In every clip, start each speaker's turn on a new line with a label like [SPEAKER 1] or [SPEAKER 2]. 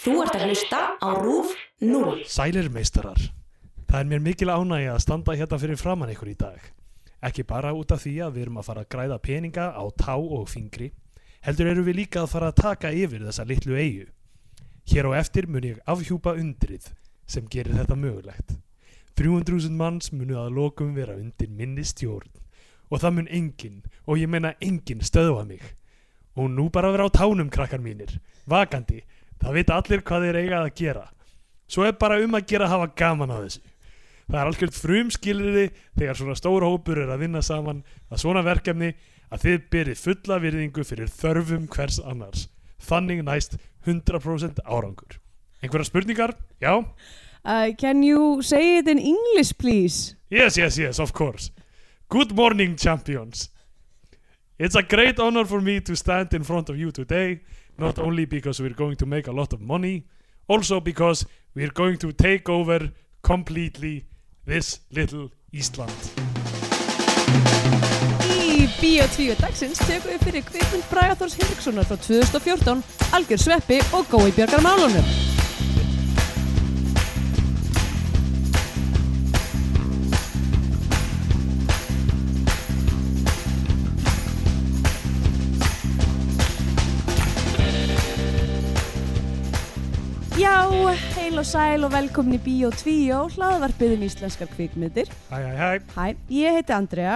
[SPEAKER 1] Þú ert að hlusta á RÚF 0.
[SPEAKER 2] Sælir meistarar, það er mér mikil ánægja að standa hérna fyrir framann ykkur í dag. Ekki bara út af því að við erum að fara að græða peninga á tá og fingri, heldur erum við líka að fara að taka yfir þessa litlu eigu. Hér á eftir mun ég afhjúpa undrið sem gerir þetta mögulegt. 300.000 manns munu að lokum vera undir minni stjórn og það mun enginn, og ég meina enginn stöðva mig. Og nú bara vera á tánum krakkar mínir, vakandi, það vita allir hvað þeir eiga að gera. Svo er bara um að gera að hafa gaman á þessu. Það er algjört frumskilriði þegar svona stór hópur er að vinna saman að svona verkefni að þið byrið fulla virðingu fyrir þörfum hvers annars. Þannig næst 100% árangur. Einhverjar spurningar? Já?
[SPEAKER 3] Uh, can you say it in English, please?
[SPEAKER 2] Yes, yes, yes, of course. Good morning, champions. It's a great honor for me to stand in front of you today, not only because we're going to make a lot of money, also because we're going to take over completely this little Ísland.
[SPEAKER 3] Í Bíotvíu dagsins tekum við fyrir kvikmynd Braga Þórs Henrikssonar frá 2014, Algjör Sveppi og Gói Björgar Málunum. Já, heil og sæl og velkomin í Bíotvíu, hlaðvarpið um íslenskar kvikmyndir.
[SPEAKER 2] Hæ, hæ, hæ,
[SPEAKER 3] Hæ, ég heiti Andrea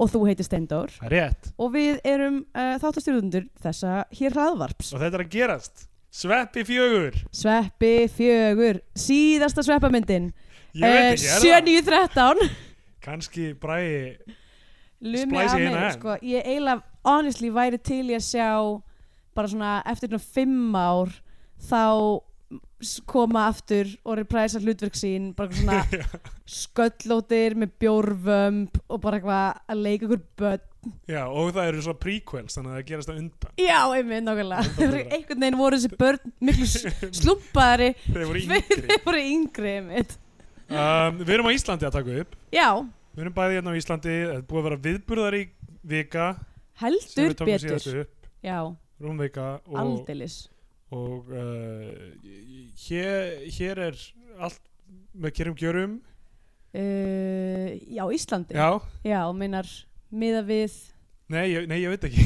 [SPEAKER 3] og þú heiti Steindór
[SPEAKER 2] það er rétt.
[SPEAKER 3] og við erum uh, þáttastjórundur þessa hér hlaðvarps.
[SPEAKER 2] Og þetta er að gerast. Sveppi fjögur.
[SPEAKER 3] Sveppi fjögur, síðasta sveppamyndin,
[SPEAKER 2] Ég
[SPEAKER 3] Eh,
[SPEAKER 2] veit ekki, er það?
[SPEAKER 3] 7.13.
[SPEAKER 2] Kannski bræði,
[SPEAKER 3] Lumi
[SPEAKER 2] Splæsi
[SPEAKER 3] af
[SPEAKER 2] hérna
[SPEAKER 3] mig,
[SPEAKER 2] enn.
[SPEAKER 3] sko, ég eiginlega honestly væri til ég að sjá bara svona eftir svona fimm ár þá s- koma aftur og repræsa hlutverk sín bara svona sköllótir með bjórvömb og bara eitthvað að leika ykkur börn
[SPEAKER 2] já, og það eru svona prequels, þannig að það gerast að undan.
[SPEAKER 3] já, einmitt nákvæmlega
[SPEAKER 2] Nákvæmlega.
[SPEAKER 3] einhvern veginn voru þessi börn miklu slumpaðari
[SPEAKER 2] Þeir voru yngri.
[SPEAKER 3] þeir voru yngri einmitt
[SPEAKER 2] Um, við erum á Íslandi að taka upp.
[SPEAKER 3] já,
[SPEAKER 2] Við erum bæði hérna á Íslandi, það er búið að vera viðburðar í vika sem
[SPEAKER 3] heldur
[SPEAKER 2] við tókum
[SPEAKER 3] betur
[SPEAKER 2] síðast upp,
[SPEAKER 3] já,
[SPEAKER 2] rúmvika og,
[SPEAKER 3] aldeilis
[SPEAKER 2] og uh, hér, hér er allt með gerum gjörum.
[SPEAKER 3] uh, já, Íslandi
[SPEAKER 2] Já,
[SPEAKER 3] Já, meinar miða við
[SPEAKER 2] nei ég, nei, ég veit ekki.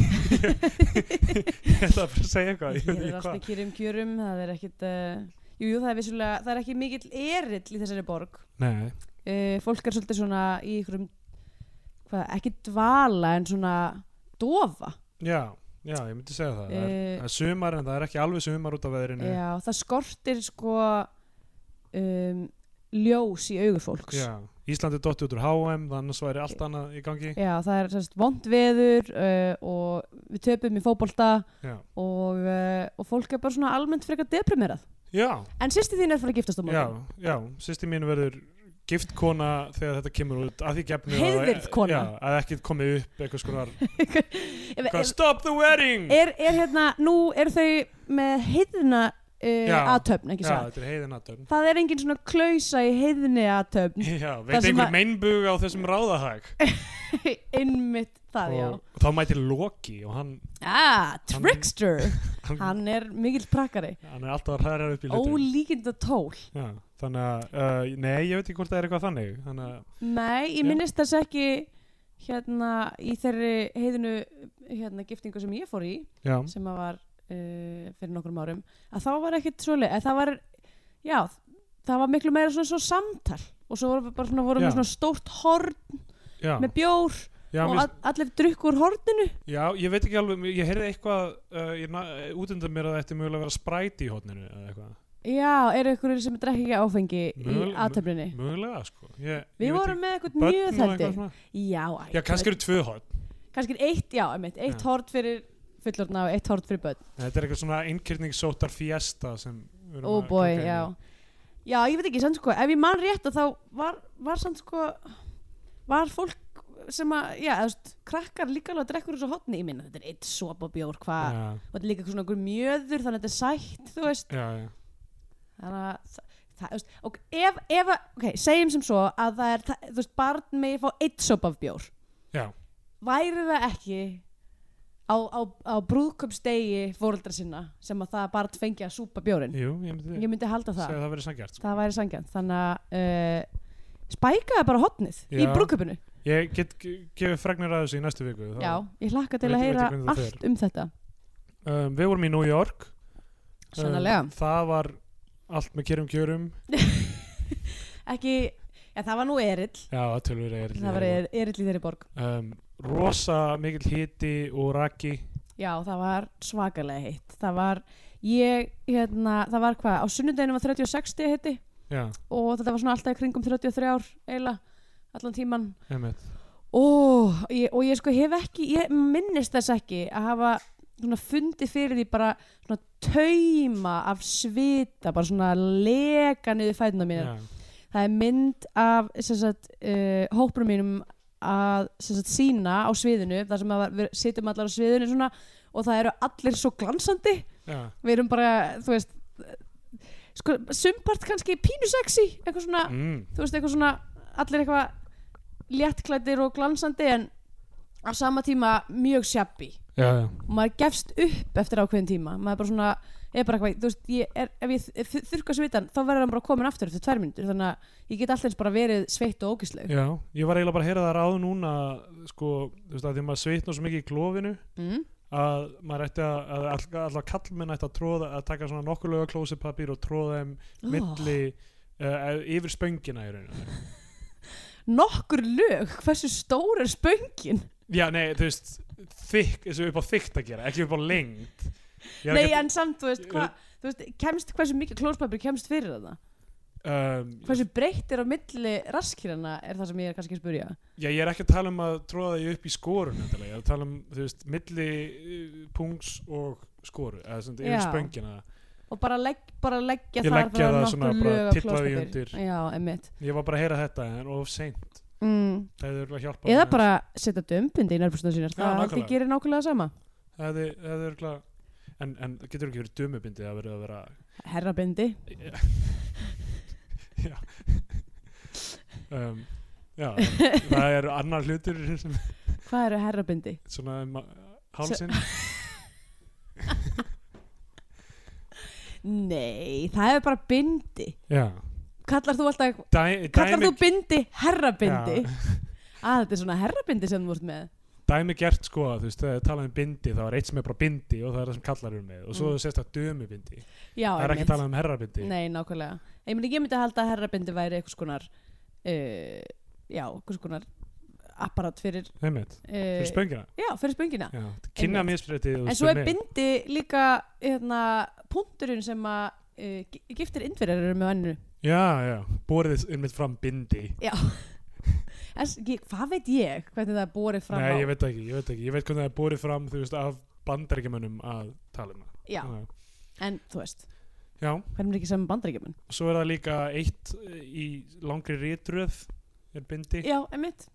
[SPEAKER 2] ég ætla að fara að segja eitthvað, ég
[SPEAKER 3] Ég
[SPEAKER 2] veit
[SPEAKER 3] er
[SPEAKER 2] ekki
[SPEAKER 3] allt með
[SPEAKER 2] hvað.
[SPEAKER 3] kýrum um kjörum það er ekkit uh, jú, jú, það er vissulega, það er ekki mikill erill í þessari borg
[SPEAKER 2] Nei,
[SPEAKER 3] uh, fólk er svolítið svona í ykkurum hvað, ekki dvala en svona dofa
[SPEAKER 2] já, já, ég myndi segja það. Það er,
[SPEAKER 3] Eh,
[SPEAKER 2] það er sumar en það er ekki alveg sumar út af veðrinu.
[SPEAKER 3] Já, það skortir sko um, ljós í augu fólks
[SPEAKER 2] Já, Íslandi dotti út úr HM, þannig að svo er
[SPEAKER 3] Eh.
[SPEAKER 2] allt annað í gangi.
[SPEAKER 3] Já, það er sérst vond veður uh, og við töpum í fótbolta
[SPEAKER 2] Já,
[SPEAKER 3] og, uh, og fólk er bara svona almennt frekar deprimerað
[SPEAKER 2] já,
[SPEAKER 3] en sýsti þín er fyrir að giftast á
[SPEAKER 2] já,
[SPEAKER 3] morgun
[SPEAKER 2] já, sýsti mín verður giftkona þegar þetta kemur út að því gefnu að-
[SPEAKER 3] Heiðvirð kona.
[SPEAKER 2] já, að ekki komið upp eitthvað skonar
[SPEAKER 3] Ef- ef-
[SPEAKER 2] Hvað, stop the wedding
[SPEAKER 3] er, er hérna, nú eru þau með heiðina uh,
[SPEAKER 2] Já.
[SPEAKER 3] aðtöfn, ekki
[SPEAKER 2] já,
[SPEAKER 3] satt?
[SPEAKER 2] þetta er heiðinatöfn
[SPEAKER 3] Það er engin svona klausa í heiðinni aðtöfn,
[SPEAKER 2] já,
[SPEAKER 3] Það
[SPEAKER 2] veit
[SPEAKER 3] sem
[SPEAKER 2] einhver
[SPEAKER 3] að-
[SPEAKER 2] meinbug á þessum ráðahag
[SPEAKER 3] innmitt það, já.
[SPEAKER 2] og þá mætir Loki og hann,
[SPEAKER 3] Ah, trickster,
[SPEAKER 2] hann, hann,
[SPEAKER 3] hann er mikill prakari,
[SPEAKER 2] er alltaf að hræra upp í hlutum
[SPEAKER 3] ólíkinda tól.
[SPEAKER 2] já, þannig að, uh, nei, ég veit ekki hvort það er eitthvað þannig þannig að,
[SPEAKER 3] Nei, ég
[SPEAKER 2] Já.
[SPEAKER 3] minnist þess ekki hérna í þeirri heiðinu hérna giftingu sem ég fór í,
[SPEAKER 2] já,
[SPEAKER 3] sem að var uh, fyrir nokkrum árum, að þá var ekkit svoleið, að það var, já, það var miklu meira svona svo samtal og svo vorum við bara svona, vorum
[SPEAKER 2] Já.
[SPEAKER 3] við svona stórt horn
[SPEAKER 2] já,
[SPEAKER 3] með bjór
[SPEAKER 2] já,
[SPEAKER 3] og
[SPEAKER 2] mér,
[SPEAKER 3] all, allir drukku úr horninu
[SPEAKER 2] já, ég veit ekki alveg ég heyrði eitthvað, uh, ég na- út undan mér að þetta er mögulega að vera spræti í hótninu eða eitthvað,
[SPEAKER 3] já, eru ykkur sem drekki ekki áfengi
[SPEAKER 2] Mögul-
[SPEAKER 3] í aðtöflinni
[SPEAKER 2] mögulega sko ég,
[SPEAKER 3] við
[SPEAKER 2] ég veit
[SPEAKER 3] vorum með
[SPEAKER 2] ekki,
[SPEAKER 3] eitthvað
[SPEAKER 2] börn
[SPEAKER 3] mjög
[SPEAKER 2] og eitthvað
[SPEAKER 3] þætti
[SPEAKER 2] svona.
[SPEAKER 3] já, æ,
[SPEAKER 2] já, kannski eru tvö hótn
[SPEAKER 3] kannski er eitt, já, einmitt, eitt
[SPEAKER 2] Já.
[SPEAKER 3] hort fyrir fullorðna og eitt hort fyrir börn
[SPEAKER 2] Þetta er eitthvað svona innkjörningssótar fjesta sem við erum
[SPEAKER 3] oh
[SPEAKER 2] að
[SPEAKER 3] boy,
[SPEAKER 2] ganga inn í.
[SPEAKER 3] já já, ég veit ekki, samt sko, ef ég man rétt að þá var, var samt sko var fólk sem að, já, eða þú veist, krakkar líka alveg að drekka úr þessu hotni, ég minna, þetta er eitt sopa bjór, hvað,
[SPEAKER 2] Já,
[SPEAKER 3] og þetta er líka svona einhver mjöður, þannig að þetta er sætt, þú veist
[SPEAKER 2] já, já.
[SPEAKER 3] þannig að það, það, þú veist, ok, ef, ef að, ok, segjum sem svo að það er, það, þú veist, barn megi fá eitt sop af bjór
[SPEAKER 2] Já.
[SPEAKER 3] væri það ekki á, á, á brúðköpsdegi fóreldra sinna sem að það bara fengi að súpa bjórin
[SPEAKER 2] Jú, ég myndi
[SPEAKER 3] ég myndi halda
[SPEAKER 2] segja
[SPEAKER 3] það,
[SPEAKER 2] að það verið sangjart sko.
[SPEAKER 3] það væri sangjant þannig að uh, spækaði bara hotnið í
[SPEAKER 2] Já.
[SPEAKER 3] brúðköpunu
[SPEAKER 2] Ég get ge- gefið fregnir að þessu í næstu viku þá-
[SPEAKER 3] já, ég hlakka til
[SPEAKER 2] Veit-
[SPEAKER 3] að
[SPEAKER 2] veit ég
[SPEAKER 3] heyra
[SPEAKER 2] hvernig það
[SPEAKER 3] allt um þetta
[SPEAKER 2] um, Við vorum í New York
[SPEAKER 3] sannlega
[SPEAKER 2] um, Það var allt með kjörum kjörum
[SPEAKER 3] ekki, já, það var nú erill
[SPEAKER 2] Já, tölur er
[SPEAKER 3] það var er- erill í þeirri borg
[SPEAKER 2] um, Rosa mikill hiti og raki
[SPEAKER 3] Já, það var svakalega heitt. Það var, ég, hérna, það var hvað, á sunnudeginu var 36 stið heiti
[SPEAKER 2] Já,
[SPEAKER 3] og þetta var svona alltaf í kringum 33 ár eiginlega, allan tíman.
[SPEAKER 2] einmitt
[SPEAKER 3] Ó, ég, og ég sko hef ekki, ég minnist þess ekki að hafa svona fundið fyrir því bara svona tauma af svita, bara svona leka niður fætuna mínu.
[SPEAKER 2] Já,
[SPEAKER 3] Það er mynd af sem sagt, uh, hóprum mínum að sem sagt, sína á sviðinu þar sem að var- við sitjum allar á sviðinu svona, og það eru allir svo glansandi
[SPEAKER 2] já,
[SPEAKER 3] við erum bara, þú veist eh, sko, sumpart kannski pínu sexy eitthvað svona,
[SPEAKER 2] mm,
[SPEAKER 3] þú veist, eitthvað svona allir eitthvað léttklættir og glansandi en á sama tíma mjög sjabbi
[SPEAKER 2] já, já.
[SPEAKER 3] og maður gefst upp eftir ákveðin tíma maður er bara svona, er bara eitthvað þú veist, ég er, ef ég þurka svitan þá verður hann bara komin aftur eftir tvær mínútur þannig að ég get alltaf eins bara verið sveitt og ógisleg
[SPEAKER 2] Já, ég var eiginlega bara að heyra það ráð núna sko, þú veist að því að maður sveitnar svo mikið í klófinu
[SPEAKER 3] mm.
[SPEAKER 2] að maður ætti að, að all- allavega kallmenn ætti að tróða, að taka svona nokkulega klósipapír og tróða þeim milli uh, yfir spöngina í rauninu
[SPEAKER 3] nokkur lög, hversu stór er spöngin
[SPEAKER 2] Já, nei, þú veist þykk, þessu upp á þykkt að gera, ekki upp á lengt Ég er
[SPEAKER 3] nei
[SPEAKER 2] ekki að-
[SPEAKER 3] en samt, þú veist, hva, þú veist kemst, hversu mikið klóspapir kemst fyrir þarna
[SPEAKER 2] um,
[SPEAKER 3] hversu breytt er á milli raskirana er það sem ég er kannski að spurja
[SPEAKER 2] Já, ég er ekki að tala um að tróða því upp í skorun endilega. ég er að tala um, þú veist, milli uh, pungs og skoru eða svona yfir
[SPEAKER 3] Já.
[SPEAKER 2] spöngina
[SPEAKER 3] og bara, legg, bara leggja
[SPEAKER 2] Ég
[SPEAKER 3] þar
[SPEAKER 2] leggja
[SPEAKER 3] bara
[SPEAKER 2] það
[SPEAKER 3] nokkur
[SPEAKER 2] svona, bara
[SPEAKER 3] lög af
[SPEAKER 2] tylla því
[SPEAKER 3] klóspapír.
[SPEAKER 2] undir.
[SPEAKER 3] já, emitt
[SPEAKER 2] Ég var bara að heyra þetta en of seint
[SPEAKER 3] mm.
[SPEAKER 2] Það hefði örugglega hjálpað
[SPEAKER 3] eða
[SPEAKER 2] mér.
[SPEAKER 3] bara setja dömbindi í nærbústuna sínar
[SPEAKER 2] Já,
[SPEAKER 3] það held
[SPEAKER 2] nákvæmlega.
[SPEAKER 3] ég gerir nákvæmlega sama
[SPEAKER 2] Það hefði, það hefði örugglega En, en það getur ekki verið dömubindi að verið að vera
[SPEAKER 3] herrabindi
[SPEAKER 2] Já um, Já, það- það eru annar hlutur sem,
[SPEAKER 3] hvað eru herrabindi?
[SPEAKER 2] svona um hálsinn
[SPEAKER 3] nei, það er bara bindi
[SPEAKER 2] Já,
[SPEAKER 3] kallar þú alltaf
[SPEAKER 2] Dæ,
[SPEAKER 3] kallar
[SPEAKER 2] dæmi,
[SPEAKER 3] þú bindi herrabindi
[SPEAKER 2] Já.
[SPEAKER 3] að þetta er svona herrabindi sem þú ert með
[SPEAKER 2] dæmi gert sko þú veist, þegar talað um bindi, þá er eitt sem er bara bindi og það er það sem kallar um með og svo
[SPEAKER 3] Mm.
[SPEAKER 2] mm. sérst að dömubindi
[SPEAKER 3] já,
[SPEAKER 2] Það er ekki
[SPEAKER 3] einmitt.
[SPEAKER 2] talað um herrabindi
[SPEAKER 3] nei, nákvæmlega ég, meni, ég myndi halda að herrabindi væri einhvers konar uh, já, einhvers konar apparat fyrir,
[SPEAKER 2] Einmitt,
[SPEAKER 3] uh,
[SPEAKER 2] fyrir spöngina
[SPEAKER 3] já, fyrir spöngina
[SPEAKER 2] Já, Kynna
[SPEAKER 3] Einmitt.
[SPEAKER 2] misbreytið
[SPEAKER 3] en svo er bindi líka hérna, punkturinn sem að uh, giftir indverjar eru með annu
[SPEAKER 2] Já, já, borðið einmitt fram bindi
[SPEAKER 3] Já en, ég, Hvað veit ég hvernig það er borið fram
[SPEAKER 2] Nei,
[SPEAKER 3] á
[SPEAKER 2] ég veit það ekki, ég veit það ekki Ég veit hvernig það er borðið fram, þú veist, af bandaríkjamönnum að tala um það
[SPEAKER 3] Já, En þú veist,
[SPEAKER 2] Já,
[SPEAKER 3] hvernig er ekki saman bandaríkjumann
[SPEAKER 2] svo er það líka eitt eh, í langri ritröð er bindi
[SPEAKER 3] Já, emitt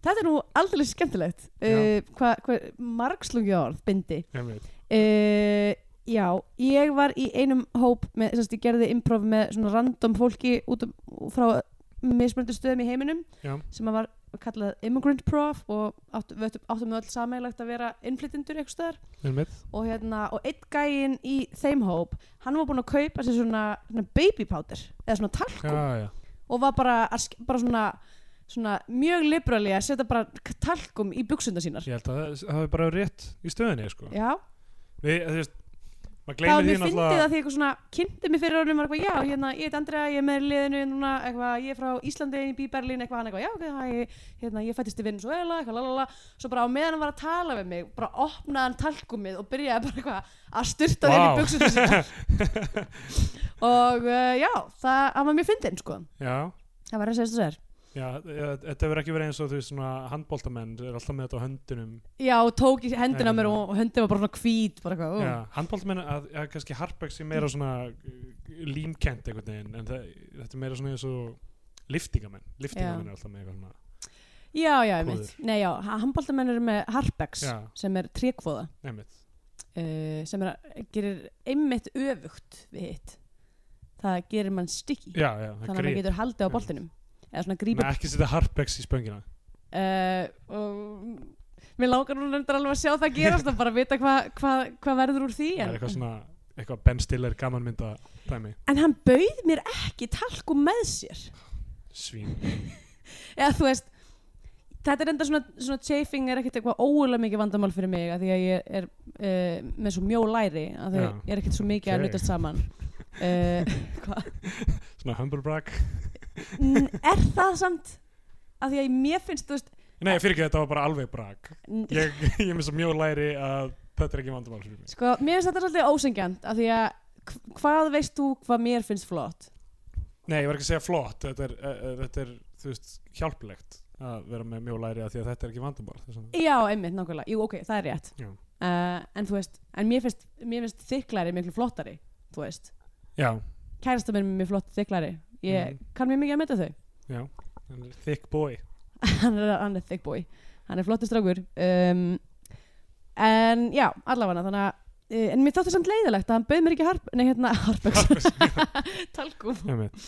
[SPEAKER 3] Þetta er nú aldrei skemmtilegt
[SPEAKER 2] Já.
[SPEAKER 3] uh, hva, hva, Margslungi orð, bindi
[SPEAKER 2] Einmitt.
[SPEAKER 3] uh, Já, ég var í einum hóp með, sérst, ég gerði improv með svona random fólki út um, frá mismunandi stöðum í heiminum
[SPEAKER 2] Já.
[SPEAKER 3] sem að var kallað immigrant prof og áttum, við áttum- áttum öll sameiglegt að vera innflytjendur eitthvað stöðar
[SPEAKER 2] Einmitt.
[SPEAKER 3] og hérna, og einn gæinn í þeim hóp, hann var búinn að kaupa sér svona, svona baby powder, eða svona talkum
[SPEAKER 2] Já, já,
[SPEAKER 3] og var bara, að sk- bara svona, svona mjög liberali að setja bara k- talkum í buksunda sínar
[SPEAKER 2] ég held að það það er bara rétt í stöðinni, sko
[SPEAKER 3] já,
[SPEAKER 2] Við, eh, þú veist, maður
[SPEAKER 3] það var
[SPEAKER 2] gleymir því
[SPEAKER 3] mér fyndið
[SPEAKER 2] náttúrulega
[SPEAKER 3] að því eitthvað svona kynnti mig fyrir honum, var eitthvað, já, hérna, ég heit Andrea ég er með í liðinu núna, eitthvað, ég er frá Íslandi ég bý í Berlín, eitthvað, hann eitthvað, já, ok, hæ, hérna, ég fættist í Venezuela, eitthvað, lalala svo bara á meðan hann var að tala við mig, bara opnaði hann talkumið og byrjaði bara eitthvað að styrta wow.
[SPEAKER 2] Vá.
[SPEAKER 3] þeim í buksuna sína og uh, já, það hann var mjög fyndin, sko,
[SPEAKER 2] Já,
[SPEAKER 3] það var að segja þess að segja
[SPEAKER 2] já, eh, þetta verður ekki verið eins og þú veist svona handbóltamenn er alltaf með þetta á höndunum
[SPEAKER 3] Já, og tók í hendina á mér
[SPEAKER 2] Nei,
[SPEAKER 3] og og hendin var bara svona hvít bara eitthvað, ó.
[SPEAKER 2] Já, handbóltamenn að, að kannski Harpex er meira svona uh, límkent einhvern veginn en það, þetta er meira svona eins og liftingamenn, liftingamenn er alltaf með eitthvað svona
[SPEAKER 3] já, já, ég mitt Nei, já, handbóltamenn eru með Harpex
[SPEAKER 2] Já,
[SPEAKER 3] sem er trékvóða
[SPEAKER 2] nefnitt
[SPEAKER 3] uh, sem er, að- gerir einmitt öfugt við hitt það gerir mann stikki
[SPEAKER 2] Já, já, það
[SPEAKER 3] þannig að maður
[SPEAKER 2] grýp
[SPEAKER 3] getur haldið á
[SPEAKER 2] Já.
[SPEAKER 3] boltinum eða svona
[SPEAKER 2] Nei,
[SPEAKER 3] grípa
[SPEAKER 2] ekki setja Harpex í spöngina
[SPEAKER 3] uh, og mér langar núna endur alveg að sjá það gerast að bara vita hvað hva, hva verður úr því
[SPEAKER 2] Það er
[SPEAKER 3] en,
[SPEAKER 2] eitthvað svona, eitthvað Ben Stiller gamanmynda dæmi,
[SPEAKER 3] en hann bauð mér ekki talkum með sér
[SPEAKER 2] svín
[SPEAKER 3] eða þú veist þetta er enda svona, svona chafing er ekkert eitthvað ógulega mikið vandamál fyrir mig að því að ég er uh, með svo mjó læri að því
[SPEAKER 2] Já.
[SPEAKER 3] ég er ekkert svo mikið að
[SPEAKER 2] Ok.
[SPEAKER 3] nutast saman uh, hva?
[SPEAKER 2] svona humblebrag.
[SPEAKER 3] N- er það samt að því að mér finnst þú veist
[SPEAKER 2] Nei, fyrir ekki, þetta var bara alveg brag.
[SPEAKER 3] n-
[SPEAKER 2] Ég, ég missa mjög læri að þetta er ekki vandamál fyrir mig.
[SPEAKER 3] sko, mér finnst þetta svolítið ósengjant að því að hv- hvað veist þú hvað mér finnst flott
[SPEAKER 2] Nei, ég var ekki að segja flott, þetta er, uh, uh, þetta er þú veist, hjálplegt að vera með mjög læri að því að þetta er ekki vandamál. þess vegna.
[SPEAKER 3] já, einmitt, nákvæmlega, jú, ok, það er rétt
[SPEAKER 2] Já.
[SPEAKER 3] uh, en þú veist, en mér finnst, mér finnst þyklari miklu flottari, þú veist
[SPEAKER 2] Já,
[SPEAKER 3] kærasta minn er mér flott þyklari ég
[SPEAKER 2] Mhm.
[SPEAKER 3] kann mér mikið að meta þau
[SPEAKER 2] já, hann er thick boy.
[SPEAKER 3] hann er, hann er thick boy hann er flottur strákur um, en já, allavega þannig að eh, en mér þótti samt leiðilegt að hann bauð mér ekki harp nei hérna harpex talkum,
[SPEAKER 2] Einmitt.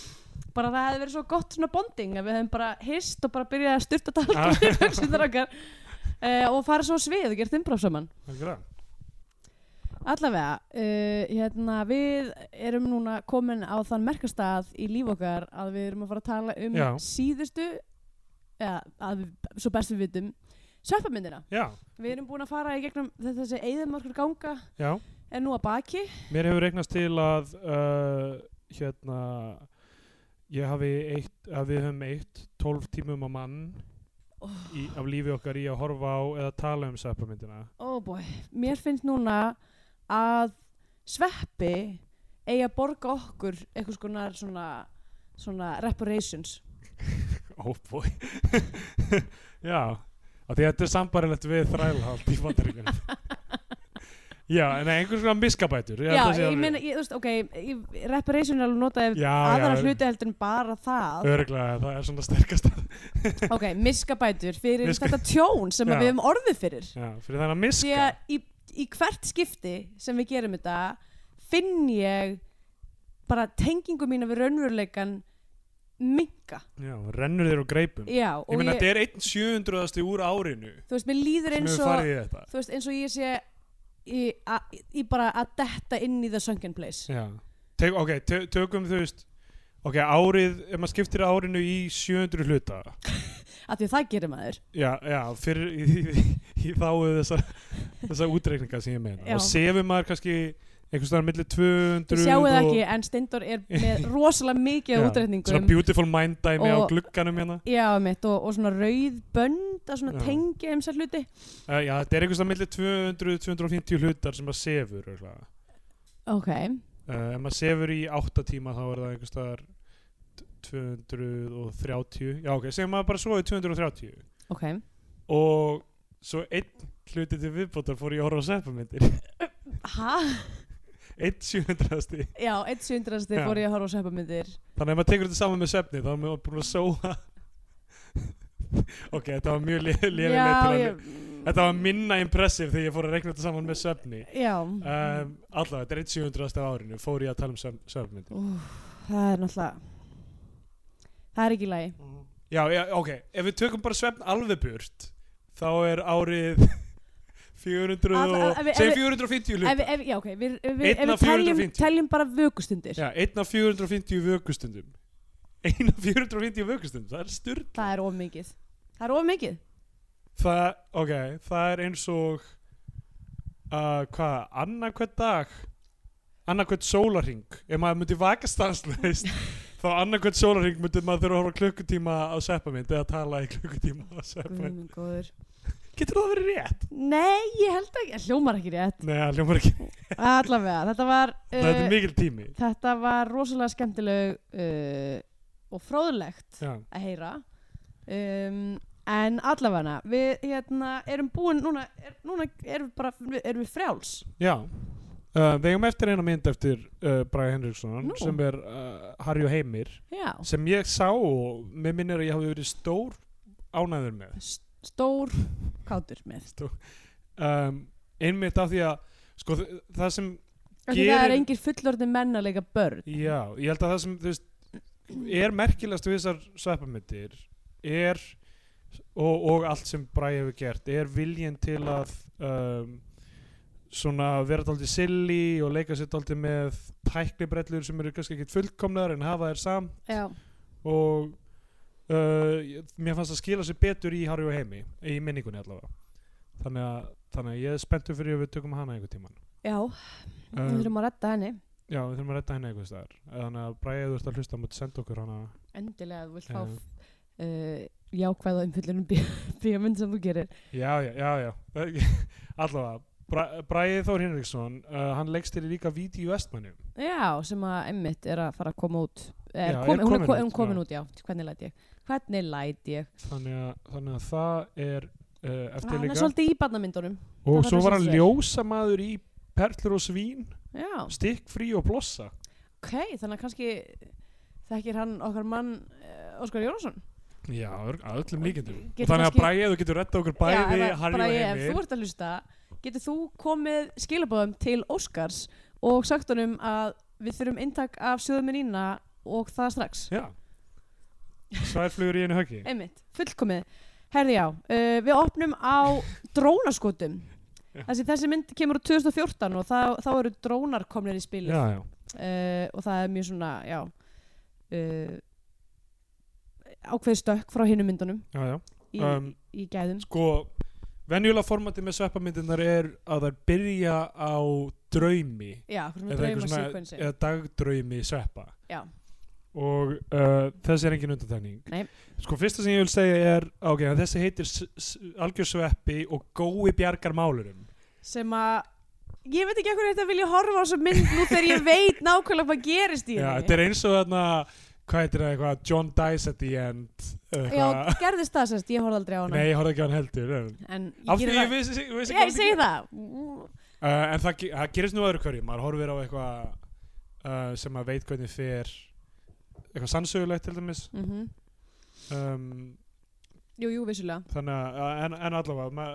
[SPEAKER 3] bara það hefði verið svo gott svona bonding að við hefðum bara hist og bara byrjað að styrta
[SPEAKER 2] Ah,
[SPEAKER 3] talkum í buxurnar okkar uh, og fara svo á svið og gert umbráð saman
[SPEAKER 2] Algjörlega.
[SPEAKER 3] allavega, uh, hérna við erum núna komin á þann merkastað í líf okkar að við erum að fara að tala um
[SPEAKER 2] Já.
[SPEAKER 3] síðustu eða að, við- svo best við vitum sveppamyndina
[SPEAKER 2] Já,
[SPEAKER 3] Við erum búin að fara í gegnum þ- þessi eigðumörkur ganga
[SPEAKER 2] já.
[SPEAKER 3] en nú að baki.
[SPEAKER 2] Mér hefur regnast til að uh, hérna ég hafi eitt, að við höfum eitt 12 tímum á mann í,
[SPEAKER 3] Oh.
[SPEAKER 2] af lífi okkar í að horfa á eða tala um sveppamyndina.
[SPEAKER 3] Ó oh bói, mér finnst núna að sveppi eigi að borga okkur eitthvað skonar svona, svona reparations.
[SPEAKER 2] Oh boy Já, af því þetta er sambarilegt við þrælhald í bandaríkunum Já, en einhvers konar miskabætur
[SPEAKER 3] Já, ég meina, ég, þú veist, ok, ég- reparation er alveg notaði
[SPEAKER 2] já,
[SPEAKER 3] aðra
[SPEAKER 2] já,
[SPEAKER 3] hluti heldur en bara það.
[SPEAKER 2] Örglega, það er svona sterkast
[SPEAKER 3] Ok, miskabætur fyrir
[SPEAKER 2] Miska-
[SPEAKER 3] þetta tjón sem
[SPEAKER 2] Já.
[SPEAKER 3] að við hefum orðið fyrir.
[SPEAKER 2] Já, fyrir þannig að
[SPEAKER 3] Því
[SPEAKER 2] miska
[SPEAKER 3] að í, í hvert skipti sem við gerum þetta finn ég bara tengingu mína við raunveruleikan minka.
[SPEAKER 2] Já, rennur þér úr greipum
[SPEAKER 3] Já, og
[SPEAKER 2] Mm. Ég meina,
[SPEAKER 3] ég,
[SPEAKER 2] þetta er einn sjöundruðasti úr árinu
[SPEAKER 3] þú veist, mér líður
[SPEAKER 2] sem
[SPEAKER 3] eins
[SPEAKER 2] hefur
[SPEAKER 3] og,
[SPEAKER 2] farið í þetta
[SPEAKER 3] þú veist, eins og ég sé í, a, í bara að detta inn í the sunken place.
[SPEAKER 2] Já, Tök, ok, tö- tökum þú veist Ok, árið, ef maður skiptir árinu í 700 hluta
[SPEAKER 3] Af því að það gerir maður.
[SPEAKER 2] Já, já, fyrir í, í, í þáu þessar þessa útreikninga sem ég meina
[SPEAKER 3] Já.
[SPEAKER 2] og sefum maður kannski einhvers staðar millir 200
[SPEAKER 3] Þú sjáu það
[SPEAKER 2] og-
[SPEAKER 3] ekki, en Steindor er með rosalega mikið af
[SPEAKER 2] Já, Svona
[SPEAKER 3] útreikningum.
[SPEAKER 2] beautiful mind dæmi á
[SPEAKER 3] Og-
[SPEAKER 2] glugganum hérna
[SPEAKER 3] Já, mitt, og, og svona rauð bönd að svona
[SPEAKER 2] Já.
[SPEAKER 3] tengja um sér hluti.
[SPEAKER 2] uh, Já, þetta er einhvers staðar millir 200-250 hlutar sem maður sefur uh,
[SPEAKER 3] Ok,
[SPEAKER 2] Eh, Ef maður sefur í 8 tíma þá er það einhvers staðar 230 Já, ok, segjum maður bara svo í 230
[SPEAKER 3] ok.
[SPEAKER 2] og svo einn hluti til viðbótar fór ég að horfa á seppamindir
[SPEAKER 3] Hæ?
[SPEAKER 2] einn 700
[SPEAKER 3] Já, eitt sjöndrasti
[SPEAKER 2] Já.
[SPEAKER 3] fór ég að horfa á sveppamyndir.
[SPEAKER 2] Þannig að ef maður tekur þetta saman með svefni þá er maður búin að sóa Ok, þetta var mjög lélega
[SPEAKER 3] Já,
[SPEAKER 2] til að
[SPEAKER 3] ég-
[SPEAKER 2] Þetta var minna impressive þegar ég fór að reikna þetta saman með svefni
[SPEAKER 3] Já,
[SPEAKER 2] um, Allavega, þetta er 1.700. af árinu fór ég að tala um svef, svefmyndi
[SPEAKER 3] það er náttúrulega Það er ekki í lagi
[SPEAKER 2] já, já, ok, ef við tökum bara svefn alveg burt þá er árið 400
[SPEAKER 3] Alla-
[SPEAKER 2] og,
[SPEAKER 3] ef við- ef
[SPEAKER 2] segjum
[SPEAKER 3] við-
[SPEAKER 2] 450
[SPEAKER 3] ef,
[SPEAKER 2] hluta
[SPEAKER 3] ef, Já, ok, við, ef, við-
[SPEAKER 2] Einn
[SPEAKER 3] ef
[SPEAKER 2] af
[SPEAKER 3] við teljum,
[SPEAKER 2] 450.
[SPEAKER 3] teljum bara vökustundir
[SPEAKER 2] Já, einn af 450 vökustundum Einn af 450 vökustundum, það er styrla
[SPEAKER 3] Það er of mikið Það er of mikið
[SPEAKER 2] Það, ok, það er eins og uh, hvað, annarkvæmt dag annarkvæmt sólarring ef maður myndi vaka stanslaust þá annarkvæmt sólarring myndi maður þurfa að horfa á klukkutíma á sveppamind eða tala í klukkutíma á
[SPEAKER 3] Guð
[SPEAKER 2] sveppamind
[SPEAKER 3] minn góður.
[SPEAKER 2] Getur það verið rétt?
[SPEAKER 3] Nei, ég held ekki, það hljómar ekki rétt
[SPEAKER 2] Nei, það ljómar ekki,
[SPEAKER 3] Allavega, þetta var
[SPEAKER 2] þetta
[SPEAKER 3] uh,
[SPEAKER 2] er mikil tími
[SPEAKER 3] Þetta var rosalega skemmtileg uh, og fróðlegt
[SPEAKER 2] Já,
[SPEAKER 3] að heyra um, en allavega við hérna, erum búin núna, er, núna erum við bara erum við frjáls
[SPEAKER 2] já Uh, við hefum eftir eina mynd eftir uh, Braga Henriksson
[SPEAKER 3] Nú.
[SPEAKER 2] sem er uh, Harry og Heimir
[SPEAKER 3] Já,
[SPEAKER 2] sem ég sá og mér minnir að ég hafi verið stór ánæður með
[SPEAKER 3] S- stór kátur með
[SPEAKER 2] um, einmitt af því að sko, þ- það sem,
[SPEAKER 3] Af því það
[SPEAKER 2] Gerir-
[SPEAKER 3] er engir fullorðin menn að leika börn
[SPEAKER 2] já, ég held að það sem þú veist, er merkilegast við þessar sveppamyndir er og, og allt sem Bræ hefur gert er viljinn til að um, svona vera daldið silly og leika sér daldið með tæknibrellur sem eru kannski ekkit fullkomnar en hafa þær samt
[SPEAKER 3] já,
[SPEAKER 2] og uh, ég- mér fannst það skila sér betur í Harry og Heimi í minningunni allavega þannig að, þannig að ég er spenntur fyrir að við tökum hana einhver tíman
[SPEAKER 3] já,
[SPEAKER 2] Um,
[SPEAKER 3] við þurfum að redda henni
[SPEAKER 2] já, við þurfum að redda henni einhvers staðar þannig að Bræði þú ert að hlusta mútið senda okkur hana
[SPEAKER 3] endilega þú vilt
[SPEAKER 2] Já.
[SPEAKER 3] fá uh, jákvæða umfyllunum bíómynd sem þú gerir
[SPEAKER 2] já, já, já, já. allavega Bra- Bragi Þór Hinriksson, uh, hann leggst þér líka víti í vestmannum
[SPEAKER 3] já, sem að Emmitt er að fara að koma út
[SPEAKER 2] Já, er
[SPEAKER 3] er, kom, hún er,
[SPEAKER 2] komin út,
[SPEAKER 3] ko- er hún komin
[SPEAKER 2] já.
[SPEAKER 3] út, já, hvernig læt ég hvernig læt ég
[SPEAKER 2] þannig að, þannig að það er uh, eftir
[SPEAKER 3] hann er
[SPEAKER 2] líka
[SPEAKER 3] svolítið í barnamyndunum
[SPEAKER 2] og
[SPEAKER 3] það
[SPEAKER 2] svo
[SPEAKER 3] þarf að
[SPEAKER 2] var hann
[SPEAKER 3] sýna sig.
[SPEAKER 2] ljósamaður í Perlur og Svín,
[SPEAKER 3] já,
[SPEAKER 2] Stikkfrí og Blossa
[SPEAKER 3] ok, þannig að kannski þekkir hann okkar mann uh, Óskar Jónsson
[SPEAKER 2] Já, örg- að öllum líkindum og
[SPEAKER 3] Getur
[SPEAKER 2] Þannig að
[SPEAKER 3] kannski-
[SPEAKER 2] Bræði, þú getur retta okkur bæði Harry og
[SPEAKER 3] ef þú
[SPEAKER 2] Heimi
[SPEAKER 3] ert að hlusta getur þú komið skilabóðum til Óskars og sagt honum að við þurfum inntak af sjöðum með Nína og það strax
[SPEAKER 2] Já Sværflugur í einu höggi
[SPEAKER 3] einmitt, fullkomið herði já, uh, við opnum á drónaskotum
[SPEAKER 2] Já.
[SPEAKER 3] þessi, þessi mynd kemur úr 2014 og það, þá eru drónar komnir í spilið
[SPEAKER 2] Já, já,
[SPEAKER 3] uh, og það er mjög svona já, uh, ákveð stökk frá hinum myndunum
[SPEAKER 2] já, já
[SPEAKER 3] í,
[SPEAKER 2] Um,
[SPEAKER 3] í gæðum
[SPEAKER 2] Sko, venjulega formatið með sveppamyndirnar er að þær byrja á draumi
[SPEAKER 3] já, hvort með
[SPEAKER 2] eða einhver
[SPEAKER 3] drauma
[SPEAKER 2] svona-
[SPEAKER 3] sequensi
[SPEAKER 2] eða dagdraumi sveppa
[SPEAKER 3] Já.
[SPEAKER 2] og uh, þessi er engin undantekning
[SPEAKER 3] Nei.
[SPEAKER 2] sko fyrsta sem ég vil segja er ok, en þessi heitir s- s- algjör sveppi og gói bjargar málurum
[SPEAKER 3] sem að ég veit ekki hvernig þetta vilja horfa á þessu mynd nú þegar ég veit nákvæmlega hvað gerist í
[SPEAKER 2] Já, þetta
[SPEAKER 3] henni
[SPEAKER 2] er eins og þarna hvað heitir það, eitthvað, John dies at the end
[SPEAKER 3] já,
[SPEAKER 2] eitthvað,
[SPEAKER 3] gerðist það sérst, ég horfði aldrei á hana
[SPEAKER 2] nei, ég horfði ekki á hann heldur en,
[SPEAKER 3] en ég
[SPEAKER 2] af því ég
[SPEAKER 3] gerir það
[SPEAKER 2] vissi vissi- vissi
[SPEAKER 3] ég
[SPEAKER 2] hvað
[SPEAKER 3] segi
[SPEAKER 2] myndi
[SPEAKER 3] það
[SPEAKER 2] gera. uh, en það, ge- það gerist nú öðru hverju maður horfir á eitthvað uh, sem maður veit hvernig fer eitthvað sannsögulegt til dæmis
[SPEAKER 3] mm
[SPEAKER 2] um,
[SPEAKER 3] jú, jú, vissulega
[SPEAKER 2] þannig að, eh, en, en allavega ma,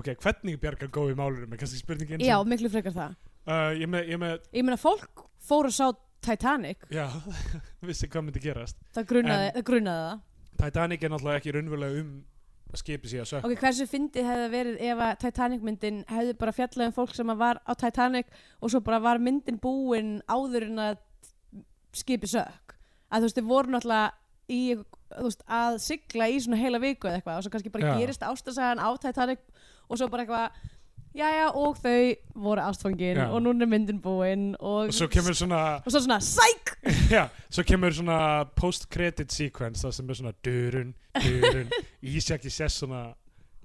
[SPEAKER 2] ok, hvernig bjargar góði málurum er kannski spurningin
[SPEAKER 3] já, miklu frekar það
[SPEAKER 2] uh, ég með, ég með,
[SPEAKER 3] ég meina fólk fór og sá Titanic
[SPEAKER 2] já vissi hvað myndi gerast
[SPEAKER 3] það grunaði, það, grunaði það
[SPEAKER 2] Titanic er náttúrulega ekki raunverulega um að skipi síðan sökk
[SPEAKER 3] ok, hversu fyndið hefði það verið ef að Titanic myndin hefði bara fjallað um fólk sem að var á Titanic og svo bara var myndin búin áður en að skipi sökk að þú veist, þið voru náttúrulega í, þú veist, að sigla í svona heila viku eða eitthvað og svo kannski bara
[SPEAKER 2] Já.
[SPEAKER 3] gerist ástasagan á Titanic og svo bara eitthvað jæja og þau voru ástfangin
[SPEAKER 2] Já.
[SPEAKER 3] og núna er myndin búin og,
[SPEAKER 2] og svo kemur svona
[SPEAKER 3] og svo svona sæk
[SPEAKER 2] Já, svo kemur svona post-credit sequence það sem er svona dörun, dörun Ísjaki sess svona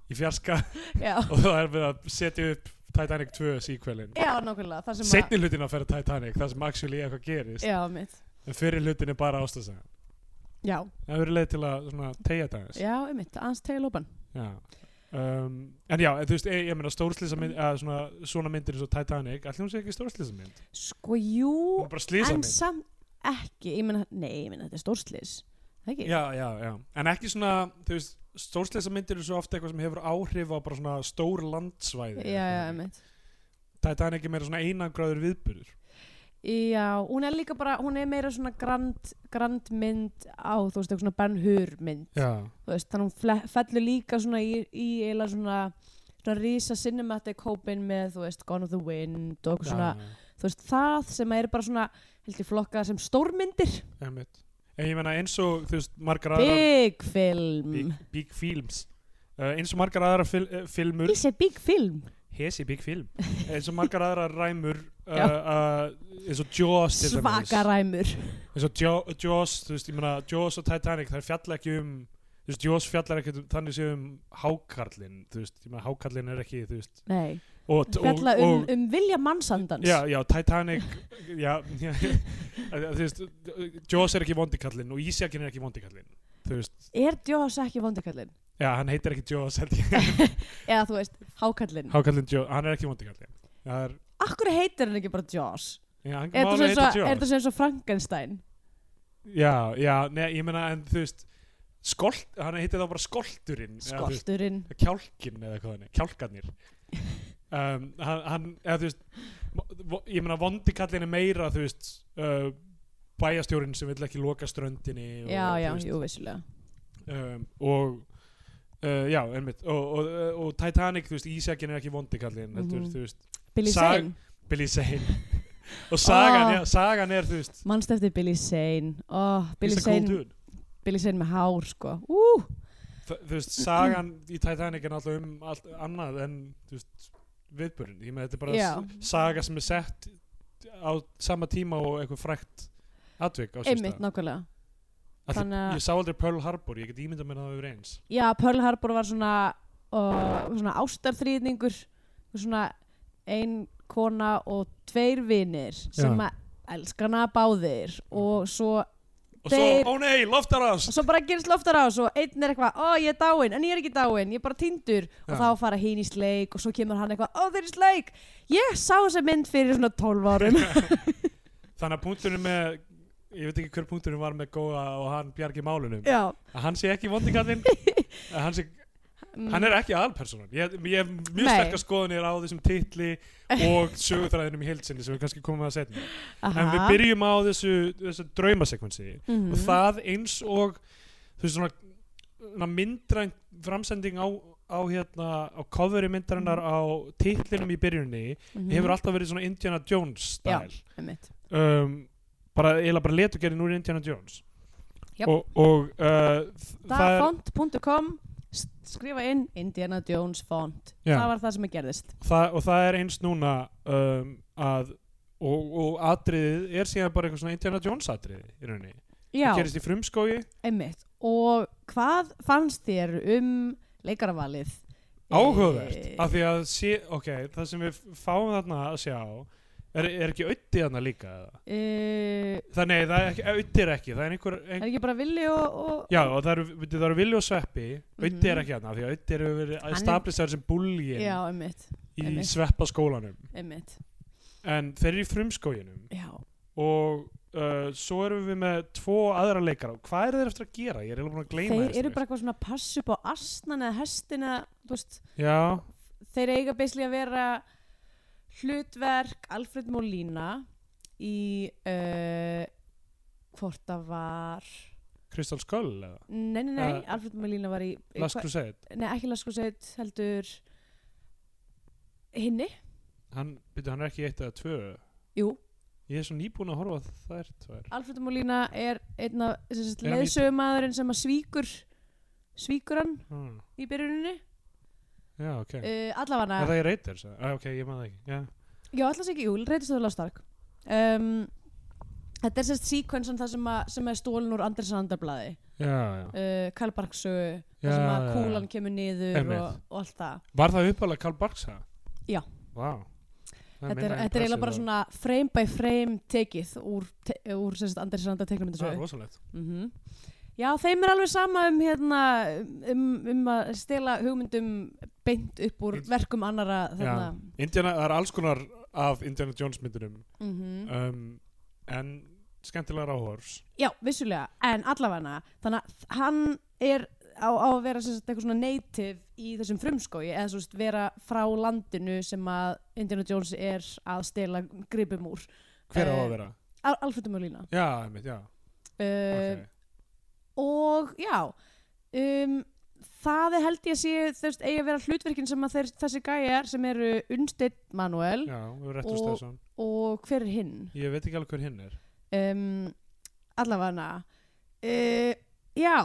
[SPEAKER 2] í fjarska
[SPEAKER 3] já,
[SPEAKER 2] og það er verið að setja upp Titanic 2 sequelin
[SPEAKER 3] já nákvæmlega það sem
[SPEAKER 2] Setni hlutin að ferða Titanic, það sem actually eitthvað gerist
[SPEAKER 3] að já, mitt,
[SPEAKER 2] en fyrir hlutin er bara ástæðsæðan
[SPEAKER 3] já,
[SPEAKER 2] Það hefur verið leið til að svona tegja þetta aðeins
[SPEAKER 3] já, mitt aðeins tegja lópan
[SPEAKER 2] Já. Um, En já, en þú veist, ég, ég meina stórslýsa mynd að svona, svona myndir eins og Titanic allir hún sé ekki stórslýsa mynd,
[SPEAKER 3] sko, jú
[SPEAKER 2] hún er bara slýsa
[SPEAKER 3] en
[SPEAKER 2] mynd
[SPEAKER 3] samt ekki, ég meina, nei, ég meina þetta er stórslis það ekki?
[SPEAKER 2] Já, já, já, en ekki svona þú veist, stórsleisa myndir eru svo ofta eitthvað sem hefur áhrif á bara svona stór landsvæði
[SPEAKER 3] já, já, einmitt.
[SPEAKER 2] Titanic er meira svona einangraður viðburður
[SPEAKER 3] já, hún er líka bara, hún er meira svona grand, grand mynd á, þú veist, eitthvað svona Ben Hur mynd,
[SPEAKER 2] Já,
[SPEAKER 3] þú veist, þannig hún fle- fellur líka svona í, í eila svona svona rísa cinematic hópin með, þú veist, Gone with the Wind og eitthvað svona, þú veist, það sem er bara svona, heldur flokkað sem stórmyndir
[SPEAKER 2] einmitt En ég meina eins og, þú veist, margar aðrar
[SPEAKER 3] Big film
[SPEAKER 2] Big, big Films uh, eins og margar aðrar fil, uh, filmur
[SPEAKER 3] Is a big film
[SPEAKER 2] Hesi Big Film eins og margar aðrar ræmur uh,
[SPEAKER 3] Já.
[SPEAKER 2] uh, eins og Jaws til dæmis.
[SPEAKER 3] Svakaræmur
[SPEAKER 2] eins og Jo- Jaws, þú veist, ég meina Jaws og Titanic, það fjalla ekki um þú veist, Jaws fjallar ekki um, þannig sé um hákarlinn, þú veist, ég meina hákarlinn er ekki, þú veist,
[SPEAKER 3] Nei,
[SPEAKER 2] og,
[SPEAKER 3] fjalla um, um vilja mannsandans
[SPEAKER 2] já, já, Titanic já, já, þú veist Jaws er ekki vondikallinn og Ísjakin er ekki vondikallinn, þú veist
[SPEAKER 3] Er Jaws ekki vondikallin?
[SPEAKER 2] já, hann heitir ekki Jaws, held ég
[SPEAKER 3] Eða þú veist, hákallin
[SPEAKER 2] hákarlinn Jaws, hann er ekki vondikallinn það er,
[SPEAKER 3] Akkur heitir hann ekki bara Jaws?
[SPEAKER 2] já, hann
[SPEAKER 3] Er
[SPEAKER 2] má
[SPEAKER 3] þetta
[SPEAKER 2] alveg
[SPEAKER 3] svo,
[SPEAKER 2] heita
[SPEAKER 3] er
[SPEAKER 2] Jaws
[SPEAKER 3] þetta sem svo Frankenstein?
[SPEAKER 2] já, já, neða, ég meina, en þú veist skolt, hann heitir þá bara skolturinn eða, þú veist,
[SPEAKER 3] Skolturinn
[SPEAKER 2] kjálkin eða hvað hann er, kjálkarnir um, hann, hann eða þú veist vo- ég meina vondikallin er meira þú veist uh, bæjastjórin sem vill ekki loka ströndinni og,
[SPEAKER 3] Já, já,
[SPEAKER 2] þú veist,
[SPEAKER 3] jú, vissulega
[SPEAKER 2] um, og uh, já, einmitt og, og, og Titanic, þú veist, Ísjakin er ekki vondi kallinn, heldur,
[SPEAKER 3] Mhm.
[SPEAKER 2] þú veist
[SPEAKER 3] Billy
[SPEAKER 2] Sag-
[SPEAKER 3] Zane
[SPEAKER 2] Billy Zane og sagan,
[SPEAKER 3] Ah.
[SPEAKER 2] já, sagan er, þú veist
[SPEAKER 3] Manst eftir Billy Zane oh, Billy,
[SPEAKER 2] he's a cool
[SPEAKER 3] Zane
[SPEAKER 2] dude.
[SPEAKER 3] Billy Zane með hár sko Ú,
[SPEAKER 2] Þa- þú veist, sagan í Titanic er náttúrulega um allt annað en þú veist, viðbörun, ég með þetta er bara
[SPEAKER 3] Já.
[SPEAKER 2] s- saga sem er sett á sama tíma og eitthvað frækt atvik á sér
[SPEAKER 3] einmitt
[SPEAKER 2] stað.
[SPEAKER 3] nákvæmlega
[SPEAKER 2] Af því
[SPEAKER 3] þannig að-
[SPEAKER 2] ég sá aldrei Pearl Harbor, ég get ímyndað mér að það hefur eins
[SPEAKER 3] Já, Pearl Harbor var svona, uh, svona ástarþrýðningur svona ein kona og tveir vinir sem
[SPEAKER 2] Já.
[SPEAKER 3] að elska hana báðir og svo,
[SPEAKER 2] og
[SPEAKER 3] Þeir-
[SPEAKER 2] svo, ó nei, loftar
[SPEAKER 3] og
[SPEAKER 2] ás
[SPEAKER 3] svo bara gerist loftar á og einn er eitthvað, ó ég er dáin, en ég er ekki dáin ég er bara tindur og
[SPEAKER 2] Já.
[SPEAKER 3] þá fara hinn í sleik og svo kemur hann eitthvað, ó þeir í sleik ég sá þessa mynd fyrir svona 12 árum
[SPEAKER 2] þannig að punkturinn með ég veit ekki hver punkturinn var með góða og hann bjargi málunum
[SPEAKER 3] Já,
[SPEAKER 2] að hann sé ekki vondikallinn að hann, sé,
[SPEAKER 3] Mm.
[SPEAKER 2] hann er ekki aðalpersonan ég, ég hef mjög
[SPEAKER 3] Nei.
[SPEAKER 2] sterkar skoðunir á þessum titli og sögutræðinum í heilsinni sem við kannski komum að setja en við
[SPEAKER 3] aha.
[SPEAKER 2] byrjum á þessu, þessu draumasekvensi
[SPEAKER 3] Mhm.
[SPEAKER 2] og það eins og þú veist svona, svona myndræn framsending á, á hérna á coveri myndrænar á titlinum í byrjunni
[SPEAKER 3] Mhm.
[SPEAKER 2] hefur alltaf verið svona Indiana Jones stæl
[SPEAKER 3] Einmitt.
[SPEAKER 2] um, bara eiginlega bara letugerðin úr Indiana Jones
[SPEAKER 3] Japp.
[SPEAKER 2] og, og uh, þ- það er,
[SPEAKER 3] Dagfont.com s- skrifa inn Indiana Jones font
[SPEAKER 2] Já.
[SPEAKER 3] það var það sem að gerðist
[SPEAKER 2] það, og það er eins núna um, að og, og atriðið er síðan bara eitthvað svona Indiana Jones atriði í rauninni
[SPEAKER 3] Já,
[SPEAKER 2] það gerist í frumskói
[SPEAKER 3] einmitt og hvað fannst þér um leikaravalið?
[SPEAKER 2] áhugavert
[SPEAKER 3] Eh,
[SPEAKER 2] af því að sé, ok, það sem við fáum þarna að sjá er, er ekki auðið þarna líka eða?
[SPEAKER 3] eh,
[SPEAKER 2] það nei, það er ekki, auðið er ekki það er einhver,
[SPEAKER 3] Er
[SPEAKER 2] einhver
[SPEAKER 3] ekki bara villi og, og
[SPEAKER 2] Já, og það eru, veitir, það eru villi og sveppi Auddi er
[SPEAKER 3] Mhm.
[SPEAKER 2] ekki hérna, af því að Auddi eru verið
[SPEAKER 3] er-
[SPEAKER 2] stablistaður sem búljin
[SPEAKER 3] Já, einmitt,
[SPEAKER 2] í
[SPEAKER 3] einmitt.
[SPEAKER 2] sveppaskólanum
[SPEAKER 3] einmitt
[SPEAKER 2] en þeir eru í frumskóginum
[SPEAKER 3] Já,
[SPEAKER 2] og uh, svo erum við með tvo aðra leikara hvað eru þeir eftir að gera? Ég er eiginlega búin að gleyma
[SPEAKER 3] þeir
[SPEAKER 2] þessu.
[SPEAKER 3] eru bara eitthvað svona pass upp á asnan eða hestin eða, þú veist,
[SPEAKER 2] Já,
[SPEAKER 3] þeir eiga beislega að vera hlutverk Alfred Molina í uh, hvort það var
[SPEAKER 2] Kristall Sköll eða
[SPEAKER 3] Nei, nei, nei,
[SPEAKER 2] Eh,
[SPEAKER 3] Alfred Molina var í
[SPEAKER 2] Last
[SPEAKER 3] hva-
[SPEAKER 2] Crusade
[SPEAKER 3] Nei, ekki Laskroseit, heldur hinni,
[SPEAKER 2] hann, byrju, hann er ekki í eitt eða tvö
[SPEAKER 3] jú
[SPEAKER 2] ég er svo nýbúin að horfa á þær tvær
[SPEAKER 3] Alfred Molina er einn af
[SPEAKER 2] Er hann í-
[SPEAKER 3] leðsögumadurinn sem að svíkur svíkur hann
[SPEAKER 2] hmm.
[SPEAKER 3] í byrjuninni
[SPEAKER 2] Já, ok uh,
[SPEAKER 3] uh, allavega
[SPEAKER 2] Er það í Raiders? Ah, ok, ég maður það ekki Já,
[SPEAKER 3] Já, alltaf ekki, jú, reytist það Lost Ark um, Þetta er sérst síkvensan það sem, að, sem er stólin úr Andersen Andarblaði
[SPEAKER 2] já, já
[SPEAKER 3] uh, Kalbarksögu,
[SPEAKER 2] Já,
[SPEAKER 3] það sem að
[SPEAKER 2] já, já.
[SPEAKER 3] kúlan kemur niður
[SPEAKER 2] Einmitt.
[SPEAKER 3] og, og allt það
[SPEAKER 2] Var það uppalega Karl Barksa?
[SPEAKER 3] Já.
[SPEAKER 2] Vá Það
[SPEAKER 3] Þetta er,
[SPEAKER 2] minna
[SPEAKER 3] þetta er eiginlega bara
[SPEAKER 2] impressive
[SPEAKER 3] svona frame by frame tekið úr, te, úr sérst Andersen Andar
[SPEAKER 2] Það er
[SPEAKER 3] teiknumyndasögu
[SPEAKER 2] rosalegt
[SPEAKER 3] -hmm. Já, þeim er alveg sama um, hérna, um, um að stela hugmyndum beint upp úr verkum annara þarna.
[SPEAKER 2] Indiana, það er alls konar af Indiana Jones myndunum
[SPEAKER 3] Mm
[SPEAKER 2] um, en skemmtilegar áhors
[SPEAKER 3] Já, vissulega, en allavega þannig að hann er á, á að vera sem sagt, eitthvað svona native í þessum frumskói eða svo veist, vera frá landinu sem að Indiana Jones er að stela gripum úr
[SPEAKER 2] hver á
[SPEAKER 3] Eh,
[SPEAKER 2] að vera?
[SPEAKER 3] Al Eh, Alfred Mjölína uh,
[SPEAKER 2] já, einmitt, já, ok
[SPEAKER 3] og já um, það er held ég að sé þú veist, eigi að vera hlutverkin sem að þeir, þessi gæjar sem eru Unstead Manuel
[SPEAKER 2] já, réttur
[SPEAKER 3] og-
[SPEAKER 2] stæðsson,
[SPEAKER 3] og hver er hinn
[SPEAKER 2] ég veit ekki alveg hver hinn er
[SPEAKER 3] um, allavega uh, já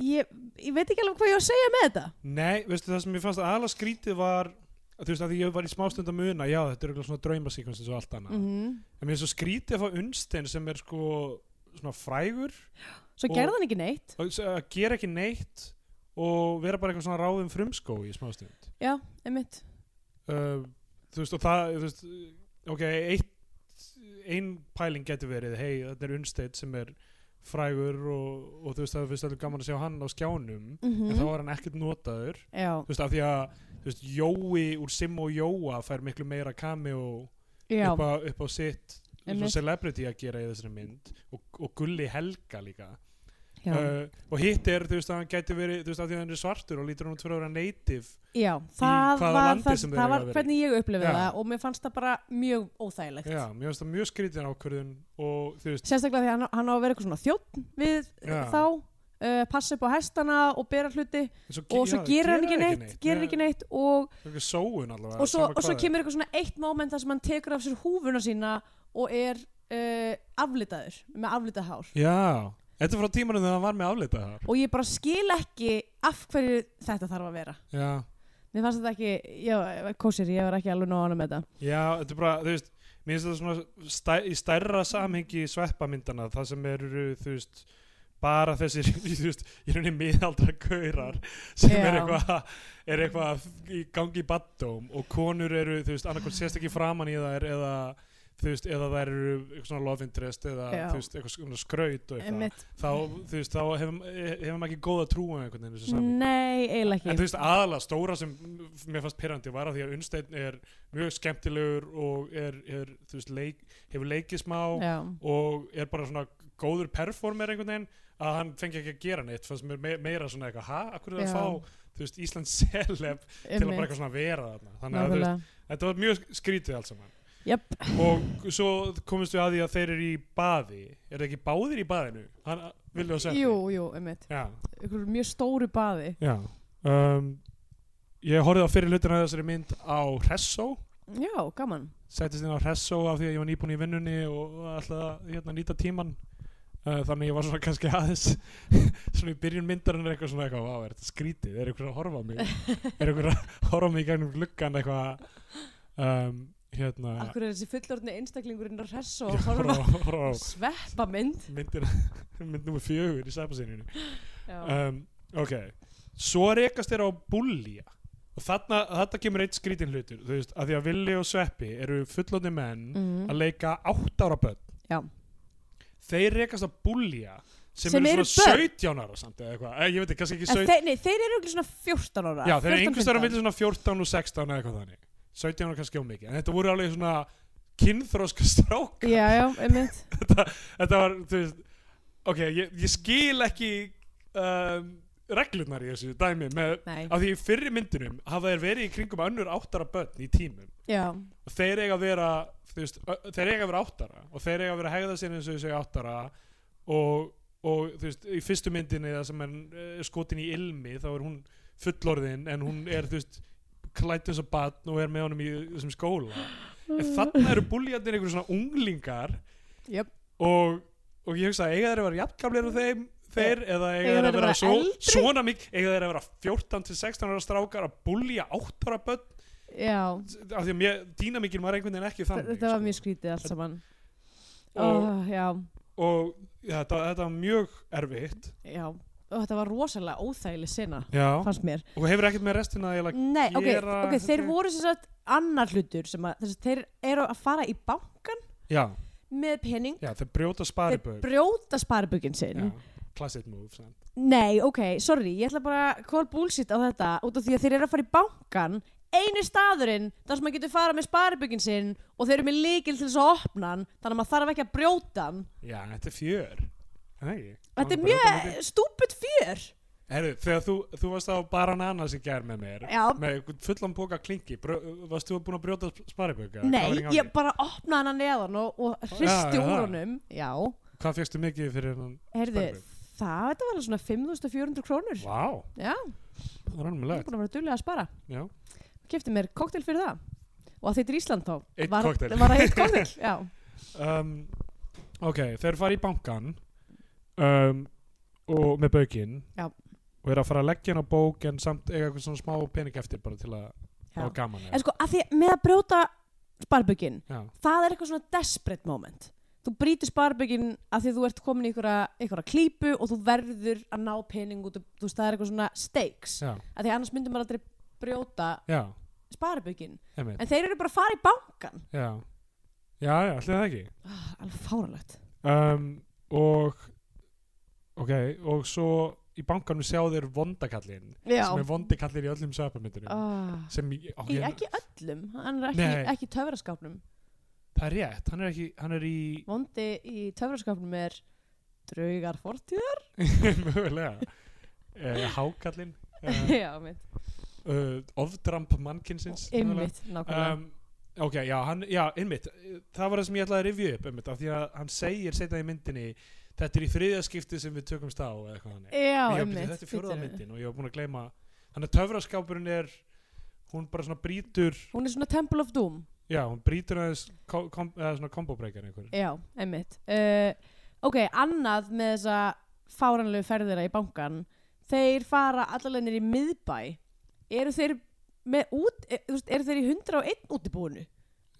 [SPEAKER 3] ég, ég veit ekki alveg hvað ég á að segja með þetta
[SPEAKER 2] nei, veistu það sem ég fannst aðalega skrítið var þú veist að því ég var í smástund að muna já, þetta er eitthvað svona draumasekvens eins og allt annað
[SPEAKER 3] mm
[SPEAKER 2] en mér er svo skrítið að fá unnstein sem er sko svona frægur
[SPEAKER 3] svo
[SPEAKER 2] Og-
[SPEAKER 3] gerði hann ekki neitt
[SPEAKER 2] og s- að gera ekki neitt og vera bara eitthvað svona ráðum frumskó í smástund
[SPEAKER 3] já, einmitt
[SPEAKER 2] uh, þú veist og það þú veist, ok, eitt ein pæling getur verið hei, þetta er unnsteitt sem er frægur og, og þú veist það finnst allir gaman að sjá hann á skjánum
[SPEAKER 3] mm
[SPEAKER 2] en þá er hann ekkert notaður
[SPEAKER 3] já,
[SPEAKER 2] þú veist af því að þú veist, Jói úr Sim og Jóa fær miklu meira kami og
[SPEAKER 3] já,
[SPEAKER 2] upp á, upp á sitt svona
[SPEAKER 3] Einmitt.
[SPEAKER 2] celebrity að gera í þessari mynd og, og Gulli Helga líka
[SPEAKER 3] já,
[SPEAKER 2] uh, og hitt er þú veist að hann gæti verið þú veist að því að hann er svartur og lítur hann út fyrir að vera native
[SPEAKER 3] já það
[SPEAKER 2] hvaða
[SPEAKER 3] var,
[SPEAKER 2] landi
[SPEAKER 3] það,
[SPEAKER 2] sem þeir
[SPEAKER 3] það
[SPEAKER 2] eiga
[SPEAKER 3] var
[SPEAKER 2] að vera í.
[SPEAKER 3] hvernig ég upplifið
[SPEAKER 2] Já.
[SPEAKER 3] það og mér fannst það bara mjög óþægilegt
[SPEAKER 2] já, mér finnst það mjög skrítin ákvörðun og þú veist
[SPEAKER 3] sérstaklega því að hann, hann á að vera eitthvað svona þjótt við
[SPEAKER 2] Já.
[SPEAKER 3] þá uh, passa upp á hestana og bera hluti
[SPEAKER 2] ge-
[SPEAKER 3] og svo
[SPEAKER 2] já,
[SPEAKER 3] gerir hann ekki
[SPEAKER 2] gera
[SPEAKER 3] neitt, gerir ekki neitt og,
[SPEAKER 2] Það er ekki sóun allavega
[SPEAKER 3] og, svo,
[SPEAKER 2] sama
[SPEAKER 3] og svo
[SPEAKER 2] hvað er.
[SPEAKER 3] kemur eitthvað svona eitt moment þar sem hann tekur af sér húfuna sína og er uh, aflitaður með aflitað hár
[SPEAKER 2] Já, þetta er frá tímanum þegar hann var með afleitað þar
[SPEAKER 3] og ég bara skil ekki af hverju þetta þarf að vera
[SPEAKER 2] Já,
[SPEAKER 3] mér fannst þetta ekki, já, kósir, ég var ekki alveg nóðan með þetta
[SPEAKER 2] já, þetta er bara, þú veist Mér finnst þetta svona stæ, í stærra samhengi sveppamyndana Það sem eru, þú veist bara þessir, þú veist, ég raunin miðaldra gaurar sem er
[SPEAKER 3] Já.
[SPEAKER 2] eitthvað er eitthvað í gangi í baddóm og konur eru, þú veist, annarkvæmt sést ekki framan í þær eða, þú veist, eða þær eru eitthvað svona love interest eða,
[SPEAKER 3] Já.
[SPEAKER 2] þú veist, eitthvað svona skraut og eitthvað
[SPEAKER 3] Einmitt,
[SPEAKER 2] þá, þú veist, þá hefum, hefum ekki góða trú um einhvern veginn í þessu saman.
[SPEAKER 3] nei, eiginlega
[SPEAKER 2] En þú
[SPEAKER 3] ekki
[SPEAKER 2] veist, aðalega stóra sem mér fannst pyrrandi var að því að Unnsteinn er mjög skemmtilegur og er, er þú veist, leik, hefur leikið smá
[SPEAKER 3] já,
[SPEAKER 2] og er bara svona góður performer einhvern veginn að hann fengi ekki að gera neitt, fannst mér me- meira svona eitthvað, ha, akkur er það að
[SPEAKER 3] Já.
[SPEAKER 2] fá, þú veist, Íslands celeb til að bara
[SPEAKER 3] einmitt,
[SPEAKER 2] eitthvað svona vera þarna. Þannig að þú veist,
[SPEAKER 3] nákvæmlega
[SPEAKER 2] þetta var mjög skrítið alls saman.
[SPEAKER 3] Jöp,
[SPEAKER 2] Og svo komist við að því að þeir eru í baði, er það ekki báðir í baðinu? Hann, vilja að segja
[SPEAKER 3] jú, jú, einmitt
[SPEAKER 2] Já,
[SPEAKER 3] Ykkur mjög stóru baði
[SPEAKER 2] Já um, Ég horfði á fyrir hlutina af þessari mynd á Hressó
[SPEAKER 3] Já, gaman
[SPEAKER 2] Settist inn á Hressó af því að ég var nýbúin í vinnunni og ætlaði að hérna, nýta tíman uh, Þannig ég var svona kannski aðeins Svona í byrjun myndarinn er eitthvað svona eitthvað Vá, er þetta skrítið? Er einhver að horfa á mig? Er einhver að horfa á mig í gegnum gluggan eitthvað um, Hérna
[SPEAKER 3] Akkur er þessi fullorðni einstaklingurinn að hressa
[SPEAKER 2] ég
[SPEAKER 3] og horfa
[SPEAKER 2] horfa á- horfa á
[SPEAKER 3] sveppa mynd
[SPEAKER 2] myndina Mynd nummer fjögur í sæpasýninu
[SPEAKER 3] Já,
[SPEAKER 2] um, ok svo rekast þeir á bullja og þarna, þarna kemur eitt skrítin hlutur þú veist, að því að Villi og Sveppi eru fullotni menn
[SPEAKER 3] mm.
[SPEAKER 2] að leika átt ára börn
[SPEAKER 3] Já.
[SPEAKER 2] þeir rekast á bullja sem,
[SPEAKER 3] Sem
[SPEAKER 2] eru
[SPEAKER 3] eru
[SPEAKER 2] svona
[SPEAKER 3] börn?
[SPEAKER 2] 17 ára samt eða eitthvað, Eh, ég veit ekki, kannski ekki
[SPEAKER 3] En
[SPEAKER 2] 17
[SPEAKER 3] þeir, nei, þeir eru ekki svona 14 ára
[SPEAKER 2] já, þeir eru
[SPEAKER 3] 14,
[SPEAKER 2] einhvers vegar á
[SPEAKER 3] 15.
[SPEAKER 2] milli svona 14 og 16 eða eitthvað þannig 17 ára kannski á mikið, en þetta voru alveg svona kynþróska strákar
[SPEAKER 3] Já, já, einmitt
[SPEAKER 2] þetta var, þú veist ok, ég, ég skil ekki um, reglurnar í þessu dæmi með,
[SPEAKER 3] Nei,
[SPEAKER 2] af því í fyrri myndunum hafa þeir verið í kringum önnur áttara börn í tímum
[SPEAKER 3] já,
[SPEAKER 2] og þeir eiga að vera þú veist, ö- þeir eiga að vera áttara og þeir eiga að vera að hegða sér eins og þau séu áttara og, og þú veist, í fyrstu myndinni það sem er eh, skotin í ilmi þá er hún fullorðin en hún er þú veist klætt eins og batn og er með honum í þessum skóla en þarna eru búljarnir einhverjum svona unglingar
[SPEAKER 3] jöp
[SPEAKER 2] og, og ég hugsa eiga þeir að vera jafnkaflir og þeim þeir eða eiga
[SPEAKER 3] Eiga
[SPEAKER 2] þeir að vera svo,
[SPEAKER 3] eldri?
[SPEAKER 2] svona mikið eiga þeir að vera 14 til 16 ára strákar að búlja 8 ára börn
[SPEAKER 3] Já,
[SPEAKER 2] af því að mér, dýnamíkin var einhvern veginn ekki
[SPEAKER 3] Þa-
[SPEAKER 2] þannig
[SPEAKER 3] þetta var
[SPEAKER 2] sko.
[SPEAKER 3] mjög skrítið allt saman
[SPEAKER 2] og,
[SPEAKER 3] oh, Já,
[SPEAKER 2] og ja, þetta, þetta var mjög erfitt
[SPEAKER 3] já og þetta var rosalega óþægileg sinna
[SPEAKER 2] já.
[SPEAKER 3] fannst mér
[SPEAKER 2] og hefur ekkert með restina að eiginlega-
[SPEAKER 3] Nei, ok,
[SPEAKER 2] gera
[SPEAKER 3] ok, þeir
[SPEAKER 2] þetta-
[SPEAKER 3] voru sem sagt annar hlutur sem að þess að þeir eru að fara í bankan
[SPEAKER 2] já,
[SPEAKER 3] með pening
[SPEAKER 2] já, þeir brjóta
[SPEAKER 3] þeir
[SPEAKER 2] sparibögg
[SPEAKER 3] brjóta sparibugin sinn
[SPEAKER 2] classic move sant?
[SPEAKER 3] Nei, ok, sorry, ég ætla bara að call bullshit á þetta út af því að þeir eru að fara í bankan einu staðurinn þar sem maður getur fara með sparibyggin sinn og þeir eru með líkil til þess að opna hann þannig að maður þarf ekki að brjóta hann
[SPEAKER 2] já, þetta er fjör Er það ekki?
[SPEAKER 3] Þetta er
[SPEAKER 2] Bara- bara-
[SPEAKER 3] mjög stúpid fjör
[SPEAKER 2] Herru, þegar þú, þú varst á Barananas í gær með mér
[SPEAKER 3] Já.
[SPEAKER 2] með einhvern fullan póka klingi brjó, varst þú búin að brjóta spariböka?
[SPEAKER 3] Nei, ég bara opnaði hann neðan og, og hristi
[SPEAKER 2] Ah, já,
[SPEAKER 3] úr
[SPEAKER 2] já.
[SPEAKER 3] honum Já,
[SPEAKER 2] Hvað fegstu mikið fyrir hann?
[SPEAKER 3] heyrðu,
[SPEAKER 2] Sparibug.
[SPEAKER 3] það þetta var alveg svona 5400 krónur
[SPEAKER 2] Vá,
[SPEAKER 3] Já,
[SPEAKER 2] það var
[SPEAKER 3] ég er
[SPEAKER 2] annumulegt
[SPEAKER 3] búin að vera duðlega að spara
[SPEAKER 2] Já,
[SPEAKER 3] Kefti mér koktel fyrir það og að þetta er Ísland þá
[SPEAKER 2] Einn
[SPEAKER 3] var,
[SPEAKER 2] kokteil.
[SPEAKER 3] Var það eitt koktel, já
[SPEAKER 2] um, ok, þeir fara í bankan um, og með baukin
[SPEAKER 3] Já.
[SPEAKER 2] og eru að fara að leggja hann á bók en samt eiga eitthvað svona smá pening eftir bara til að
[SPEAKER 3] Já.
[SPEAKER 2] hafa gaman eða-
[SPEAKER 3] En sko, að því að með að brjóta sparbyggin,
[SPEAKER 2] Já,
[SPEAKER 3] það er eitthvað svona desperate moment. Þú brýtir sparbyggin að því að þú ert komin í einhverja, einhverja klípu og þú verður að ná pening út, úr- þú veist, það er eitthvað svona stakes.
[SPEAKER 2] já,
[SPEAKER 3] Að því að annars myndum maður aldrei brjóta
[SPEAKER 2] já,
[SPEAKER 3] sparbyggin.
[SPEAKER 2] einmitt
[SPEAKER 3] En þeir eru bara að fara í bankan.
[SPEAKER 2] Já, já, já, allir það ekki
[SPEAKER 3] Ah, Alveg fáralegt.
[SPEAKER 2] um, og ok, og svo í bankanum sjá þeir vondakallin
[SPEAKER 3] Já.
[SPEAKER 2] sem er vondikallin í öllum söpamyndunum
[SPEAKER 3] Ah.
[SPEAKER 2] sem, ég- ok,
[SPEAKER 3] Í ekki öllum, hann er ekki,
[SPEAKER 2] Nei.
[SPEAKER 3] ekki í töfraskápnum.
[SPEAKER 2] það er rétt, hann er ekki hann er í,
[SPEAKER 3] Vondi í töfraskápnum er draugar fortíðar.
[SPEAKER 2] mögulega eh, hákallin eh,
[SPEAKER 3] Já, mitt.
[SPEAKER 2] uh, ofdramp mannkinsins
[SPEAKER 3] Einmitt, nákvæmlega.
[SPEAKER 2] um, ok, já, hann, já, einmitt það var það sem ég ætlaði að rifja upp einmitt, af því að hann segir setna í myndinni þetta er í þriðja skipti sem við tökumst á eða eitthvað þannig. Ég
[SPEAKER 3] já,
[SPEAKER 2] var
[SPEAKER 3] einmitt,
[SPEAKER 2] byrjuð, Um, þetta er fjórða
[SPEAKER 3] bíddu.
[SPEAKER 2] myndin og ég var búin að gleyma þannig að töfraskápurinn er hún bara svona brýtur
[SPEAKER 3] hún er svona Temple of Doom
[SPEAKER 2] já, hún brýtur aðeins kom, kom, eða svona kombobreykar einhver
[SPEAKER 3] já, einmitt uh, ok, annað með þessa fáranlegu ferðina í bankan þeir fara allavega nýr í miðbæ eru þeir með út eh, þú veist, eru þeir í 101 útibúinu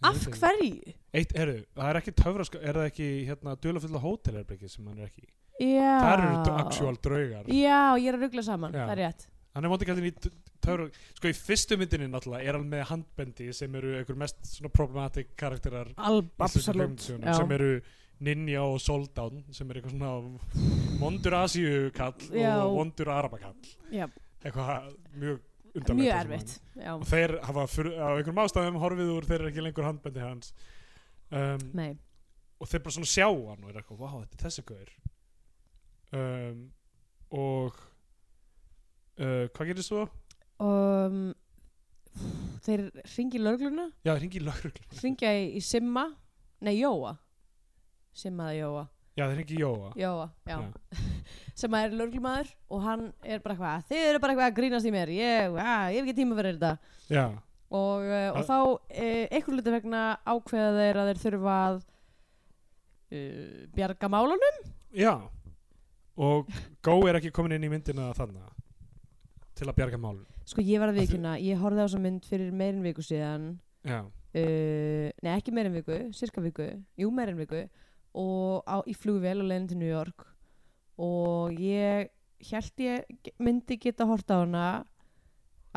[SPEAKER 3] af hverju?
[SPEAKER 2] Eitt, heru, það er ekki töfraskáp, er það ekki hérna duðlafulla hótelherbyggi sem hann er ekki í?
[SPEAKER 3] já
[SPEAKER 2] Það eru dr- actual draugar
[SPEAKER 3] já, ég er að ruggla saman,
[SPEAKER 2] Já.
[SPEAKER 3] það er rétt
[SPEAKER 2] Hann er móti kallin í töfra Sko í fyrstu myndinni náttúrulega er hann með handbendi sem eru einhver mest svona problematic karakterar
[SPEAKER 3] alba,
[SPEAKER 2] íslensku kvikmyndasögunum,
[SPEAKER 3] já.
[SPEAKER 2] sem eru Ninja og Soldown sem eru eitthvað svona vondur Asíukall
[SPEAKER 3] Já.
[SPEAKER 2] og vondur Arabakall
[SPEAKER 3] já,
[SPEAKER 2] eitthvað mjög undanlegt
[SPEAKER 3] mjög
[SPEAKER 2] þessum
[SPEAKER 3] erfitt já,
[SPEAKER 2] manni. og þeir hafa fyrir, á einhverjum ástæðum horfið úr þeir eru ekki lengur handbendi hans um,
[SPEAKER 3] nei,
[SPEAKER 2] og þeir bara svona sjá hann og er eitthvað, vá, þetta er þessi gaur um, og uh, hvað gerist þú?
[SPEAKER 3] um, þeir ringi lögluna
[SPEAKER 2] Já, hringi í lögregluna.
[SPEAKER 3] hringja í, í Simma nei, Jóa Simma eða Jóa,
[SPEAKER 2] Já, þeir hringi í Jóa
[SPEAKER 3] Jóa já. sem er lörglumæður og hann er bara eitthvað þið eru bara eitthvað að grínast í mér ég, að, ég hef ekki tíma fyrir þetta
[SPEAKER 2] Já,
[SPEAKER 3] og, uh, og
[SPEAKER 2] Það-
[SPEAKER 3] þá uh, einhver hluti vegna ákveða þeir að þeir þurfa að uh, bjarga málunum
[SPEAKER 2] já og Go er ekki komin inn í myndina þannig til að bjarga málun
[SPEAKER 3] sko ég var að
[SPEAKER 2] Að þau-
[SPEAKER 3] vikuna, ég horfði á þessa mynd fyrir meirin viku síðan
[SPEAKER 2] Já,
[SPEAKER 3] uh, nei ekki meir en viku, cirka viku jú meir en viku og á, í flugvél á leiðin til New York og ég held ég ge- myndi geta horta á hana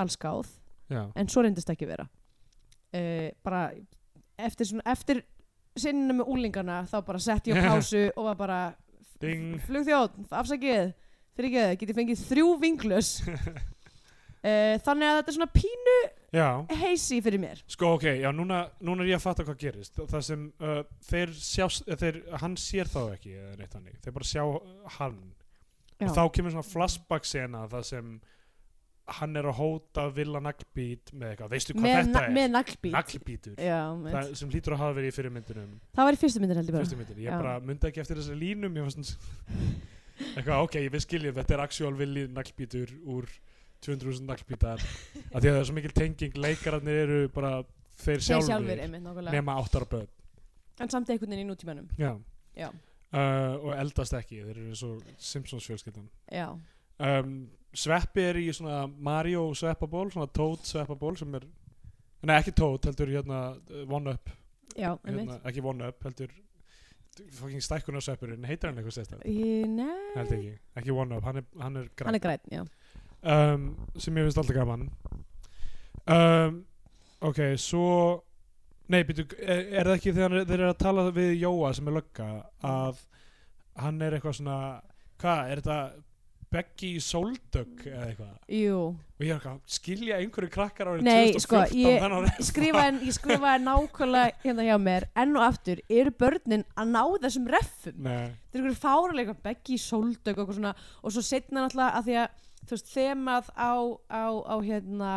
[SPEAKER 3] allskáð
[SPEAKER 2] já,
[SPEAKER 3] en svo reyndist ekki vera uh, bara eftir, svona, eftir sinnina með úlingana þá bara sett ég á pásu og var bara
[SPEAKER 2] Ding.
[SPEAKER 3] flugþjóð, afsakið fyrir ekki get ég fengið þrjú vinglus uh, þannig að þetta er svona pínu
[SPEAKER 2] já
[SPEAKER 3] heisi fyrir mér
[SPEAKER 2] Sko, ok, já, núna, núna er ég að fatta hvað gerist Það sem uh, þeir sjást eh, þeir, Hann sér þá ekki eða neitt hannig Þeir bara sjá uh, hann
[SPEAKER 3] Já.
[SPEAKER 2] Og þá kemur svona flashback sena Það sem hann er að hóta Villa naglbít með eitthvað Veistu hvað
[SPEAKER 3] með,
[SPEAKER 2] þetta
[SPEAKER 3] na-
[SPEAKER 2] er?
[SPEAKER 3] með naglbít
[SPEAKER 2] Naglbítur
[SPEAKER 3] Já,
[SPEAKER 2] Það
[SPEAKER 3] það,
[SPEAKER 2] sem hlýtur að hafa verið í fyrirmyndunum
[SPEAKER 3] það var í fyrstu myndin heldur bara
[SPEAKER 2] fyrstu myndinni, ég
[SPEAKER 3] Já.
[SPEAKER 2] bara myndi ekki eftir þessari línu mér fannst hún- eitthvað, ok, ég við skiljum þetta er actual villi naglbítur úr 200.000 naglbítar af því að það er svo mikil tenging, leikararnir eru bara þeir
[SPEAKER 3] Þeir
[SPEAKER 2] sjálfur,
[SPEAKER 3] sjálfur einmitt, nákvæmlega.
[SPEAKER 2] nema áttara börn
[SPEAKER 3] en samt einhvern veginn í nútímanum
[SPEAKER 2] já,
[SPEAKER 3] já,
[SPEAKER 2] uh, og eldast ekki þeir eru svo Simpsons fjölskyldan
[SPEAKER 3] já,
[SPEAKER 2] um, Sveppi er í svona Mario sveppaból, svona Toad sveppaból sem er, nei ekki Toad heldur hérna uh, One Up
[SPEAKER 3] já
[SPEAKER 2] hérna,
[SPEAKER 3] hérna.
[SPEAKER 2] ekki One Up, heldur fucking stækkunarsveppurinn, heitir hann eitthvað sérstætt
[SPEAKER 3] ég, nei,
[SPEAKER 2] held ekki, ekki One Up, hann er, hann er
[SPEAKER 3] hann
[SPEAKER 2] græn
[SPEAKER 3] er græn já.
[SPEAKER 2] um, sem ég finnst alltaf gaman um, ok, svo nei, býtu, er, er það ekki þegar þeir eru að tala við Jóa sem er lögga að hann er eitthvað svona hvað, er þetta Beggi Soldögg eða eitthvað
[SPEAKER 3] jú,
[SPEAKER 2] og ég er eitthvað, skilja einhverju krakkar árið
[SPEAKER 3] Nei,
[SPEAKER 2] 2014
[SPEAKER 3] sko, ég-
[SPEAKER 2] þennan árið?
[SPEAKER 3] skrifaði, ég skrifaði nákvæmlega hérna hjá mér, enn og aftur eru börnin að ná þessum reffum
[SPEAKER 2] Nei,
[SPEAKER 3] þetta er einhverju fáralega, beggi, sóldögg og eitthvað svona, og svo setna náttúrulega að því að þú veist, þemað á, á, á hérna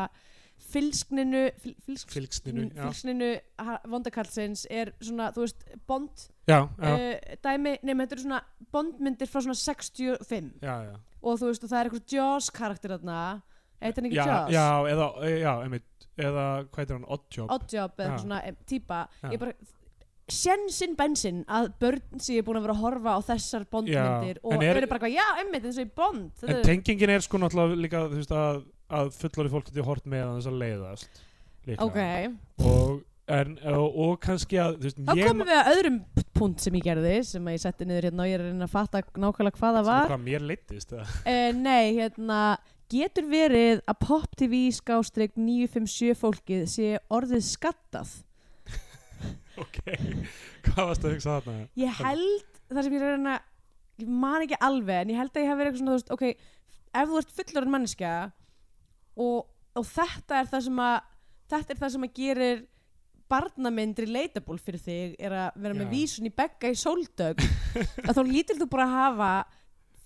[SPEAKER 3] fylskninu fyl, fylsk,
[SPEAKER 2] fylgsninu
[SPEAKER 3] fylskninu,
[SPEAKER 2] já,
[SPEAKER 3] ha- vondakallsins er svona, þú veist, bond
[SPEAKER 2] já, já,
[SPEAKER 3] uh, dæmi, nema þetta eru svona bondmyndir frá svona 65
[SPEAKER 2] já, já.
[SPEAKER 3] og þú veist og það er eitthvað Jaws karakter þarna eitthvað ekki
[SPEAKER 2] já,
[SPEAKER 3] Jaws
[SPEAKER 2] já, eða, já, einmitt, eða hvað heitir hann, Oddjob
[SPEAKER 3] Oddjob eða eitthvað
[SPEAKER 2] Já.
[SPEAKER 3] svona eh, típa
[SPEAKER 2] Já.
[SPEAKER 3] ég bara sjensinn bensinn að börn sé búin að vera að horfa á þessar bondmyndir
[SPEAKER 2] Já,
[SPEAKER 3] og
[SPEAKER 2] en er-
[SPEAKER 3] eru bara eitthvað, já, einmitt eins og í
[SPEAKER 2] En
[SPEAKER 3] bond þetta er,
[SPEAKER 2] tengingin er sko náttúrulega líka þú veist að, að fullari fólk getur hort með að þess að leiðast líka.
[SPEAKER 3] ok,
[SPEAKER 2] og, en, og, og kannski að þú veist,
[SPEAKER 3] þá
[SPEAKER 2] ég
[SPEAKER 3] komum við að öðrum p- punkt sem ég gerði, sem að ég setti niður hérna og ég er að reyna að fatta nákvæmlega hvað það
[SPEAKER 2] sem
[SPEAKER 3] var
[SPEAKER 2] hvað mér leittist eða?
[SPEAKER 3] uh, nei, hérna getur verið að Pop TV skástrík 957 fólkið sé orðið skattað
[SPEAKER 2] ok, hvað varst að hugsa þarna
[SPEAKER 3] ég held það sem ég er að reyna ég man ekki alveg en ég held að ég hef verið eitthvað svona þú veist, ok, ef þú ert fullorinn manneskja og, og þetta er það sem að þetta er það sem að gerir barnamynd relatable fyrir þig er að vera
[SPEAKER 2] Já.
[SPEAKER 3] með vísun í begga í sóldögg að þá lítir þú bara að hafa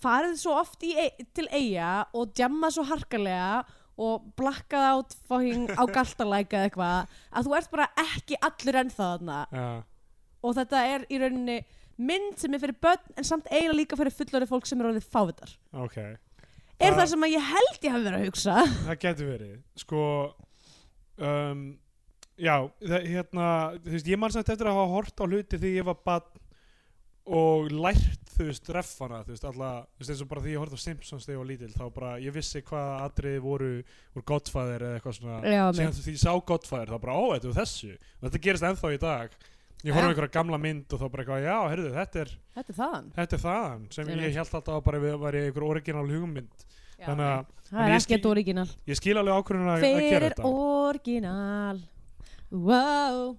[SPEAKER 3] farið svo oft í, e- til eiga og djammað svo harkalega og blakkað át fucking á galtalæka eða eitthvað að þú ert bara ekki allur ennþá þarna
[SPEAKER 2] Já,
[SPEAKER 3] og þetta er í rauninni mynd sem er fyrir börn en samt eiginlega líka fyrir fullorðið fólk sem er orðið fávitar
[SPEAKER 2] ok,
[SPEAKER 3] er
[SPEAKER 2] Bara-
[SPEAKER 3] það sem að ég held ég hafi verið að hugsa
[SPEAKER 2] það getur verið sko um, já, það, hérna þú veist, ég mann samt eftir að hafa hort á hluti þegar ég var bann og lært þú veist, reffana, þú veist, alla þú veist, eins og bara því ég horfði á Simpsons þegar ég var lítil þá bara, ég vissi hvað atriði voru úr Godfather eða eitthvað svona
[SPEAKER 3] Já,
[SPEAKER 2] síðan
[SPEAKER 3] mitt.
[SPEAKER 2] þú- því ég sá Godfather, þá bara, ó, þetta er þessu og þetta gerist ennþá í dag ég
[SPEAKER 3] Já.
[SPEAKER 2] horfði á einhverja gamla mynd og þá bara eitthvað, já, heyrðu, þetta er,
[SPEAKER 3] þetta er þaðan
[SPEAKER 2] þetta er þaðan sem
[SPEAKER 3] Einmitt.
[SPEAKER 2] ég held alltaf að bara við væri einhver original hugmynd þannig að
[SPEAKER 3] það
[SPEAKER 2] en
[SPEAKER 3] er
[SPEAKER 2] ég
[SPEAKER 3] ekkert
[SPEAKER 2] skil-
[SPEAKER 3] orginal
[SPEAKER 2] ég skil alveg ákvörðun að, að gera
[SPEAKER 3] fyrir
[SPEAKER 2] þetta
[SPEAKER 3] orginal wow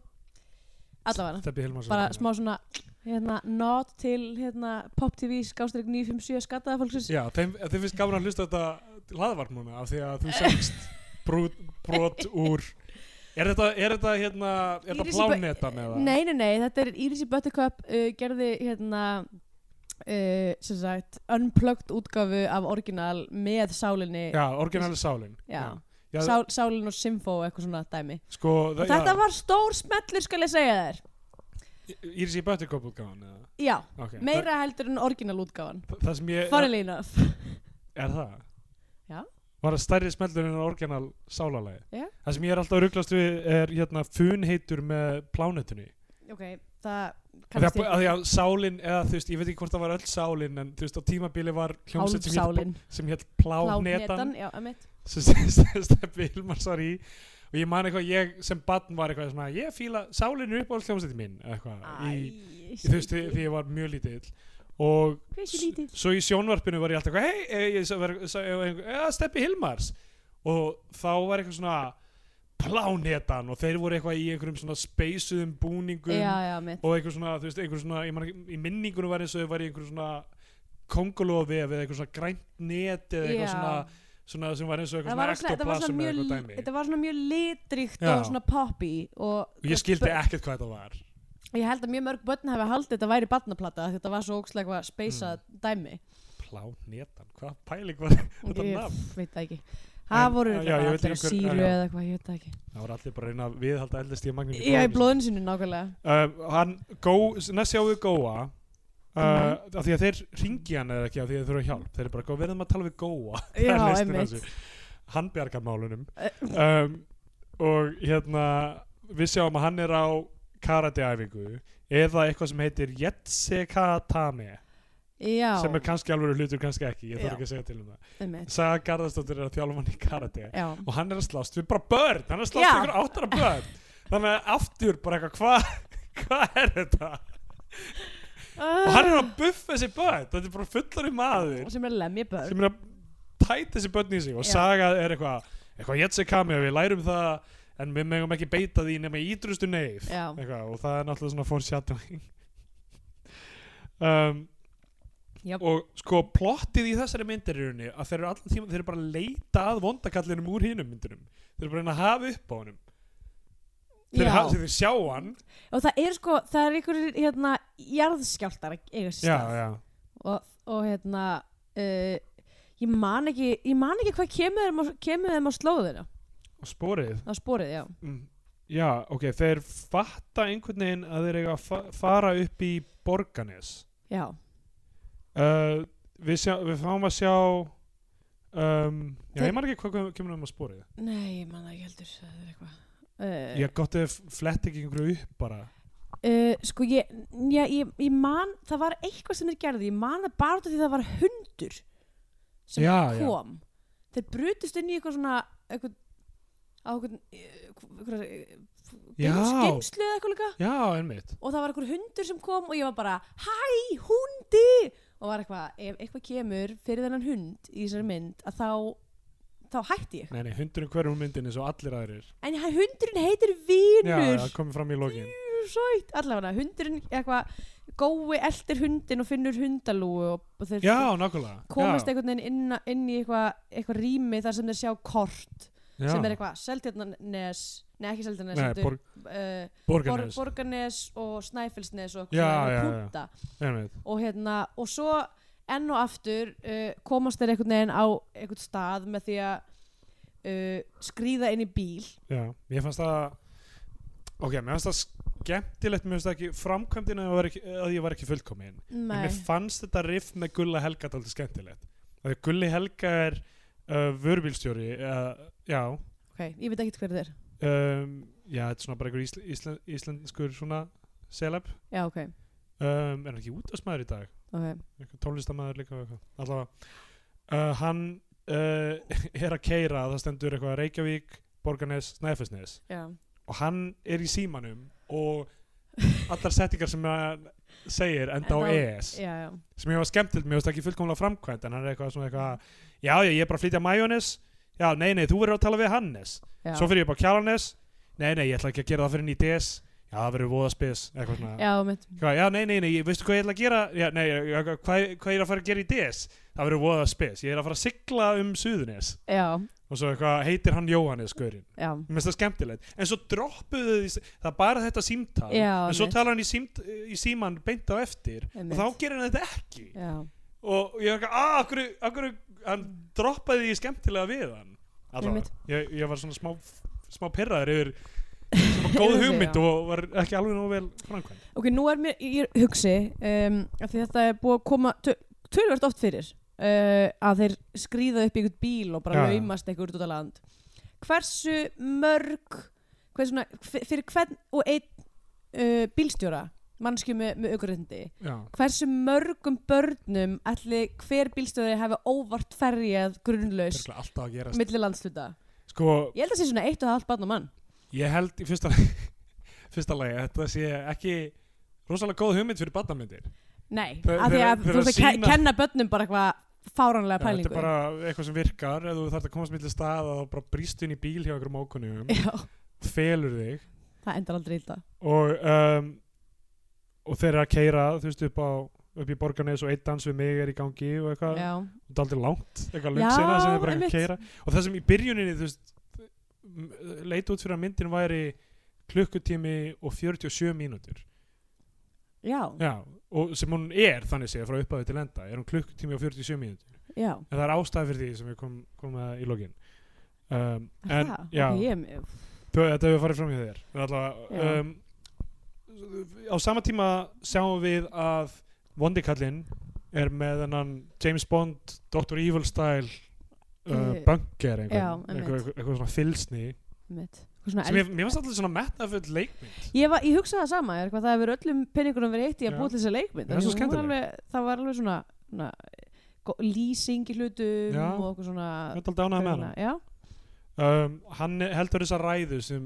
[SPEAKER 3] allavega
[SPEAKER 2] Steppi Hilmarsson
[SPEAKER 3] bara smá svona hérna, not til hérna, pop tv skástrík 957 skattaða fólksins
[SPEAKER 2] Já, þeim, þeim finnst gaman að hlusta á þetta hlaðvarp núna af því að þú sagst brot, brot úr Er þetta, er þetta hérna er þetta
[SPEAKER 3] Íris í bæ-
[SPEAKER 2] plánetan eða?
[SPEAKER 3] nei, nei, nei, þetta er Iris í Buttercup uh, gerði hérna uh, sem sagt, unplugged útgafu af orginal með sálinni
[SPEAKER 2] Já, orginali sálin
[SPEAKER 3] Já.
[SPEAKER 2] Já,
[SPEAKER 3] Sál, sálinn og symfó eitthvað svona dæmi
[SPEAKER 2] Sko,
[SPEAKER 3] og þetta var stór smellur skal ég segja þér
[SPEAKER 2] var Íris í Böttekop útgáðan eða?
[SPEAKER 3] já,
[SPEAKER 2] Okay.
[SPEAKER 3] meira heldur en orginal útgafan
[SPEAKER 2] það, það sem ég
[SPEAKER 3] funnily enough
[SPEAKER 2] Er það?
[SPEAKER 3] Já.
[SPEAKER 2] Var það stærri smellur en orginal sálalagi?
[SPEAKER 3] Já.
[SPEAKER 2] Það sem ég er alltaf að ruglast við er hérna funheitur með plánetunni
[SPEAKER 3] ok, það
[SPEAKER 2] Af
[SPEAKER 3] kannast
[SPEAKER 2] því að-
[SPEAKER 3] ég
[SPEAKER 2] af því að sálin, eða þú veist, ég veit ekki hvort það var öll sálin en þú veist, á tímabili var hljómsett sem hét-
[SPEAKER 3] hálfsálinn
[SPEAKER 2] sem hétt Plánetan
[SPEAKER 3] já, emitt
[SPEAKER 2] sem Steppi Hilmars var í og ég man eitthvað, ég sem barn var eitthvað svona, ég fíla sálinu upp á hljómsveitin mín eitthvað, í,
[SPEAKER 3] Æ,
[SPEAKER 2] í, þú veist, því því ég var mjög lítill og
[SPEAKER 3] hversu
[SPEAKER 2] s-
[SPEAKER 3] lítið
[SPEAKER 2] svo í sjónvarpinu var ég alltaf eitthvað, hei, eh, ég sá- var- sá- ég var eitthvað, ja, Steppi Hilmars og þá var eitthvað svona plánetan og þeir voru eitthvað í einhverjum svona speysuðum búningum
[SPEAKER 3] já, já, emitt
[SPEAKER 2] og einhver svona, þú veist, einhver svona ég man, ekki- í minningunum var eins og þau var í einhver svona kongulófi eða eitthvað svona grænt net eða eitthvað
[SPEAKER 3] Já.
[SPEAKER 2] svona, svona sem var eins og
[SPEAKER 3] Það
[SPEAKER 2] eitthvað
[SPEAKER 3] var,
[SPEAKER 2] svona
[SPEAKER 3] svona, þetta, var
[SPEAKER 2] ektoplasm
[SPEAKER 3] svona
[SPEAKER 2] eða
[SPEAKER 3] mjög,
[SPEAKER 2] eitthvað dæmi
[SPEAKER 3] þetta var svona mjög litrikt
[SPEAKER 2] Já.
[SPEAKER 3] og svona poppy og,
[SPEAKER 2] og ég skildi ekkert hvað þetta var
[SPEAKER 3] og ég held að mjög mörg börn hefði haldið þetta væri barnaplata því þetta var svo ókslega eitthvað speysað
[SPEAKER 2] Mm.
[SPEAKER 3] dæmi
[SPEAKER 2] plánetan, hvað pæling var þetta
[SPEAKER 3] ég
[SPEAKER 2] nafn
[SPEAKER 3] veit það ekki það
[SPEAKER 2] En,
[SPEAKER 3] voru
[SPEAKER 2] já, ég
[SPEAKER 3] örugglega bara
[SPEAKER 2] veit
[SPEAKER 3] allir að
[SPEAKER 2] einhver- já,
[SPEAKER 3] síru
[SPEAKER 2] já.
[SPEAKER 3] eða eitthvað, ég veit það ekki
[SPEAKER 2] það var allir bara að reyna að viðhalda eldast í magnum
[SPEAKER 3] já, í blóðinu sinu nákvæmlega
[SPEAKER 2] uh, hann, gó, næst sjáum við Góa uh,
[SPEAKER 3] Mhm.
[SPEAKER 2] af því að þeir ringi hann eða ekki af því að þeir þurfa hjálp þeir eru bara, "Gó, verðum að tala við Góa Það er
[SPEAKER 3] já,
[SPEAKER 2] lausnin á
[SPEAKER 3] emitt
[SPEAKER 2] þessu. hann bjargar málunum
[SPEAKER 3] Eh.
[SPEAKER 2] um, og hérna við sjáum að hann er á karateæfingu eða eitthvað sem heitir Jetsekatame
[SPEAKER 3] já,
[SPEAKER 2] sem er kannski alveg hlutur, kannski ekki ég
[SPEAKER 3] Já.
[SPEAKER 2] þarf ekki að segja til um það
[SPEAKER 3] emitt
[SPEAKER 2] Saga Garðarsdóttir er að þjálfa hann í karate
[SPEAKER 3] já,
[SPEAKER 2] og hann er að slást við bara börn hann er að slást
[SPEAKER 3] Já.
[SPEAKER 2] við ykkur áttara börn þannig að aftur bara eitthvað hvað hva er þetta og hann er að buffa þessi börn þetta er bara fullari maður
[SPEAKER 3] sem er að lemja börn
[SPEAKER 2] sem er að tæta þessi börn í sig og
[SPEAKER 3] Já.
[SPEAKER 2] saga er eitthvað eitthvað jetsekami og við lærum það en við megum ekki beita því nema í ídrustu neyð
[SPEAKER 3] Já.
[SPEAKER 2] eitthvað, og það er náttúrulega svona foreshadowing um,
[SPEAKER 3] Jöp.
[SPEAKER 2] og sko plottið í þessari myndirjunni að þeir eru allan tíma þeir eru bara að leita að vondakallinum úr hinum myndinum þeir eru bara að reyna að hafa upp á honum þeir,
[SPEAKER 3] Já.
[SPEAKER 2] hafa, þeir sjá hann
[SPEAKER 3] og það er sko, það er einhverjir hérna, jarðskjáltar að eiga sér
[SPEAKER 2] já,
[SPEAKER 3] stað
[SPEAKER 2] já.
[SPEAKER 3] og, og hérna uh, ég man ekki ég man ekki hvað kemur þeim á, kemur þeim á slóðina
[SPEAKER 2] og sporið
[SPEAKER 3] á sporið, já
[SPEAKER 2] mm, já, ok, þeir fatta einhvern veginn að þeir eiga að fa fara upp í Borganes
[SPEAKER 3] já,
[SPEAKER 2] uh, við, sjá, við fáum að sjá um, já,
[SPEAKER 3] Þeir-
[SPEAKER 2] ég man ekki hvað kom- kemur um að spórið
[SPEAKER 3] nei, ég man það ekki heldur það er eitthvað Uh,
[SPEAKER 2] ég gott ef flett ekki einhverju upp bara
[SPEAKER 3] uh, sko ég, já, ég, ég man það var eitthvað sem þeir gerði, ég man það bara út af því það var hundur sem
[SPEAKER 2] Já, já.
[SPEAKER 3] kom þeir brutust inn í eitthvað svona eitthvað á eitthvað, eitthvað,
[SPEAKER 2] Já.
[SPEAKER 3] eitthvað skimslu eða eitthvað líka
[SPEAKER 2] já, einmitt
[SPEAKER 3] og það var einhver hundur sem kom og ég var bara hæ, hundi og var eitthvað, ef eitthvað kemur fyrir þennan hund í þessari mynd að þá þá hætti ég,
[SPEAKER 2] nei, nei, hundurinn hverjum myndin eins og allir aðrir
[SPEAKER 3] en hann- hundurinn heitir
[SPEAKER 2] já,
[SPEAKER 3] vinur
[SPEAKER 2] það komið fram í lokin
[SPEAKER 3] sætt, allavega hundurinn eitthvað, gói eldir hundin og finnur hundalúu og, og þeir
[SPEAKER 2] já, nákvæmlega
[SPEAKER 3] komast
[SPEAKER 2] já,
[SPEAKER 3] einhvern veginn inn, inn í eitthvað eitthvað rými þar sem þeir sjá kort
[SPEAKER 2] já.
[SPEAKER 3] sem er eitthvað, Seltjarnanes nei ekki Seltjarnanes,
[SPEAKER 2] Nei,
[SPEAKER 3] heldur,
[SPEAKER 2] borg,
[SPEAKER 3] uh, Bor
[SPEAKER 2] borgarnes,
[SPEAKER 3] Borgarnes og Snæfellsnes og
[SPEAKER 2] Já, já, já.
[SPEAKER 3] punta
[SPEAKER 2] einmitt
[SPEAKER 3] og hérna og svo enn og aftur uh, komast þeir einhvern veginn á einhvern stað með því að uh, skrýða inn í bíl
[SPEAKER 2] já, mér fannst það ok, mér fannst það skemmtilegt mér finnst það ekki framkvæmdina að ég var ekki, að ég var ekki fullkomin en
[SPEAKER 3] Nei,
[SPEAKER 2] mér fannst þetta riff með Gulla Helga alltaf skemmtilegt Þegar Gulli Helga er uh, vörubílstjóri uh, já
[SPEAKER 3] ok, ég veit ekki hver þið er
[SPEAKER 2] um, já, þetta er svona bara einhver ísl, ísl, íslenskur svona celeb
[SPEAKER 3] Já, ok,
[SPEAKER 2] um, er hann ekki útastmaður í dag
[SPEAKER 3] ok
[SPEAKER 2] Einhver tónlistamæður líka og eitthvað allavega uh, hann uh, er að keira það stendur eitthvað Reykjavík, Borgarnes, Snæfellsnes
[SPEAKER 3] Já,
[SPEAKER 2] og hann er í símanum og allar settingar sem hann segir enda á E
[SPEAKER 3] Enda á-
[SPEAKER 2] ES
[SPEAKER 3] já, já
[SPEAKER 2] sem ég var skemmtild, mér finnst ekki fullkomlega framkvæmt en hann er eitthvað svona eitthvað já, já, ég er bara að flytja majónis já, nei, nei, þú verður að tala við Hannes
[SPEAKER 3] Já,
[SPEAKER 2] svo fyrir ég upp á Kjalanes nei, nei, ég ætla ekki að gera það fyrir nýtt ES já, það verður voða spes eitthvað svona
[SPEAKER 3] já mitt
[SPEAKER 2] Hvað, já, nei, nei, nei, ég- veistu hvað ég ætla að gera já, nei, já, hvað, hvað ég er að fara að gera í DS það verður voða spes, ég er að fara að sigla um Suðunes
[SPEAKER 3] Já,
[SPEAKER 2] og svo eitthvað heitir hann Jóhannes Gaurin
[SPEAKER 3] já,
[SPEAKER 2] mér finnst það skemmtilegt, en svo droppuðu því það er bara þetta símtal
[SPEAKER 3] Já,
[SPEAKER 2] en svo
[SPEAKER 3] einmitt.
[SPEAKER 2] talar hann í, símt, í síman beint á eftir
[SPEAKER 3] Einmitt.
[SPEAKER 2] og þá gerir hann þetta ekki
[SPEAKER 3] já
[SPEAKER 2] og ég var eitthvað, "Ah, að, akkur, akkur hann droppaði því skemmtilega við hann allavega,
[SPEAKER 3] Einmitt.
[SPEAKER 2] ég, ég var svona smá smá pirraður yfir sem var góð
[SPEAKER 3] Yfir því,
[SPEAKER 2] hugmynd
[SPEAKER 3] já.
[SPEAKER 2] og var ekki alveg nógu vel framkvæmd
[SPEAKER 3] Ok, nú er mér, ég hugsi um, af því þetta er búið að koma töl- töluvert oft fyrir uh, að þeir skrýða upp í einhvern bíl og bara
[SPEAKER 2] Já, já.
[SPEAKER 3] laumast einhver út á land Hversu mörg hversu svona, f- fyrir hvern og einn uh, bílstjóra mannskju með, með aukurindi
[SPEAKER 2] já,
[SPEAKER 3] hversu mörgum börnum ætli hver bílstjóri hafi óvart ferjað grunnlaus
[SPEAKER 2] örugglega alltaf að gerast
[SPEAKER 3] milli landsluta
[SPEAKER 2] sko,
[SPEAKER 3] Ég held að sé svona eitt og halvt barn og mann
[SPEAKER 2] ég held í fyrsta fyrsta lagi, að þetta sé ekki rosalega góð hugmynd fyrir badnamyndir
[SPEAKER 3] Nei,
[SPEAKER 2] Þe-
[SPEAKER 3] af því
[SPEAKER 2] þeirra-
[SPEAKER 3] að þú
[SPEAKER 2] þeirra
[SPEAKER 3] veist að ke-
[SPEAKER 2] sýna-
[SPEAKER 3] kenna börnum bara eitthvað fáranlega
[SPEAKER 2] þetta
[SPEAKER 3] pælingu
[SPEAKER 2] er bara eitthvað sem virkar ef þú þarf að komast millir staða og bara brýstu inn í bíl hjá einhverjum ókunnum,
[SPEAKER 3] Já,
[SPEAKER 2] felur þig
[SPEAKER 3] það endar aldrei illa
[SPEAKER 2] og um, og þeir eru að keira þú veist upp á upp í borgarnes og einn dans við mig er í gangi og eitthvað,
[SPEAKER 3] Já,
[SPEAKER 2] þetta er aldrei langt eitthvað
[SPEAKER 3] Já,
[SPEAKER 2] lungsina sem þeir bara eitthvað
[SPEAKER 3] einmitt.
[SPEAKER 2] keira og það sem í byrjuninni þú veist m- leit út fyrir að myndin væri klukkutími og 47 mínútur
[SPEAKER 3] já,
[SPEAKER 2] já, og sem hún er þannig séð frá upphafi til enda, er hún klukkutími og 47 mínútur
[SPEAKER 3] já
[SPEAKER 2] en það er ástæði fyrir því sem við kom, komum að í lokin um,
[SPEAKER 3] Er
[SPEAKER 2] en,
[SPEAKER 3] það?
[SPEAKER 2] já,
[SPEAKER 3] Ok, ég,
[SPEAKER 2] Þau, þetta hefur farið fram hjá þér En allavega,
[SPEAKER 3] Já.
[SPEAKER 2] um, á sama tíma sjáum við að vondikallinn er með hennan James Bond Dr. Evil style uh,
[SPEAKER 3] Eh,
[SPEAKER 2] bunker einhvern,
[SPEAKER 3] já, einmitt.
[SPEAKER 2] einhver, einhver, einhver svona fylsni
[SPEAKER 3] mitt Eitthvað svona
[SPEAKER 2] sem
[SPEAKER 3] eld-
[SPEAKER 2] ég, mér finnst alltaf svona metnafull leikmynd
[SPEAKER 3] Ég, var, ég hugsaði það sama, er hvað það hefur öllum penningunum verið eitt í að
[SPEAKER 2] Já.
[SPEAKER 3] búið til þessa leikmynd
[SPEAKER 2] Já, það er svo
[SPEAKER 3] Þannig hún var
[SPEAKER 2] skemmtileg.
[SPEAKER 3] alveg- Það var alveg svona, svona gó- lýsing í hlutum
[SPEAKER 2] Já.
[SPEAKER 3] og okkur svona
[SPEAKER 2] ég er
[SPEAKER 3] Hérna,
[SPEAKER 2] alltaf ánægð með hana
[SPEAKER 3] Já,
[SPEAKER 2] um, hann heldur þessa ræðu sem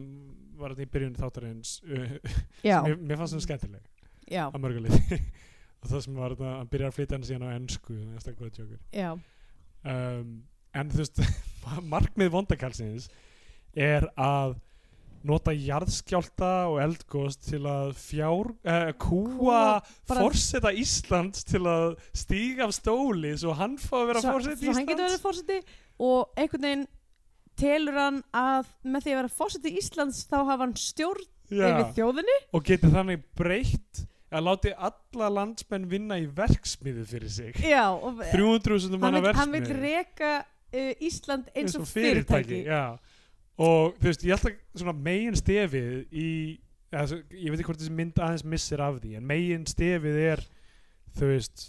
[SPEAKER 2] var þarna í byrjun þáttarins uh,
[SPEAKER 3] já,
[SPEAKER 2] mér, mér fannst það skemmtileg
[SPEAKER 3] já,
[SPEAKER 2] að mörguleiti og það sem var þarna, hann byrjar að flytja hann síðan á ennsku þannig að það er góða tjókur
[SPEAKER 3] já,
[SPEAKER 2] um, en þú veist markmið vondakalsins er að nota jarðskjálta og eldgóst til að fjár, uh, kúa
[SPEAKER 3] Kúga bara-
[SPEAKER 2] forseta Íslands til að stíga af stóli svo hann fá að vera
[SPEAKER 3] Svo-
[SPEAKER 2] forseti
[SPEAKER 3] svo hann getur
[SPEAKER 2] Íslands
[SPEAKER 3] verið fórseti og einhvern veginn telur hann að með því að vera fórseti Íslands þá hafa hann stjórn yfir
[SPEAKER 2] Já,
[SPEAKER 3] þjóðinni
[SPEAKER 2] og getur þannig breytt að láti alla landsmenn vinna í verksmiðu fyrir sig
[SPEAKER 3] já, og
[SPEAKER 2] 300.000
[SPEAKER 3] hann
[SPEAKER 2] manna
[SPEAKER 3] vill, hann vill
[SPEAKER 2] verksmiðu
[SPEAKER 3] reka uh, Ísland eins og
[SPEAKER 2] fyrirtæki,
[SPEAKER 3] fyrirtæki,
[SPEAKER 2] já. og þú veist, ég held að svona megin stefið í eða, svo- ég veit ekki hvort þessi mynd aðeins missir af því en megin stefið er þú veist,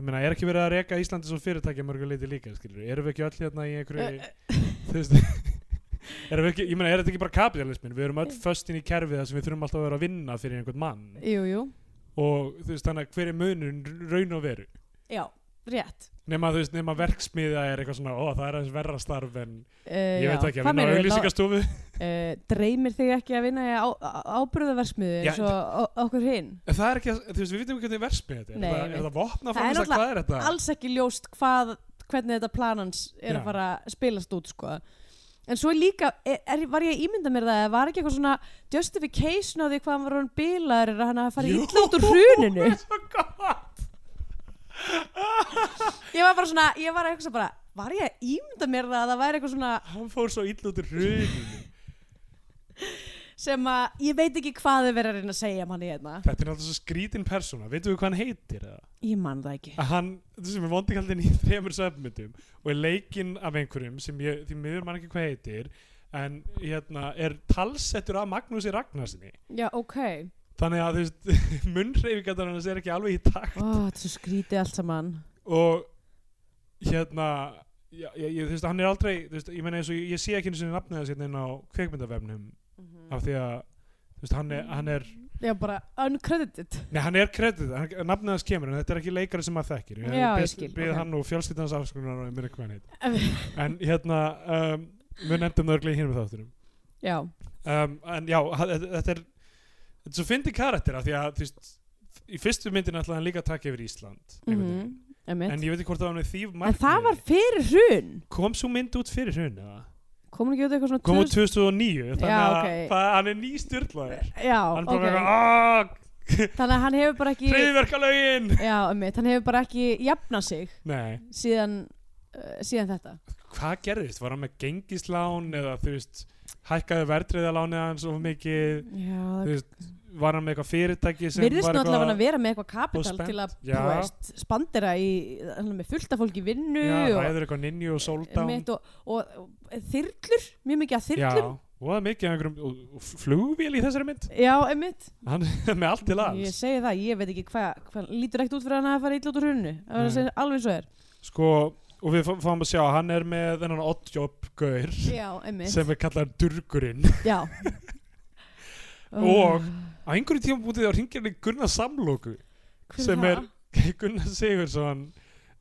[SPEAKER 2] ég meina, er ekki verið að reka Íslandi svo fyrirtæki að mörgu leiti líka skilur, erum við ekki öll hérna í einhverju
[SPEAKER 3] Ö,
[SPEAKER 2] þú veist erum við ekki, ég meina, er þetta ekki bara kapitalismin við erum öll föst inn í kerfið þar sem við þurfum alltaf að vera að vinna fyrir einhvern mann
[SPEAKER 3] Jú, jú,
[SPEAKER 2] og þú veist, þannig að hver er munun raun og veru
[SPEAKER 3] já, rétt
[SPEAKER 2] nema, þú veist, nema verksmiða er eitthvað svona, ó, það er aðeins verra starf en
[SPEAKER 3] Uh,
[SPEAKER 2] Ég veit ekki, að vinna á auðlýsingastofu
[SPEAKER 3] uh, dreymir þig ekki að vinna í á, á, ábyrðaversmiðu
[SPEAKER 2] Já,
[SPEAKER 3] eins og o- okkur hinn
[SPEAKER 2] Það er ekki, að- þú veist, við veitum ekki hvernig versmið þetta er
[SPEAKER 3] Nei,
[SPEAKER 2] Er það-
[SPEAKER 3] ég
[SPEAKER 2] Er það vopna
[SPEAKER 3] Það er
[SPEAKER 2] framist að
[SPEAKER 3] náttúrulega
[SPEAKER 2] hvað er þetta?
[SPEAKER 3] alls ekki ljóst hvað, hvernig þetta planans er
[SPEAKER 2] Já.
[SPEAKER 3] að fara að spilast út sko. en svo líka er, er, var ég að ímynda mér það eða var ekki eitthvað svona justification á því hvað hann var hann bilaður er að hann hafi farið
[SPEAKER 2] Jú.
[SPEAKER 3] illa út úr hruninu
[SPEAKER 2] Svo gott
[SPEAKER 3] ég var bara svona, ég var eitthvað bara var ég að ímynda mér það að það væri eitthvað svona
[SPEAKER 2] Hann fór svo ill út í hruninu
[SPEAKER 3] sem að ég veit ekki hvað þau verið að reyna að segja um hann í hérna
[SPEAKER 2] Þetta er náttúrulega svo skrítin persóna Veitum við hvað hann heitir? eða?
[SPEAKER 3] ég man það ekki
[SPEAKER 2] Að hann, þú sem er vondikaldin í þremur söfmyndum og er leikinn af einhverjum sem ég, því miður mann ekki hvað heitir en hérna er talsettur af Magnúsi Ragnarsinni
[SPEAKER 3] já, ok
[SPEAKER 2] þannig að þú veist munnreifingarnar hans er ekki alveg í takt
[SPEAKER 3] Ó, þetta er svo skrítið allt saman
[SPEAKER 2] og hérna já, ég, ég, þú veist hann er aldrei þú veist, ég meina eins og ég, ég sé ekki einu sinni nafnið þess hérna inn á kveikmyndavefnum
[SPEAKER 3] Mm.
[SPEAKER 2] af því að þú veist hann er, hann er
[SPEAKER 3] Mhm. já, bara uncredited
[SPEAKER 2] Nei, hann er kredit, hann, nafnið hans kemur en þetta er ekki leikari sem maður þekkir
[SPEAKER 3] Já, ég
[SPEAKER 2] bið-
[SPEAKER 3] skil,
[SPEAKER 2] bið
[SPEAKER 3] ok.
[SPEAKER 2] hann og fjölskyldans afskunar og ég mér ekki hvað hann heit en hérna, um, við nefndum það örglega í hinum þáttunum
[SPEAKER 3] já,
[SPEAKER 2] um, en já, ha- þetta þetta er þetta er svo fyndi karakter af því að þú veist, í fyrstu myndin ætlaði hann líka að taka yfir Ísland
[SPEAKER 3] mm
[SPEAKER 2] einhvern veginn. en
[SPEAKER 3] en,
[SPEAKER 2] ég veit ekki hvort það var með því
[SPEAKER 3] það var fyrir hrun
[SPEAKER 2] kom svo mynd út fyrir hrun eða?
[SPEAKER 3] komin ekki út eitthvað svona
[SPEAKER 2] kom út
[SPEAKER 3] 2000
[SPEAKER 2] 2009 þannig
[SPEAKER 3] Já,
[SPEAKER 2] að
[SPEAKER 3] ok.
[SPEAKER 2] það, hann er nýstyrlaður
[SPEAKER 3] já,
[SPEAKER 2] hann bara "Ah."
[SPEAKER 3] ok
[SPEAKER 2] okay.
[SPEAKER 3] þannig að hann hefur bara ekki
[SPEAKER 2] hriðverkalögin
[SPEAKER 3] já, einmitt, hann hefur bara ekki jafnað sig
[SPEAKER 2] nei
[SPEAKER 3] síðan, uh, síðan þetta
[SPEAKER 2] hvað gerðist, var hann með gengislán eða þú veist, hækkaði verðriðalánið hans of mikið,
[SPEAKER 3] já,
[SPEAKER 2] þú veist var hann með eitthvað fyrirtæki sem
[SPEAKER 3] virðist
[SPEAKER 2] var
[SPEAKER 3] nú allavega að
[SPEAKER 2] eitthvað
[SPEAKER 3] vera með eitthvað kapital
[SPEAKER 2] óspennt.
[SPEAKER 3] til að
[SPEAKER 2] Já.
[SPEAKER 3] þú veist, spandera í, hann er með fullta fólki í vinnu
[SPEAKER 2] já,
[SPEAKER 3] og,
[SPEAKER 2] ræður eitthvað ninju og soldán
[SPEAKER 3] einmitt, og, og, og þyrlur, mjög mikið að þyrlum
[SPEAKER 2] já, og það er mikið af einhverjum og, og flugvél í þessari mynd
[SPEAKER 3] já, einmitt
[SPEAKER 2] hann er með allt til
[SPEAKER 3] ég
[SPEAKER 2] alls
[SPEAKER 3] segi það, ég veit ekki hvað hva, lítur ekkert út fyrir hann að fara illa út úr hrunnu það var að
[SPEAKER 2] Nei.
[SPEAKER 3] segja alveg svo er
[SPEAKER 2] sko, og við fá- fáum að sjá hann er með þennan oddjob gaur
[SPEAKER 3] já, einmitt
[SPEAKER 2] sem er kallar Durgurinn
[SPEAKER 3] já
[SPEAKER 2] Og- á einhverju tíma bútið á ringjarni Gunnar Samlóku
[SPEAKER 3] Hver
[SPEAKER 2] sem
[SPEAKER 3] það?
[SPEAKER 2] er Gunnar Sigursson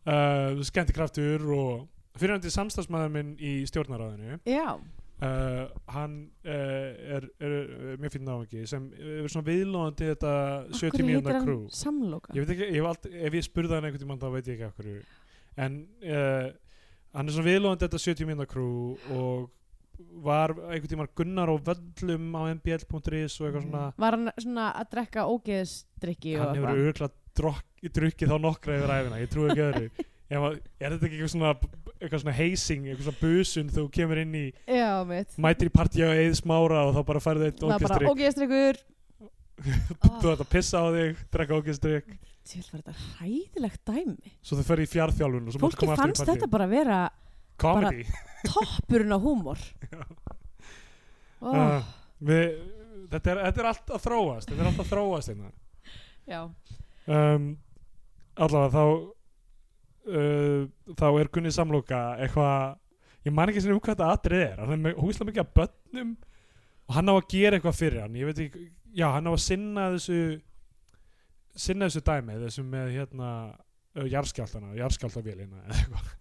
[SPEAKER 2] uh, skemmtikraftur og fyrirhandi samstagsmaður minn í stjórnaráðinu
[SPEAKER 3] já,
[SPEAKER 2] uh, hann uh, er, er, er mjög fyrir náðingi sem er svona viðlóðandi þetta
[SPEAKER 3] Af
[SPEAKER 2] 70
[SPEAKER 3] hverju heitir
[SPEAKER 2] mínúna
[SPEAKER 3] hann
[SPEAKER 2] krú
[SPEAKER 3] samloka
[SPEAKER 2] ég veit ekki, ég hef aldrei, ef ég spurði hann einhvern tímann þá veit ég ekki af hverju en uh, hann er svona viðlóðandi þetta 70 mínúna krú og var einhvern tímann Gunnar og völlum á mbl.is og eitthvað
[SPEAKER 3] Mhm.
[SPEAKER 2] svona
[SPEAKER 3] var hann svona að drekka ógeðsdrykki og
[SPEAKER 2] hann hefur
[SPEAKER 3] eitthvað
[SPEAKER 2] örgulega drukkið þá nokkra yfir æfina, ég trúi ekki öðru Ef að- er þetta ekki eitthvað svona eitthvað svona heysing, eitthvað svona busun þú kemur inn í,
[SPEAKER 3] já, einmitt
[SPEAKER 2] mætir í partíu og eið smára og þá bara færðu eitt
[SPEAKER 3] það var
[SPEAKER 2] ógestrykk
[SPEAKER 3] bara Ah. ógeðsdrykkur
[SPEAKER 2] þú ætti að pissa á þig, drekka ógestrykk
[SPEAKER 3] til var þetta hræðilegt dæmi
[SPEAKER 2] svo þau fer í fjárþjálfun og svo máttu
[SPEAKER 3] fólki
[SPEAKER 2] koma aftur
[SPEAKER 3] fannst
[SPEAKER 2] í partíu
[SPEAKER 3] þetta bara vera
[SPEAKER 2] comedy,
[SPEAKER 3] toppurinn á húmor Ó,
[SPEAKER 2] Ah. við, þetta, er, þetta er allt að þróast þetta er allt að þróast hérna
[SPEAKER 3] já,
[SPEAKER 2] um, allavega þá uh, þá er Gunni Samloka eitthvað ég man ekki sinni um hvað þetta atrið er hann er með húslega mikið að börnum og hann á að gera eitthvað fyrir hann ég veit ekki, já hann á að sinna þessu sinna þessu dæmi þessu með hérna uh, jarðskjáltana, jarðskjáltavélina eða eitthvað.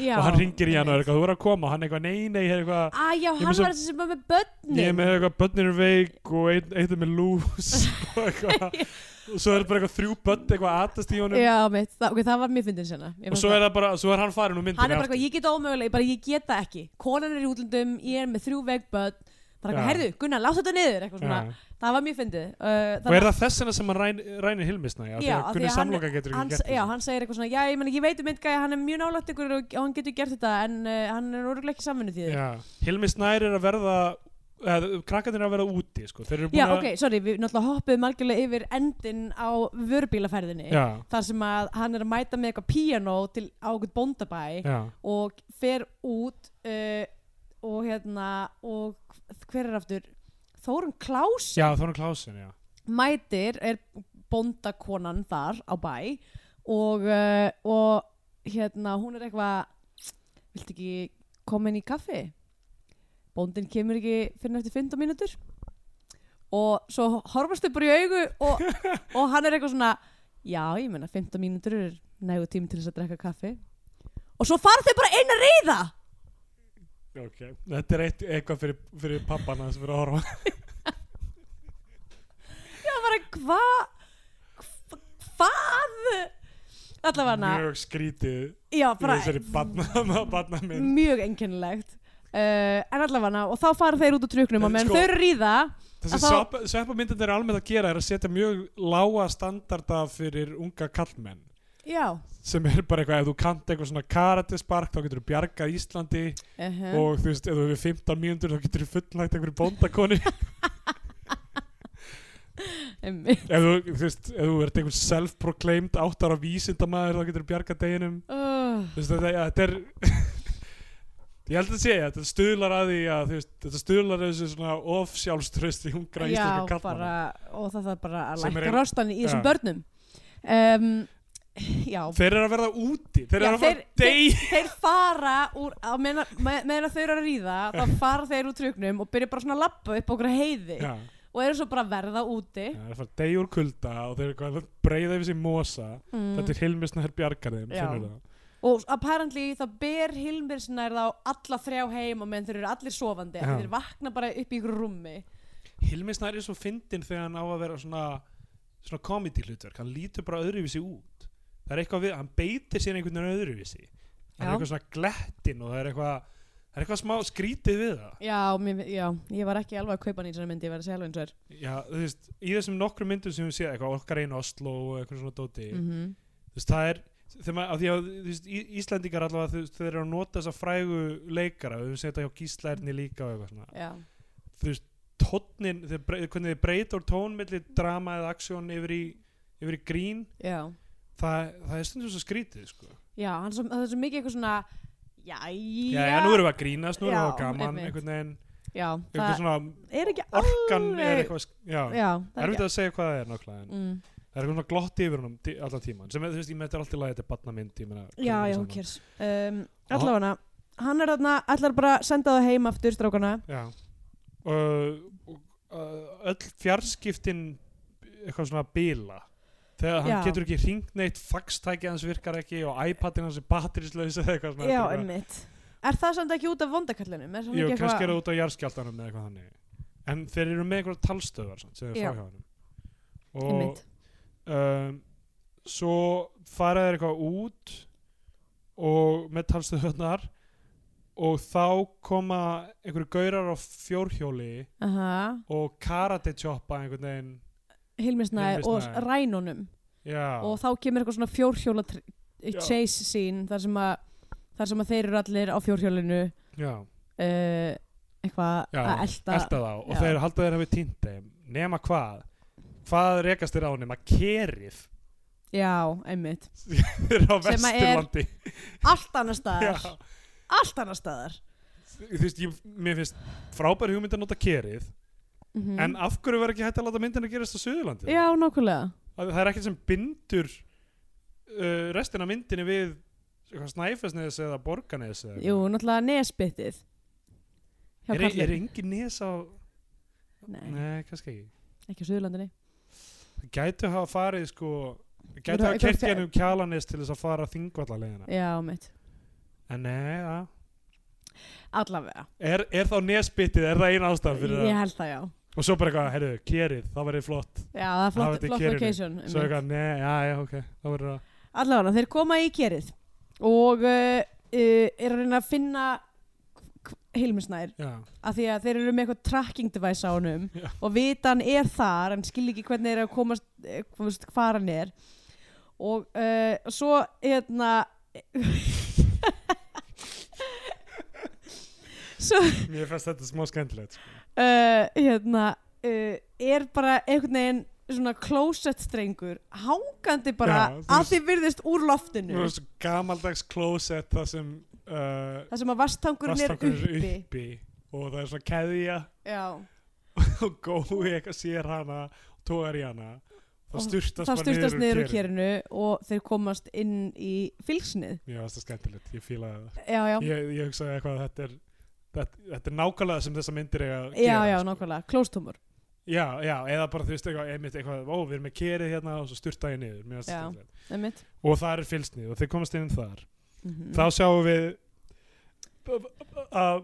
[SPEAKER 3] já
[SPEAKER 2] og hann ringir í hann og er eitthvað, þú er að koma hann er eitthvað, nei, nei, ég er eitthvað
[SPEAKER 3] að já,
[SPEAKER 2] með
[SPEAKER 3] hann
[SPEAKER 2] svo-
[SPEAKER 3] var þessi sem var
[SPEAKER 2] ég
[SPEAKER 3] með
[SPEAKER 2] er
[SPEAKER 3] börnin
[SPEAKER 2] með eitthvað, börnin er veik og eitt, eitt er með lús og eitthvað og svo er bara eitthvað þrjú börn eitthvað aðtast í honum
[SPEAKER 3] já, mitt, það, okay, það var mjög fyndin sena
[SPEAKER 2] og svo er, það bara, svo er hann farin úr myndinni
[SPEAKER 3] hann er bara
[SPEAKER 2] aftur.
[SPEAKER 3] eitthvað, ég get ómögulega, ég bara ég get það ekki konan er í útlundum, ég er með þrjú veg börn bara eitthvað,
[SPEAKER 2] Já.
[SPEAKER 3] herðu, Gunnar, láta þetta niður eitthvað svona,
[SPEAKER 2] Já.
[SPEAKER 3] það var mjög fyndið uh,
[SPEAKER 2] og er það þess vegna sem hann ræn, rænir hilmisna já,
[SPEAKER 3] Já,
[SPEAKER 2] já,
[SPEAKER 3] af því
[SPEAKER 2] Gunni
[SPEAKER 3] að hann-
[SPEAKER 2] samloka getur
[SPEAKER 3] hann,
[SPEAKER 2] ekki gert
[SPEAKER 3] já,
[SPEAKER 2] þetta
[SPEAKER 3] hann segir eitthvað svona, já, ég, meni, ég veit um myndgæði hann er mjög nálægt ykkur og, og hann getur gert þetta en uh, hann er orðuglega ekki samvinni því
[SPEAKER 2] já, hilmisnær er að verða eða, krakkarnir er að verða úti sko. þeir eru
[SPEAKER 3] Já,
[SPEAKER 2] búin að
[SPEAKER 3] ok, sorry, við náttúrulega hoppuðum algjörlega yfir endin á vörubílaferðinni
[SPEAKER 2] já,
[SPEAKER 3] þar sem að hann er að mæta með eitthvað píanó til á eitthvað bóndabæ
[SPEAKER 2] já,
[SPEAKER 3] og fer út uh, og hérna og hver er aftur? Þórun Klás
[SPEAKER 2] já þá er hann klásin já.
[SPEAKER 3] mætir, er bóndakonan þar á bæ og, uh, og hérna hún er eitthvað viltu ekki koma inn í kaffi? Bóndin kemur ekki fyrir eftir 15 mínútur og svo horfast þau bara í augu og, og hann er eitthvað svona já, ég meina 15 mínútur er nægu tími til þess að drekka kaffi og svo fara þau bara inn að reyða
[SPEAKER 2] Okay. þetta er eitt, eitthvað fyrir, fyrir pappana sem fyrir að horfa
[SPEAKER 3] það var að hvað hvað allavega
[SPEAKER 2] mjög skrítið í
[SPEAKER 3] já, bara Mm,
[SPEAKER 2] þessari barna- barnamynd
[SPEAKER 3] mjög einkennilegt uh, en allavega og þá fara þeir út úr truknum og
[SPEAKER 2] En
[SPEAKER 3] meðan
[SPEAKER 2] sko-
[SPEAKER 3] þau eru að ríða
[SPEAKER 2] þessi
[SPEAKER 3] Að þá-
[SPEAKER 2] þá... sveppamyndin er almennt að gera er að setja mjög lága standarda fyrir unga kallmenn
[SPEAKER 3] já
[SPEAKER 2] sem er bara eitthvað, ef þú kanta eitthvað svona karatespark þá getur þú bjargað Íslandi
[SPEAKER 3] uh
[SPEAKER 2] og þú veist, ef þú hefur 15 mínútur þá getur þú fullnægt einhverju bóndakoni
[SPEAKER 3] -huh.
[SPEAKER 2] ef þú, þú veist, ef þú ert einhver self-proclaimed áttara vísindamaður þá getur þú bjargað deginum
[SPEAKER 3] uh,
[SPEAKER 2] þú veist, þetta, ja, þetta er Ég held að segja, þetta stuðlar að því að þú veist, þetta stuðlar að þessu svona of sjálfströsti hungra
[SPEAKER 3] Já,
[SPEAKER 2] íslenska
[SPEAKER 3] bara,
[SPEAKER 2] kallmanna.
[SPEAKER 3] og það þarf bara að
[SPEAKER 2] Sem er
[SPEAKER 3] lækka
[SPEAKER 2] ein-
[SPEAKER 3] rostan í þessum
[SPEAKER 2] Já.
[SPEAKER 3] börnum um, Já,
[SPEAKER 2] Þeir eru að verða úti, þeir
[SPEAKER 3] Já,
[SPEAKER 2] eru að fara
[SPEAKER 3] þeir-
[SPEAKER 2] degi.
[SPEAKER 3] þeir fara úr, á meðan með, meðan þau eru að ríða þá fara þeir úr truknum og byrja bara svona að labba upp okkur heiði
[SPEAKER 2] Já,
[SPEAKER 3] og eru svo bara að verða úti
[SPEAKER 2] já, þeir eru að fara degi úr kulda og þeir eru eitthvað að breyða yfir sér mosa. Þetta
[SPEAKER 3] mm.
[SPEAKER 2] er Hilmi Snær Bjarkarðin,
[SPEAKER 3] Já.
[SPEAKER 2] finnur það.
[SPEAKER 3] og apparently þá ber Hilmir snær þá alla þrjá heim og meðan þeir eru allir sofandi
[SPEAKER 2] Já.
[SPEAKER 3] þeir vakna bara upp í ykkur rúmi
[SPEAKER 2] Hilmi Snær er svo fyndin þegar hann á að vera svona, svona komedi hlutverk, hann lítur bara öðruvísi út. Það er eitthvað við, hann beitir sér einhvern veginn öðruvísi. Það er
[SPEAKER 3] Já.
[SPEAKER 2] eitthvað svona glettin og það er eitthvað, það er eitthvað smá skrítið við það.
[SPEAKER 3] já, mér, já, ég var ekki alveg að kaupa nýjum myndi, ég var að segja alveg eins og er
[SPEAKER 2] Já, þú veist, í þessum nokkru myndum sem við séð, eitthvað okkar einu Oslo og eitthvað svona dóti,
[SPEAKER 3] Mhm.
[SPEAKER 2] þú veist, það er, þegar maður, af því að, þú veist, Í- Íslendingar allavega, þú veist, þeir eru að nota þessa frægu leikara, við setja hjá gíslærni líka og eitthvað svona,
[SPEAKER 3] já,
[SPEAKER 2] þú veist, tónnin, þeir, brey- hvernig þeir breyta úr tón milli drama eða aksjón yfir í, yfir í grín,
[SPEAKER 3] já
[SPEAKER 2] það, það er stundum svo skrítið, sko.
[SPEAKER 3] Já, hann svo, það er svo mikið eitthvað svona
[SPEAKER 2] Já,
[SPEAKER 3] Jæja
[SPEAKER 2] já, nú erum við að grínast, nú erum við
[SPEAKER 3] Já,
[SPEAKER 2] að gaman,
[SPEAKER 3] einmitt.
[SPEAKER 2] einhvern veginn,
[SPEAKER 3] Já,
[SPEAKER 2] eitthvað
[SPEAKER 3] það
[SPEAKER 2] svona,
[SPEAKER 3] er ekki
[SPEAKER 2] orkan er
[SPEAKER 3] alveg-
[SPEAKER 2] eitthvað, sk- já, já
[SPEAKER 3] Já, það er
[SPEAKER 2] erfitt
[SPEAKER 3] ekki
[SPEAKER 2] að segja hvað það er nákvæmlega, en
[SPEAKER 3] mm.
[SPEAKER 2] það er eitthvað svona glott yfir honum tí- allan tíman sem er, þú veist, ég með þetta er alltaf lagið, þetta er badnamynd
[SPEAKER 3] Já, já, hún
[SPEAKER 2] ok
[SPEAKER 3] kjers um, Allavega hann er þarna, ætlar bara að senda það heim aftur strákana
[SPEAKER 2] já. Og, uh, öll fjarskiptin eitthvað svona bila þegar hann
[SPEAKER 3] Já.
[SPEAKER 2] getur ekki hringt neitt faxtæki hans virkar ekki og iPadin hans er batterislaus eða eitthvað svona
[SPEAKER 3] Já,
[SPEAKER 2] Þetta er eitthvað-
[SPEAKER 3] einmitt Er það samt ekki út af vondakallinum? Er
[SPEAKER 2] Jú, kannski er það út á jarðskjáltanum eða eitthvað þannig en þeir eru með eitthvað talstöðar samt, sem þeir
[SPEAKER 3] Já.
[SPEAKER 2] fá hjá honum og
[SPEAKER 3] Einmitt
[SPEAKER 2] um, svo fara þeir eitthvað út og með talstöðunar og þá koma einhverju gaurar á fjórhjóli
[SPEAKER 3] Aha,
[SPEAKER 2] og karate choppa einhvern veginn
[SPEAKER 3] Hilmisnæ
[SPEAKER 2] Hilmir
[SPEAKER 3] og
[SPEAKER 2] Snær.
[SPEAKER 3] rænunum
[SPEAKER 2] já,
[SPEAKER 3] Og þá kemur eitthvað svona fjórhjóla tr-
[SPEAKER 2] Já.
[SPEAKER 3] chase scene þar sem að þar sem að þeir eru allir á fjórhjólinu
[SPEAKER 2] já,
[SPEAKER 3] uh, eitthvað
[SPEAKER 2] já
[SPEAKER 3] að elta
[SPEAKER 2] þá og
[SPEAKER 3] já.
[SPEAKER 2] þeir halda þeir hafi týnt þeim nema hvað, hvað rekast þeir á nema kerið
[SPEAKER 3] Já, einmitt
[SPEAKER 2] þeir eru á
[SPEAKER 3] Sem að er-
[SPEAKER 2] Vesturlandi
[SPEAKER 3] allt annar
[SPEAKER 2] Já.
[SPEAKER 3] staðar allt annar staðar
[SPEAKER 2] þú veist, ég, mér finnst frábær hugmynd að nota kerið en af hverju verður ekki hægt að láta myndina gerast á Suðurlandi
[SPEAKER 3] Mm. Mhm. já, nákvæmlega
[SPEAKER 2] að það er ekkert sem bindur uh, restina af myndinni við eitthvað snæfesnes eða borganes eða
[SPEAKER 3] jú, náttúrulega nesbyttið hjá
[SPEAKER 2] er, er
[SPEAKER 3] kallin
[SPEAKER 2] engin nes á
[SPEAKER 3] nei,
[SPEAKER 2] nei, kannski ekki
[SPEAKER 3] ekki á Suðurlandinni
[SPEAKER 2] það gætu hafa farið sko gætu
[SPEAKER 3] Eru
[SPEAKER 2] hafa
[SPEAKER 3] eitthvað
[SPEAKER 2] kert
[SPEAKER 3] fe-
[SPEAKER 2] hérna um kjalanes til þess að fara þingvallalegina
[SPEAKER 3] já, mitt
[SPEAKER 2] en nei, ja.
[SPEAKER 3] allavega
[SPEAKER 2] er, er þá nesbyttið, er það eina ástæðan fyrir
[SPEAKER 3] ég held það, já
[SPEAKER 2] það og svo bara eitthvað, herru, kerið, það verið flott
[SPEAKER 3] já, það er
[SPEAKER 2] Hafa
[SPEAKER 3] flott,
[SPEAKER 2] þetta í
[SPEAKER 3] flott
[SPEAKER 2] kerinu.
[SPEAKER 3] location
[SPEAKER 2] svo
[SPEAKER 3] einmitt.
[SPEAKER 2] eitthvað, nei, já, já, ok það verður það,
[SPEAKER 3] allavega, þeir koma í kerið og uh, uh, er að reyna að finna Hilmisnær
[SPEAKER 2] já,
[SPEAKER 3] af því að þeir eru með eitthvað tracking device á honum
[SPEAKER 2] Já.
[SPEAKER 3] og vita hann er þar en skil ekki hvernig þeir eru að komast eh, komast hvar hann er og uh, svo hérna svo
[SPEAKER 2] mér finnst þetta smá skemmtilegt sko.
[SPEAKER 3] uh, hérna uh, er bara einhvern veginn svona closet strengur hangandi bara
[SPEAKER 2] Já, þú
[SPEAKER 3] að
[SPEAKER 2] veist-
[SPEAKER 3] því virðist úr
[SPEAKER 2] Nú
[SPEAKER 3] loftinu
[SPEAKER 2] er svo gamaldags klósett það sem uh,
[SPEAKER 3] það sem að vastangurinn er
[SPEAKER 2] Vatnsdrakkur
[SPEAKER 3] uppi,
[SPEAKER 2] er uppi og það er svona keðja
[SPEAKER 3] Já,
[SPEAKER 2] og gói eitthvað sér hana og tógar í hana
[SPEAKER 3] Og
[SPEAKER 2] það styrtast
[SPEAKER 3] það
[SPEAKER 2] bara
[SPEAKER 3] styrtast niður úr
[SPEAKER 2] kerinu.
[SPEAKER 3] kerinu og þeir komast inn í fylgsnið
[SPEAKER 2] Mér finnst það skemmtilegt, ég fílaði
[SPEAKER 3] já, já.
[SPEAKER 2] það ég, ég hugsaði eitthvað að þetta er þetta, þetta er nákvæmlega sem þessa myndir eiga að
[SPEAKER 3] já,
[SPEAKER 2] gera,
[SPEAKER 3] já,
[SPEAKER 2] sko.
[SPEAKER 3] nákvæmlega, klóstumur
[SPEAKER 2] já, já, eða bara þú veist eitthvað, einmitt eitthvað ó, við erum með kerið hérna og svo styrta ég niður Mér finnst það
[SPEAKER 3] Já.
[SPEAKER 2] skemmtilegt.
[SPEAKER 3] einmitt
[SPEAKER 2] og það er fylsnið og þeir komast inn þar
[SPEAKER 3] Mhm.
[SPEAKER 2] þá sjáum við að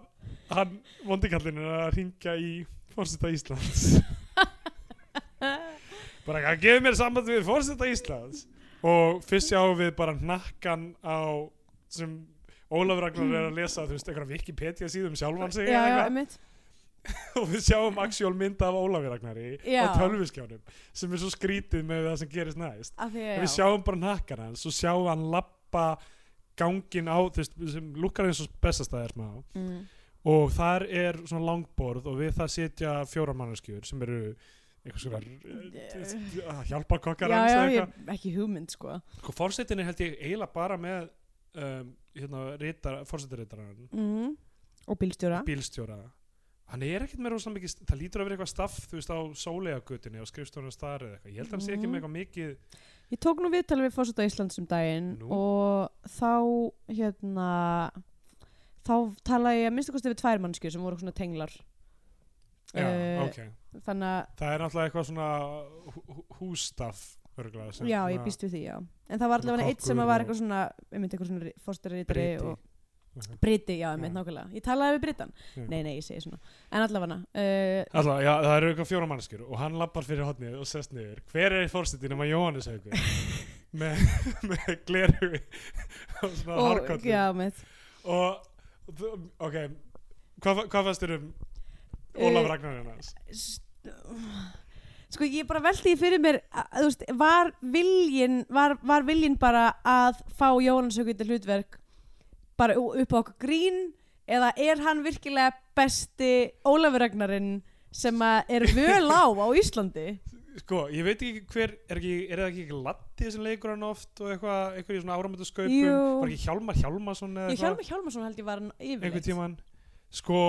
[SPEAKER 2] hann vondikallin er að ringja í fórseta Íslands bara að gefa mér samband við fórseta Íslands og fyrst sjáum við bara nakkan á sem Ólafur Ragnar er að lesa þú veist, einhverja Wikipedia síðum sjálfan sig eða
[SPEAKER 3] já, já,
[SPEAKER 2] eitthvað.
[SPEAKER 3] einmitt
[SPEAKER 2] og við sjáum aksjól mynda af Ólafur Ragnari
[SPEAKER 3] Já.
[SPEAKER 2] á tölviskjánum sem er svo skrítið með það sem gerist næst
[SPEAKER 3] Af því
[SPEAKER 2] En við
[SPEAKER 3] að já,
[SPEAKER 2] sjáum bara nakkan hans og sjáum hann lappa gangin á, þú veist, sem lukkar eins og bestastæðir smá
[SPEAKER 3] mm.
[SPEAKER 2] og þar er svona langborð og við það sitja fjóra manneskjur sem eru eitthvað svona hjálparkokkar
[SPEAKER 3] já,
[SPEAKER 2] hans
[SPEAKER 3] já
[SPEAKER 2] eða
[SPEAKER 3] ég,
[SPEAKER 2] eitthvað.
[SPEAKER 3] ekki hugmynd sko
[SPEAKER 2] Sko, Forsetin er held ég eiginlega bara með um, hérna, ritar, forsetaritarann
[SPEAKER 3] mm. og bílstjóra
[SPEAKER 2] bílstjóra hann er ekkert með rosalega mikið, það lítur að vera eitthvað staff þú veist á sólegagutinni og skrifstórun starf eða eitthvað, ég held að hann sé ekki
[SPEAKER 3] Mhm.
[SPEAKER 2] með eitthvað mikið
[SPEAKER 3] Ég tók nú viðtal við fórseta Íslands um daginn
[SPEAKER 2] Nú.
[SPEAKER 3] og þá hérna þá talaði ég að minnstu kosti við tvær mannskjur sem voru svona tenglar
[SPEAKER 2] já,
[SPEAKER 3] Eh,
[SPEAKER 2] ok,
[SPEAKER 3] þannig að,
[SPEAKER 2] það er náttúrulega eitthvað svona hú- hú- hússtaff örgulega sem
[SPEAKER 3] já, ég býst við því, já en það var
[SPEAKER 2] Svona
[SPEAKER 3] allavega eitt sem
[SPEAKER 2] kokkur
[SPEAKER 3] var
[SPEAKER 2] og-
[SPEAKER 3] eitthvað svona einmitt eitthvað svona fórsetarítari
[SPEAKER 2] breyti
[SPEAKER 3] og Briti, já,
[SPEAKER 2] Mhm.
[SPEAKER 3] einmitt
[SPEAKER 2] Já.
[SPEAKER 3] nákvæmlega Ég talaði við Britan,
[SPEAKER 2] Já.
[SPEAKER 3] nei, nei, ég segi svona en allavega, uh,
[SPEAKER 2] Alltaf, já, það eru eitthvað fjóra mannskjur og hann lappar fyrir hotnið og sest niður. Hver er fórsetin nema Jóhannes haugur? með, með gleru og svona
[SPEAKER 3] og,
[SPEAKER 2] harkollin.
[SPEAKER 3] já, einmitt
[SPEAKER 2] Og, þú- ok, hvað, hvað fannst þér um Ólaf
[SPEAKER 3] Eh,
[SPEAKER 2] Ragnar hans?
[SPEAKER 3] S- sko ég bara velti því fyrir mér að, þú veist, var viljin var, var viljin bara að fá Jónas Haukundi hlutverk bara u- upp á okkur grín eða er hann virkilega besti Ólafur Ragnarinn sem að er völ á á Íslandi
[SPEAKER 2] Sko, ég veit ekki hver, er, ekki, er það ekki ekki Latti sem leikur hann oft og eitthvað, eitthvað í svona áramöndu skaupum?
[SPEAKER 3] Jú.
[SPEAKER 2] Var ekki Hjálmar Hjálmarsson eða
[SPEAKER 3] Jú, Hjálmar Hjálmarsson held ég var hann
[SPEAKER 2] einhvern
[SPEAKER 3] yfirleitt
[SPEAKER 2] tíman? Sko,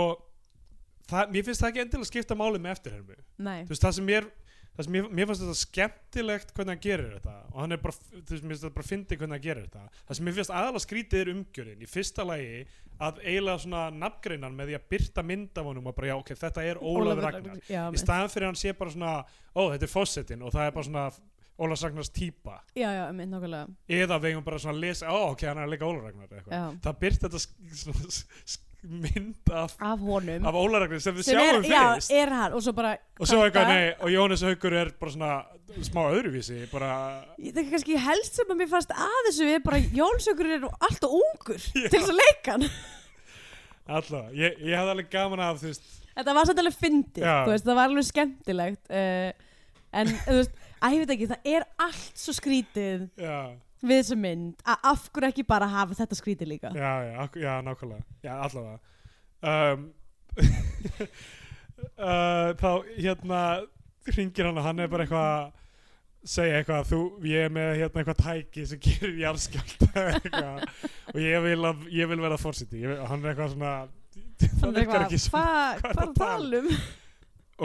[SPEAKER 2] það, mér finnst það ekki endilega skipta máli með eftirhermu.
[SPEAKER 3] Nei,
[SPEAKER 2] þú veist það sem mér það sem mér, mér fannst þetta skemmtilegt hvernig hann gerir þetta og hann er bara, þú veist, mér finnst þetta bara fyndi hvernig hann gerir þetta það sem mér finnst aðalega skrítið er umgjörðin í fyrsta lagi að eiginlega svona nafngreinan með því að byrta mynd af honum og bara já ok, þetta er Ólafur Ragnar
[SPEAKER 3] já,
[SPEAKER 2] í staðan fyrir að hann sé bara svona ó, þetta er fósettin og það er bara svona Ólafur Ragnars típa
[SPEAKER 3] já, já, einmitt nákvæmlega
[SPEAKER 2] eða við eigum bara svona að lesa, ó ok, hann er að leika Ólafur Ragnar eða eitthvað.
[SPEAKER 3] já.
[SPEAKER 2] það byrt þetta sk- svona sk- sk- mynd af,
[SPEAKER 3] af honum
[SPEAKER 2] af Ólafur Ragnar sem við
[SPEAKER 3] sem er,
[SPEAKER 2] sjáum
[SPEAKER 3] já,
[SPEAKER 2] fyrst
[SPEAKER 3] er hann og svo bara
[SPEAKER 2] og svo eitthvað,
[SPEAKER 3] kvarta.
[SPEAKER 2] nei, og Jónas Haugur er bara svona smá öðruvísi, bara
[SPEAKER 3] Ég- það er kannski helst sem að mér fannst að þessu er bara Jónsökur er alltaf ungur til þess að leika hann
[SPEAKER 2] allavega, ég, ég hafði alveg gaman af þú veist,
[SPEAKER 3] þetta var samt alveg fyndið,
[SPEAKER 2] Já.
[SPEAKER 3] þú veist, það var alveg skemmtilegt uh, en þú veist að ég veit ekki, það er allt svo skrítið
[SPEAKER 2] já,
[SPEAKER 3] við þessa mynd að af hverju ekki bara hafa þetta skrítið líka
[SPEAKER 2] já, já, ak- já nákvæmlega, já, allavega um, uh, þá, hérna hringir hann og hann er bara eitthvað segja eitthvað, þú, ég er með hérna eitthvað tæki sem gerir jarðskjálta eitthvað, og ég vil, að, ég vil vera fórsiti, ég, vil- og hann er eitthvað svona það
[SPEAKER 3] Þannig
[SPEAKER 2] virkar
[SPEAKER 3] eitthvað,
[SPEAKER 2] ekki svona
[SPEAKER 3] hva,
[SPEAKER 2] hvað er
[SPEAKER 3] hvað er
[SPEAKER 2] að
[SPEAKER 3] að tala um?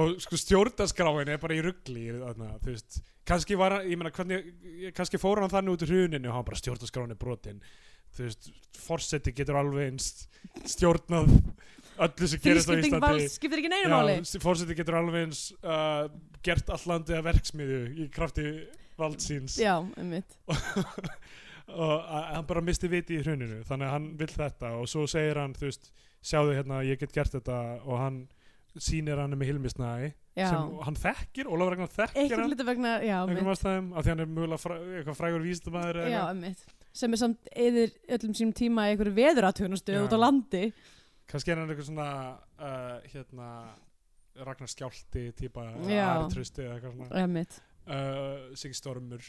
[SPEAKER 2] og sko stjórnaskráin er bara í ruggli þarna, þú veist kannski var hann, ég meina, hvernig, kannski fór hann þannig út í hruninu og hann bara stjórnaskráin er brotin þú veist, forseti getur alveg eins stjórnað öllu sem gerist á
[SPEAKER 3] Þrískipting
[SPEAKER 2] Íslandi
[SPEAKER 3] vals skiptir ekki neina máli
[SPEAKER 2] Já, forseti getur alveg eins uh, gert allandi að verksmiðu í krafti valdsins
[SPEAKER 3] Já, einmitt
[SPEAKER 2] og að- hann bara misti viti í hruninu þannig að hann vill þetta og svo segir hann þú veist, sjáðu hérna, ég get gert þetta og hann sýnir hann með hilmisnæði
[SPEAKER 3] Já,
[SPEAKER 2] sem hann þekkir, Ólafur Ragnar þekkir
[SPEAKER 3] eitthvað
[SPEAKER 2] hann
[SPEAKER 3] hluti vegna, já,
[SPEAKER 2] einhverjum
[SPEAKER 3] einmitt
[SPEAKER 2] ástæðum, af því hann er mjögulega fræ, eitthvað frægur vísindamæður
[SPEAKER 3] Já, einmitt sem er samt eðir öllum sínum tíma í einhverju veðuratjónastöð
[SPEAKER 2] Já.
[SPEAKER 3] út á landi
[SPEAKER 2] kannski er hann eitthvað svona uh, hérna Ragnar Skjálti típa
[SPEAKER 3] Já.
[SPEAKER 2] Artrusti eða eitthvað svona
[SPEAKER 3] Einmitt
[SPEAKER 2] uh, Siggi Stormur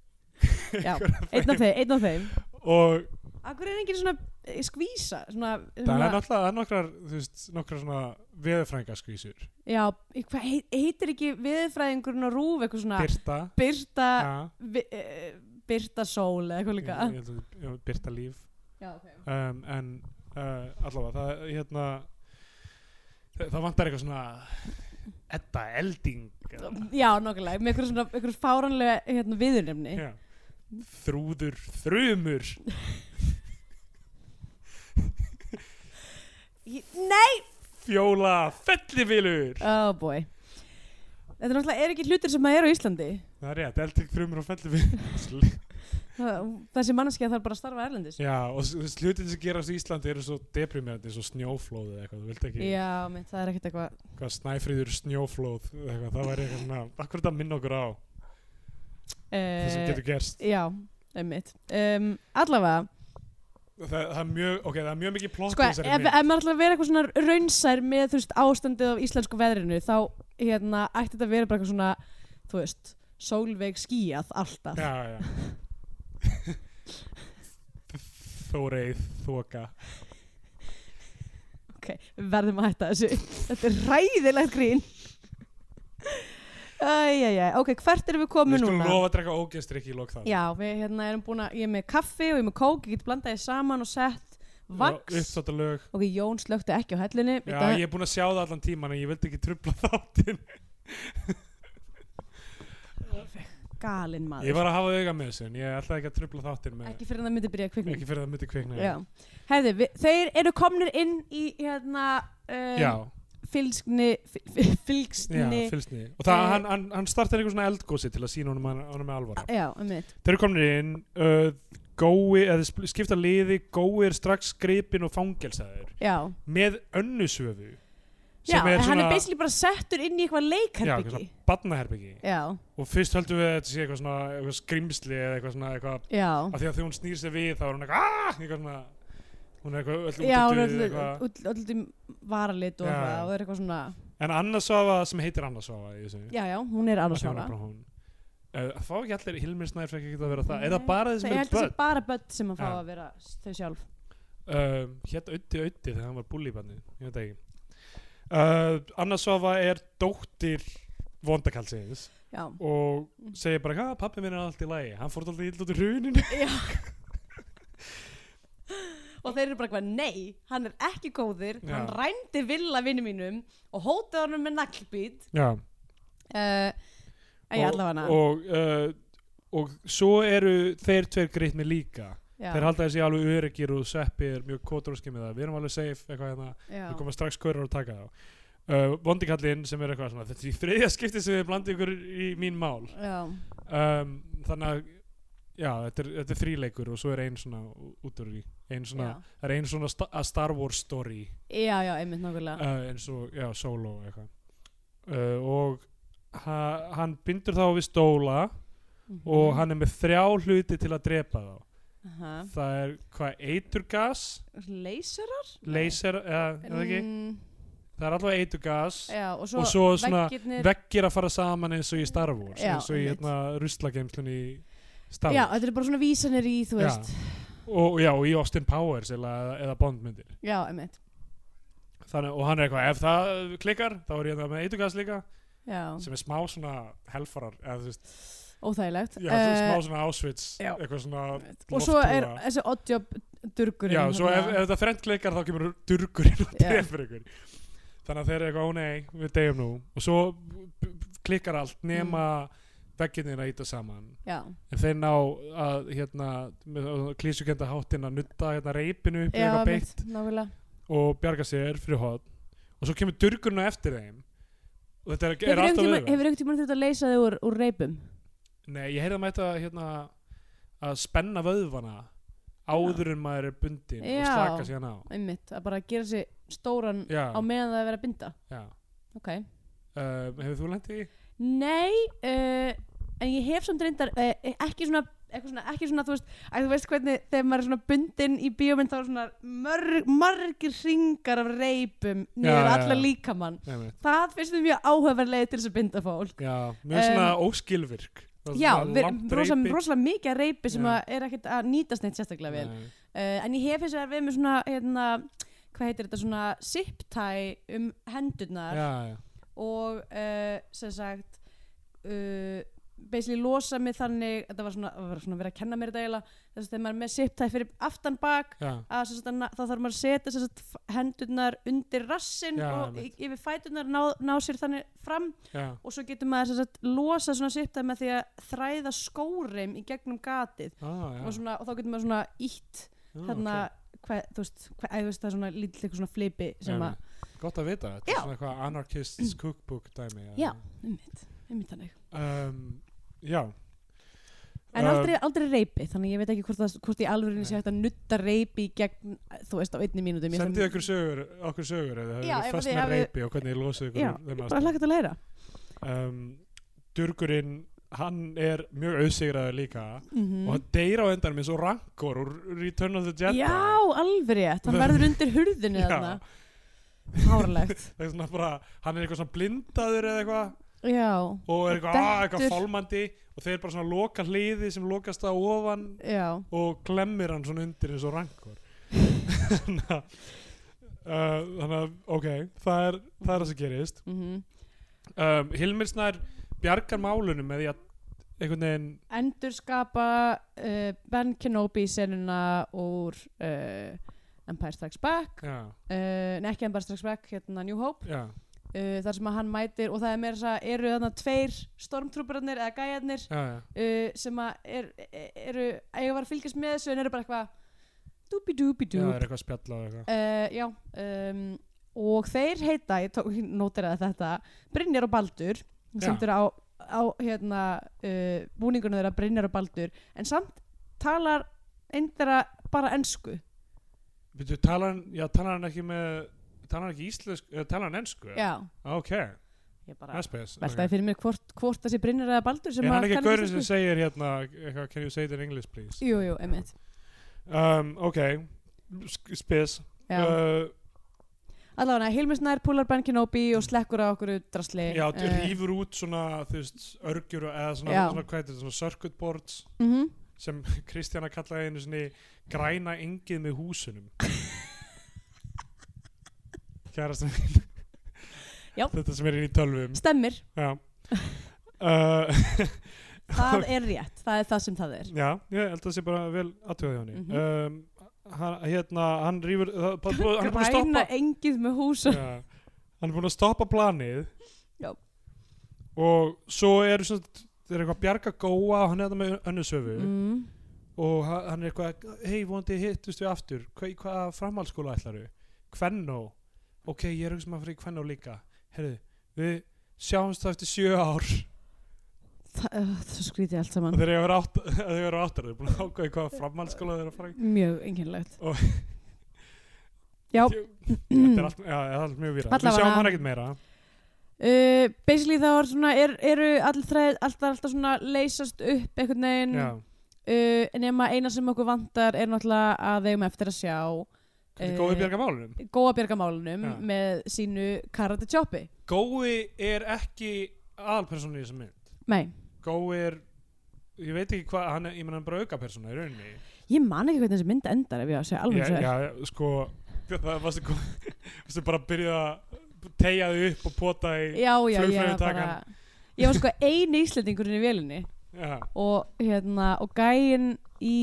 [SPEAKER 3] Já, einn af þeim, einn af þeim
[SPEAKER 2] og
[SPEAKER 3] Akkur er engin svona eh, skvísa svona,
[SPEAKER 2] það er
[SPEAKER 3] svona,
[SPEAKER 2] náttúrulega það er nokkrar, þú veist, nokkrar svona sko, veðurfrængaskvísur
[SPEAKER 3] Já, í- hvað heit- heitir ekki viðfræðingurinn á rúf eitthvað svona
[SPEAKER 2] Birta
[SPEAKER 3] Byrta
[SPEAKER 2] ja,
[SPEAKER 3] vi, uh, Byrta sól eða eitthvað líka
[SPEAKER 2] ég- ég held að- já, Birta Líf
[SPEAKER 3] Já, ok
[SPEAKER 2] um, en uh, allavega það, hérna, það, það vantar eitthvað svona Edda Elding eða-
[SPEAKER 3] Já, nokkulega, með einhverju svona einhverju fáranlega hérna, viðurnefni
[SPEAKER 2] Já. Þrúður þrumur
[SPEAKER 3] Ég- Nei,
[SPEAKER 2] Fjóla fellivilur
[SPEAKER 3] oh boy Þetta er náttúrulega er ekki hlutir sem maður er á Íslandi
[SPEAKER 2] Það er rétt, elding þrumur og fellivilur
[SPEAKER 3] Það- Þessi manneskja þarf bara að starfa erlendis
[SPEAKER 2] Já, og s- þú veist, hlutin sem gerast í Íslandi eru svo deprimerandi, svo snjóflóð eða eitthvað, þú vilt ekki,
[SPEAKER 3] Já, mitt, það er ekkert eitthvað
[SPEAKER 2] hvað snæfríður snjóflóð eða eitthvað, það væri eitthvað svona, akkur þetta minna okkur á það sem
[SPEAKER 3] uh,
[SPEAKER 2] getur gerst
[SPEAKER 3] Já, einmitt um, Allavega
[SPEAKER 2] það, það er mjög, ok, það er mjög mikið plott
[SPEAKER 3] sko,
[SPEAKER 2] í
[SPEAKER 3] ef,
[SPEAKER 2] þessari
[SPEAKER 3] ef
[SPEAKER 2] mynd.
[SPEAKER 3] maður ætlar að vera eitthvað svona raunsær með þú veist ástandið af íslensku veðrinu þá hérna, ætti þetta að vera bara eitthvað svona þú veist, sólveig skíjað alltaf
[SPEAKER 2] Já, já Þóreið, þoka
[SPEAKER 3] ok, við verðum að hætta þessu þetta er ræðilegt grín Æjæjæ, ok, hvert erum við komin
[SPEAKER 2] Við skulum
[SPEAKER 3] núna?
[SPEAKER 2] lofa að drekka ógestrykki í lok það
[SPEAKER 3] Já, við hérna erum búin að, ég er með kaffi og ég er með kók, ég get blandað þið saman og sett Vax
[SPEAKER 2] uppsáttalög
[SPEAKER 3] Ok, Jón slökti ekki á hellinu
[SPEAKER 2] Já,
[SPEAKER 3] Þetta-
[SPEAKER 2] ég er búin að sjá það allan tíman en ég vildi ekki trubla þáttin
[SPEAKER 3] Galinn
[SPEAKER 2] Ég
[SPEAKER 3] maður
[SPEAKER 2] var að hafa auga með þessu en ég ætlaði ekki að trubla þáttin með
[SPEAKER 3] Ekki fyrir en það myndi byrja að kvikna
[SPEAKER 2] ekki fyrir það myndi kvikna
[SPEAKER 3] Já. Herði, við, þeir eru komnir inn í hérna
[SPEAKER 2] Já,
[SPEAKER 3] um, fylgsni
[SPEAKER 2] já
[SPEAKER 3] fylgsni
[SPEAKER 2] fylgst niður Og það,
[SPEAKER 3] Eh,
[SPEAKER 2] hann, hann, hann startar einhver svona eldgósi til að sína honum, að- honum með alvara
[SPEAKER 3] Já, um mitt
[SPEAKER 2] Þeir eru komin inn uh, Gói, eða sp- skipta liði Gói er strax gripin og fangelsaður
[SPEAKER 3] Já,
[SPEAKER 2] Með önnusöfu
[SPEAKER 3] já en hann er basically bara settur inn í eitthvað leikherbyggi
[SPEAKER 2] Já, badnaherbyggi
[SPEAKER 3] Já,
[SPEAKER 2] Og fyrst höldum við að þetta sé eitthvað svona eitthvað skrimsli eða eitthvað svona eitthvað
[SPEAKER 3] já
[SPEAKER 2] af því að þegar hún snýr sér við þá er hún eitthvað "Ah!" eitthvað svona hún er eitthvað öll
[SPEAKER 3] Já, hún
[SPEAKER 2] útidauð,
[SPEAKER 3] er öll-
[SPEAKER 2] eitthvað.
[SPEAKER 3] öll- öll út í varalit og,
[SPEAKER 2] Já,
[SPEAKER 3] eitthvað,
[SPEAKER 2] já.
[SPEAKER 3] og er eitthvað svona
[SPEAKER 2] en Anna Svafa sem heitir Anna Svafa í þessu
[SPEAKER 3] Já, já, hún er
[SPEAKER 2] Af
[SPEAKER 3] annars
[SPEAKER 2] því hún
[SPEAKER 3] svona
[SPEAKER 2] er bara hún uh, fá ekki allir Hilmir Snær frekki ekki að vera það
[SPEAKER 3] Nei,
[SPEAKER 2] er það bara
[SPEAKER 3] Það
[SPEAKER 2] þessum
[SPEAKER 3] er
[SPEAKER 2] er börn
[SPEAKER 3] heldur sem bara börn sem að fá
[SPEAKER 2] Já.
[SPEAKER 3] að vera s- þau sjálf
[SPEAKER 2] um, hétt Ötti Ötti þegar hann var búlíbanni ég veit það ekki uh, Anna Svafa er dóttir vondakalsins
[SPEAKER 3] Já,
[SPEAKER 2] og segir bara hvað pappi minn er allt í lagi hann fór alltaf illa út í runinu
[SPEAKER 3] og þeir eru bara eitthvað, nei, hann er ekki góður
[SPEAKER 2] Já.
[SPEAKER 3] hann rændi villa vinnu mínum og hótaði honum með naglbít
[SPEAKER 2] já
[SPEAKER 3] uh, en ég
[SPEAKER 2] Og-
[SPEAKER 3] allavega hana
[SPEAKER 2] og, uh, og svo eru þeir tveir grítni líka
[SPEAKER 3] já,
[SPEAKER 2] þeir halda þessi alveg öryggir og sveppir mjög kótróski með það, við erum alveg safe eitthvað hérna,
[SPEAKER 3] já,
[SPEAKER 2] við koma strax kvörur og taka þá uh, vondikallinn sem er eitthvað svona þetta er í þriðja skipti sem við blandið ykkur í mín mál
[SPEAKER 3] já,
[SPEAKER 2] um, þannig að já, þetta er, þetta er þríleikur og svo er ein svona ú- út úr því ein svona,
[SPEAKER 3] Já.
[SPEAKER 2] það er ein svona sta a Star Wars story
[SPEAKER 3] já, já, einmitt nákvæmlega
[SPEAKER 2] uh, eins og, já, solo og eitthvað uh, og ha, hann bindur þá við stóla
[SPEAKER 3] Mhm.
[SPEAKER 2] og hann er með þrjá hluti til að drepa þá
[SPEAKER 3] hann
[SPEAKER 2] það er hvað eiturgas
[SPEAKER 3] leysurar?
[SPEAKER 2] laser, eða, eða ekki
[SPEAKER 3] Mm,
[SPEAKER 2] það er allavega eiturgas
[SPEAKER 3] já, og svo,
[SPEAKER 2] og svo svona
[SPEAKER 3] veggirnir-
[SPEAKER 2] veggir að fara saman eins og í Star Wars
[SPEAKER 3] Já,
[SPEAKER 2] eins og í
[SPEAKER 3] einmitt.
[SPEAKER 2] hérna ruslageimslun í Star
[SPEAKER 3] já,
[SPEAKER 2] Wars
[SPEAKER 3] þetta er bara svona vísanir í, þú
[SPEAKER 2] Já.
[SPEAKER 3] veist
[SPEAKER 2] og, já, og í Austin Powers eða, eða Bondmyndir
[SPEAKER 3] já, einmitt
[SPEAKER 2] Þannig, og hann er eitthvað, ef það klikkar þá er ég hérna með eiturgas líka
[SPEAKER 3] já,
[SPEAKER 2] sem er smá svona helfarar eða þú veist,
[SPEAKER 3] óþægilegt
[SPEAKER 2] já, uh,
[SPEAKER 3] Eh,
[SPEAKER 2] smá svona Auschwitz
[SPEAKER 3] já.
[SPEAKER 2] eitthvað svona
[SPEAKER 3] og svo er
[SPEAKER 2] loftpúða.
[SPEAKER 3] þessi oddjob hérna. durgur
[SPEAKER 2] Já, svo ef, ef þetta þrengt leikar þá kemur durgurinn og
[SPEAKER 3] Já.
[SPEAKER 2] drefur ykkur Þannig að þeir eru eitthvað, ó nei, við deyjum nú og svo b- b- klikkar allt
[SPEAKER 3] Mm.
[SPEAKER 2] nema vegginir að íta saman
[SPEAKER 3] já,
[SPEAKER 2] en þeir ná að hérna, klísukenda háttinn að nutta hérna reypinu upp í
[SPEAKER 3] já,
[SPEAKER 2] eitthvað
[SPEAKER 3] einmitt,
[SPEAKER 2] beitt
[SPEAKER 3] nákvæmlega
[SPEAKER 2] og bjarga sér fyrir hot og svo kemur durgurinn á eftir þeim og þetta er, er
[SPEAKER 3] Hefur
[SPEAKER 2] alltaf
[SPEAKER 3] einhvern
[SPEAKER 2] auðvægt
[SPEAKER 3] tímann tíma þurft að leysa þig úr, úr reipum?
[SPEAKER 2] Nei, ég heyrði að mæta hérna, að spenna vöðvana áður en maður er bundin og
[SPEAKER 3] Já.
[SPEAKER 2] slaka síðan á
[SPEAKER 3] Einmitt, að bara gera sig stóran
[SPEAKER 2] Já,
[SPEAKER 3] á meðan það er verið að binda
[SPEAKER 2] já
[SPEAKER 3] Ok
[SPEAKER 2] Uh, hefur þú lendið í?
[SPEAKER 3] Nei, uh, en ég hef samt reyndar uh, ekki svona eitthvað svona, ekki svona, þú veist, að þú veist hvernig þegar maður er svona bundinn í bíómynd þá er svona mörg, margir hringar af reipum niður
[SPEAKER 2] já,
[SPEAKER 3] alla
[SPEAKER 2] já.
[SPEAKER 3] líkamann
[SPEAKER 2] Nei, nei.
[SPEAKER 3] það finnst mér mjög áhugaverð leið til þess að binda fólk
[SPEAKER 2] Já, mjög svona óskilvirk Það er
[SPEAKER 3] Um, já,
[SPEAKER 2] svona
[SPEAKER 3] við-
[SPEAKER 2] langt
[SPEAKER 3] rosa,
[SPEAKER 2] reipi.
[SPEAKER 3] rosalega mikið af reipi sem
[SPEAKER 2] Já.
[SPEAKER 3] að er ekkert að nýtast neitt sérstaklega vel
[SPEAKER 2] Nei.
[SPEAKER 3] uh, en ég hef hins vegar við með svona hérna, hvað heitir þetta svona zip-tie um hendurnar
[SPEAKER 2] Já, já,
[SPEAKER 3] og uh, sem sagt uh, basically losa mig þannig þetta var svona, var svona verið að kenna mér þetta eiginlega þess að þegar maður er með zip-tie fyrir aftan bak
[SPEAKER 2] já,
[SPEAKER 3] að sem sagt, að na- þá þarf maður að setja sem sagt, f- hendurnar undir rassin
[SPEAKER 2] Já,
[SPEAKER 3] og
[SPEAKER 2] einmitt.
[SPEAKER 3] y- yfir fæturnar ná, ná sér þannig fram
[SPEAKER 2] já
[SPEAKER 3] og svo getur maður sem sagt, losa svona zip-tie með því að þræða skórim í gegnum gatið
[SPEAKER 2] ah, já.
[SPEAKER 3] og, svona, hérna og þá getur maður svona ítt
[SPEAKER 2] Ah,
[SPEAKER 3] þarna hvað, þú veist, hvað, æ, þú veist, það er svona lítill eitthvað svona flipi sem
[SPEAKER 2] Já,
[SPEAKER 3] að,
[SPEAKER 2] ok. Gott að vita, þetta
[SPEAKER 3] Já. Mm.
[SPEAKER 2] er svona eitthvað anarchist's cookbook dæmi
[SPEAKER 3] Já. einmitt, einmitt þannig
[SPEAKER 2] um, Já
[SPEAKER 3] en
[SPEAKER 2] Um,
[SPEAKER 3] aldrei, aldrei reypi, þannig ég veit ekki hvort, það, hvort í alvörinni sé
[SPEAKER 2] Nei.
[SPEAKER 3] hægt að nutta reypi í gegn, þú veist, á einni mínútum Ég
[SPEAKER 2] Sendið
[SPEAKER 3] þarf-
[SPEAKER 2] okkur sögur, okkur sögur eða
[SPEAKER 3] Já,
[SPEAKER 2] það
[SPEAKER 3] ef
[SPEAKER 2] er fast
[SPEAKER 3] þið
[SPEAKER 2] með
[SPEAKER 3] hafið-
[SPEAKER 2] reipi og hvernig ég losið ykkur
[SPEAKER 3] Já,
[SPEAKER 2] úr þeim
[SPEAKER 3] bara
[SPEAKER 2] aðstæðum.
[SPEAKER 3] hlakka til að læra
[SPEAKER 2] um, Durgurinn, hann er mjög auðsigraður líka
[SPEAKER 3] mm
[SPEAKER 2] og hann deyr á endanum eins og rankor úr Return of the Jedi
[SPEAKER 3] já, alveg rétt, hann verður undir hurðinu
[SPEAKER 2] Já.
[SPEAKER 3] þarna, hárlegt
[SPEAKER 2] það er svona bara, hann er eitthvað svona blindaður eða eitthvað
[SPEAKER 3] já,
[SPEAKER 2] og er eitthvað, ah, eitthvað
[SPEAKER 3] dettur.
[SPEAKER 2] fálmandi og þeir bara svona loka hliði sem lokast á ofan
[SPEAKER 3] já
[SPEAKER 2] og glemmir hann svona undir eins og rangur þannig að uh, þannig að, ok, það er það er það sem gerist
[SPEAKER 3] mm
[SPEAKER 2] um, Hilmir Snær bjargar málunum með því að einhvern veginn
[SPEAKER 3] eh, endurskapa uh, Ben Kenobi senuna úr uh, Empire Strikes Back
[SPEAKER 2] já,
[SPEAKER 3] uh, Nei, ekki Empire Strikes Back, hérna New Hope
[SPEAKER 2] já,
[SPEAKER 3] uh, Þar sem að hann mætir og það er meira þess að eru þarna tveir stormtrooperarnir eða gæjarnir
[SPEAKER 2] já, já.
[SPEAKER 3] uh, sem að er, er, eru eiga var að fylgjast með þessu en eru bara eitthvað dúbi dúbi
[SPEAKER 2] Já,
[SPEAKER 3] dúb
[SPEAKER 2] er eitthvað spjall og eitthvað.
[SPEAKER 3] uh, Já, um, og þeir heita ég tók, noteraði þetta Brynjar og Baldur
[SPEAKER 2] Já.
[SPEAKER 3] sem eru á, á hérna, uh, búningunum þeirra Brynjar og Baldur en samt talar einn þeirra bara ensku
[SPEAKER 2] Býtu, talar hann, já, talar hann ekki með, talar hann ekki íslensk, uh, talar hann ennsku?
[SPEAKER 3] Já,
[SPEAKER 2] Ok,
[SPEAKER 3] ég bara
[SPEAKER 2] það spes.
[SPEAKER 3] veltaði fyrir mér hvort, hvort þessi Brynjar eða Baldur sem
[SPEAKER 2] Er hann
[SPEAKER 3] að
[SPEAKER 2] ekki
[SPEAKER 3] kann
[SPEAKER 2] gaurinn sem
[SPEAKER 3] íslensku.
[SPEAKER 2] segir hérna, eitthvað, can you say it in English please?
[SPEAKER 3] Jú, jú, emitt
[SPEAKER 2] Um, ok, sk- spes.
[SPEAKER 3] Já,
[SPEAKER 2] Uh,
[SPEAKER 3] allavega Hilmi Snær púlar Ben Kenobi og slekkur á okkur drasli
[SPEAKER 2] já,
[SPEAKER 3] Eh,
[SPEAKER 2] rýfur út svona, þú veist, örgjur og- eða svona,
[SPEAKER 3] Já.
[SPEAKER 2] svona hvað heitir, þetta, svona circuit boards
[SPEAKER 3] mhm.
[SPEAKER 2] sem Kristjana kallaði einu sinni græna engið með húsunum. Kærasta mín.
[SPEAKER 3] Já.
[SPEAKER 2] Þetta sem er inn í tölvum.
[SPEAKER 3] Stemmir,
[SPEAKER 2] Já. Uh,
[SPEAKER 3] það er rétt, það er það sem það er.
[SPEAKER 2] já, ég held að það sé bara vel aðtöða hjá henni.
[SPEAKER 3] Mhm.
[SPEAKER 2] um, hann, hérna, hann rýfur, það, bara, búið- hann er búin að
[SPEAKER 3] Græna
[SPEAKER 2] stoppa.
[SPEAKER 3] engið með húsum.
[SPEAKER 2] Já. hann er búin að stoppa planið
[SPEAKER 3] Já.
[SPEAKER 2] og svo er, svo, er eitthvað bjarga góa og hann er þetta með önnusöfu
[SPEAKER 3] Mm.
[SPEAKER 2] og ha- hann er eitthvað hei vonandi hittust við aftur hvað hva framhaldsskóla ætlaru? Kvennó ok, ég er auðvitað að fara í Kvennó líka herðu, við sjáumst það eftir sjö ár
[SPEAKER 3] Það, uh, það skrýti allt
[SPEAKER 2] og
[SPEAKER 3] saman.
[SPEAKER 2] þegar ég verið átt þegar ég verið áttar, þeir eru búin að ákvæða í hvaða framhaldsskóla þeir eru að fara í
[SPEAKER 3] Mjög einkennilegt.
[SPEAKER 2] Og-
[SPEAKER 3] Já,
[SPEAKER 2] þetta er allt, já, það er allt mjög výra við
[SPEAKER 3] Allavega.
[SPEAKER 2] sjáum hann ekkert meira
[SPEAKER 3] uh, basically þá er svona, er, eru allir þræð, alltaf, alltaf svona leysast upp einhvern veginn,
[SPEAKER 2] já,
[SPEAKER 3] uh, nema eina sem okkur vantar er náttúrulega að þeim eftir að sjá
[SPEAKER 2] hvernig
[SPEAKER 3] Eh,
[SPEAKER 2] góði bjarga málunum
[SPEAKER 3] góa björgamálunum
[SPEAKER 2] Já.
[SPEAKER 3] með sínu karate choppi.
[SPEAKER 2] góði er ekki aðalpersónu í þessum mynd
[SPEAKER 3] Nei,
[SPEAKER 2] Gói er ég veit ekki hvað, hann, er- ég menn hann er bara auka persóna í rauninni
[SPEAKER 3] ég man ekki hvernig þessi mynd endar ef ég á að segja alveg
[SPEAKER 2] ég,
[SPEAKER 3] svo.
[SPEAKER 2] já, sko það varstu, kom, varstu bara að byrja að tegja þau upp og pota í
[SPEAKER 3] já, já, ég
[SPEAKER 2] Flugfreyjur
[SPEAKER 3] var
[SPEAKER 2] taka
[SPEAKER 3] bara ég var sko eini íslendingurinn í vélinni
[SPEAKER 2] já,
[SPEAKER 3] og hérna og gæinn í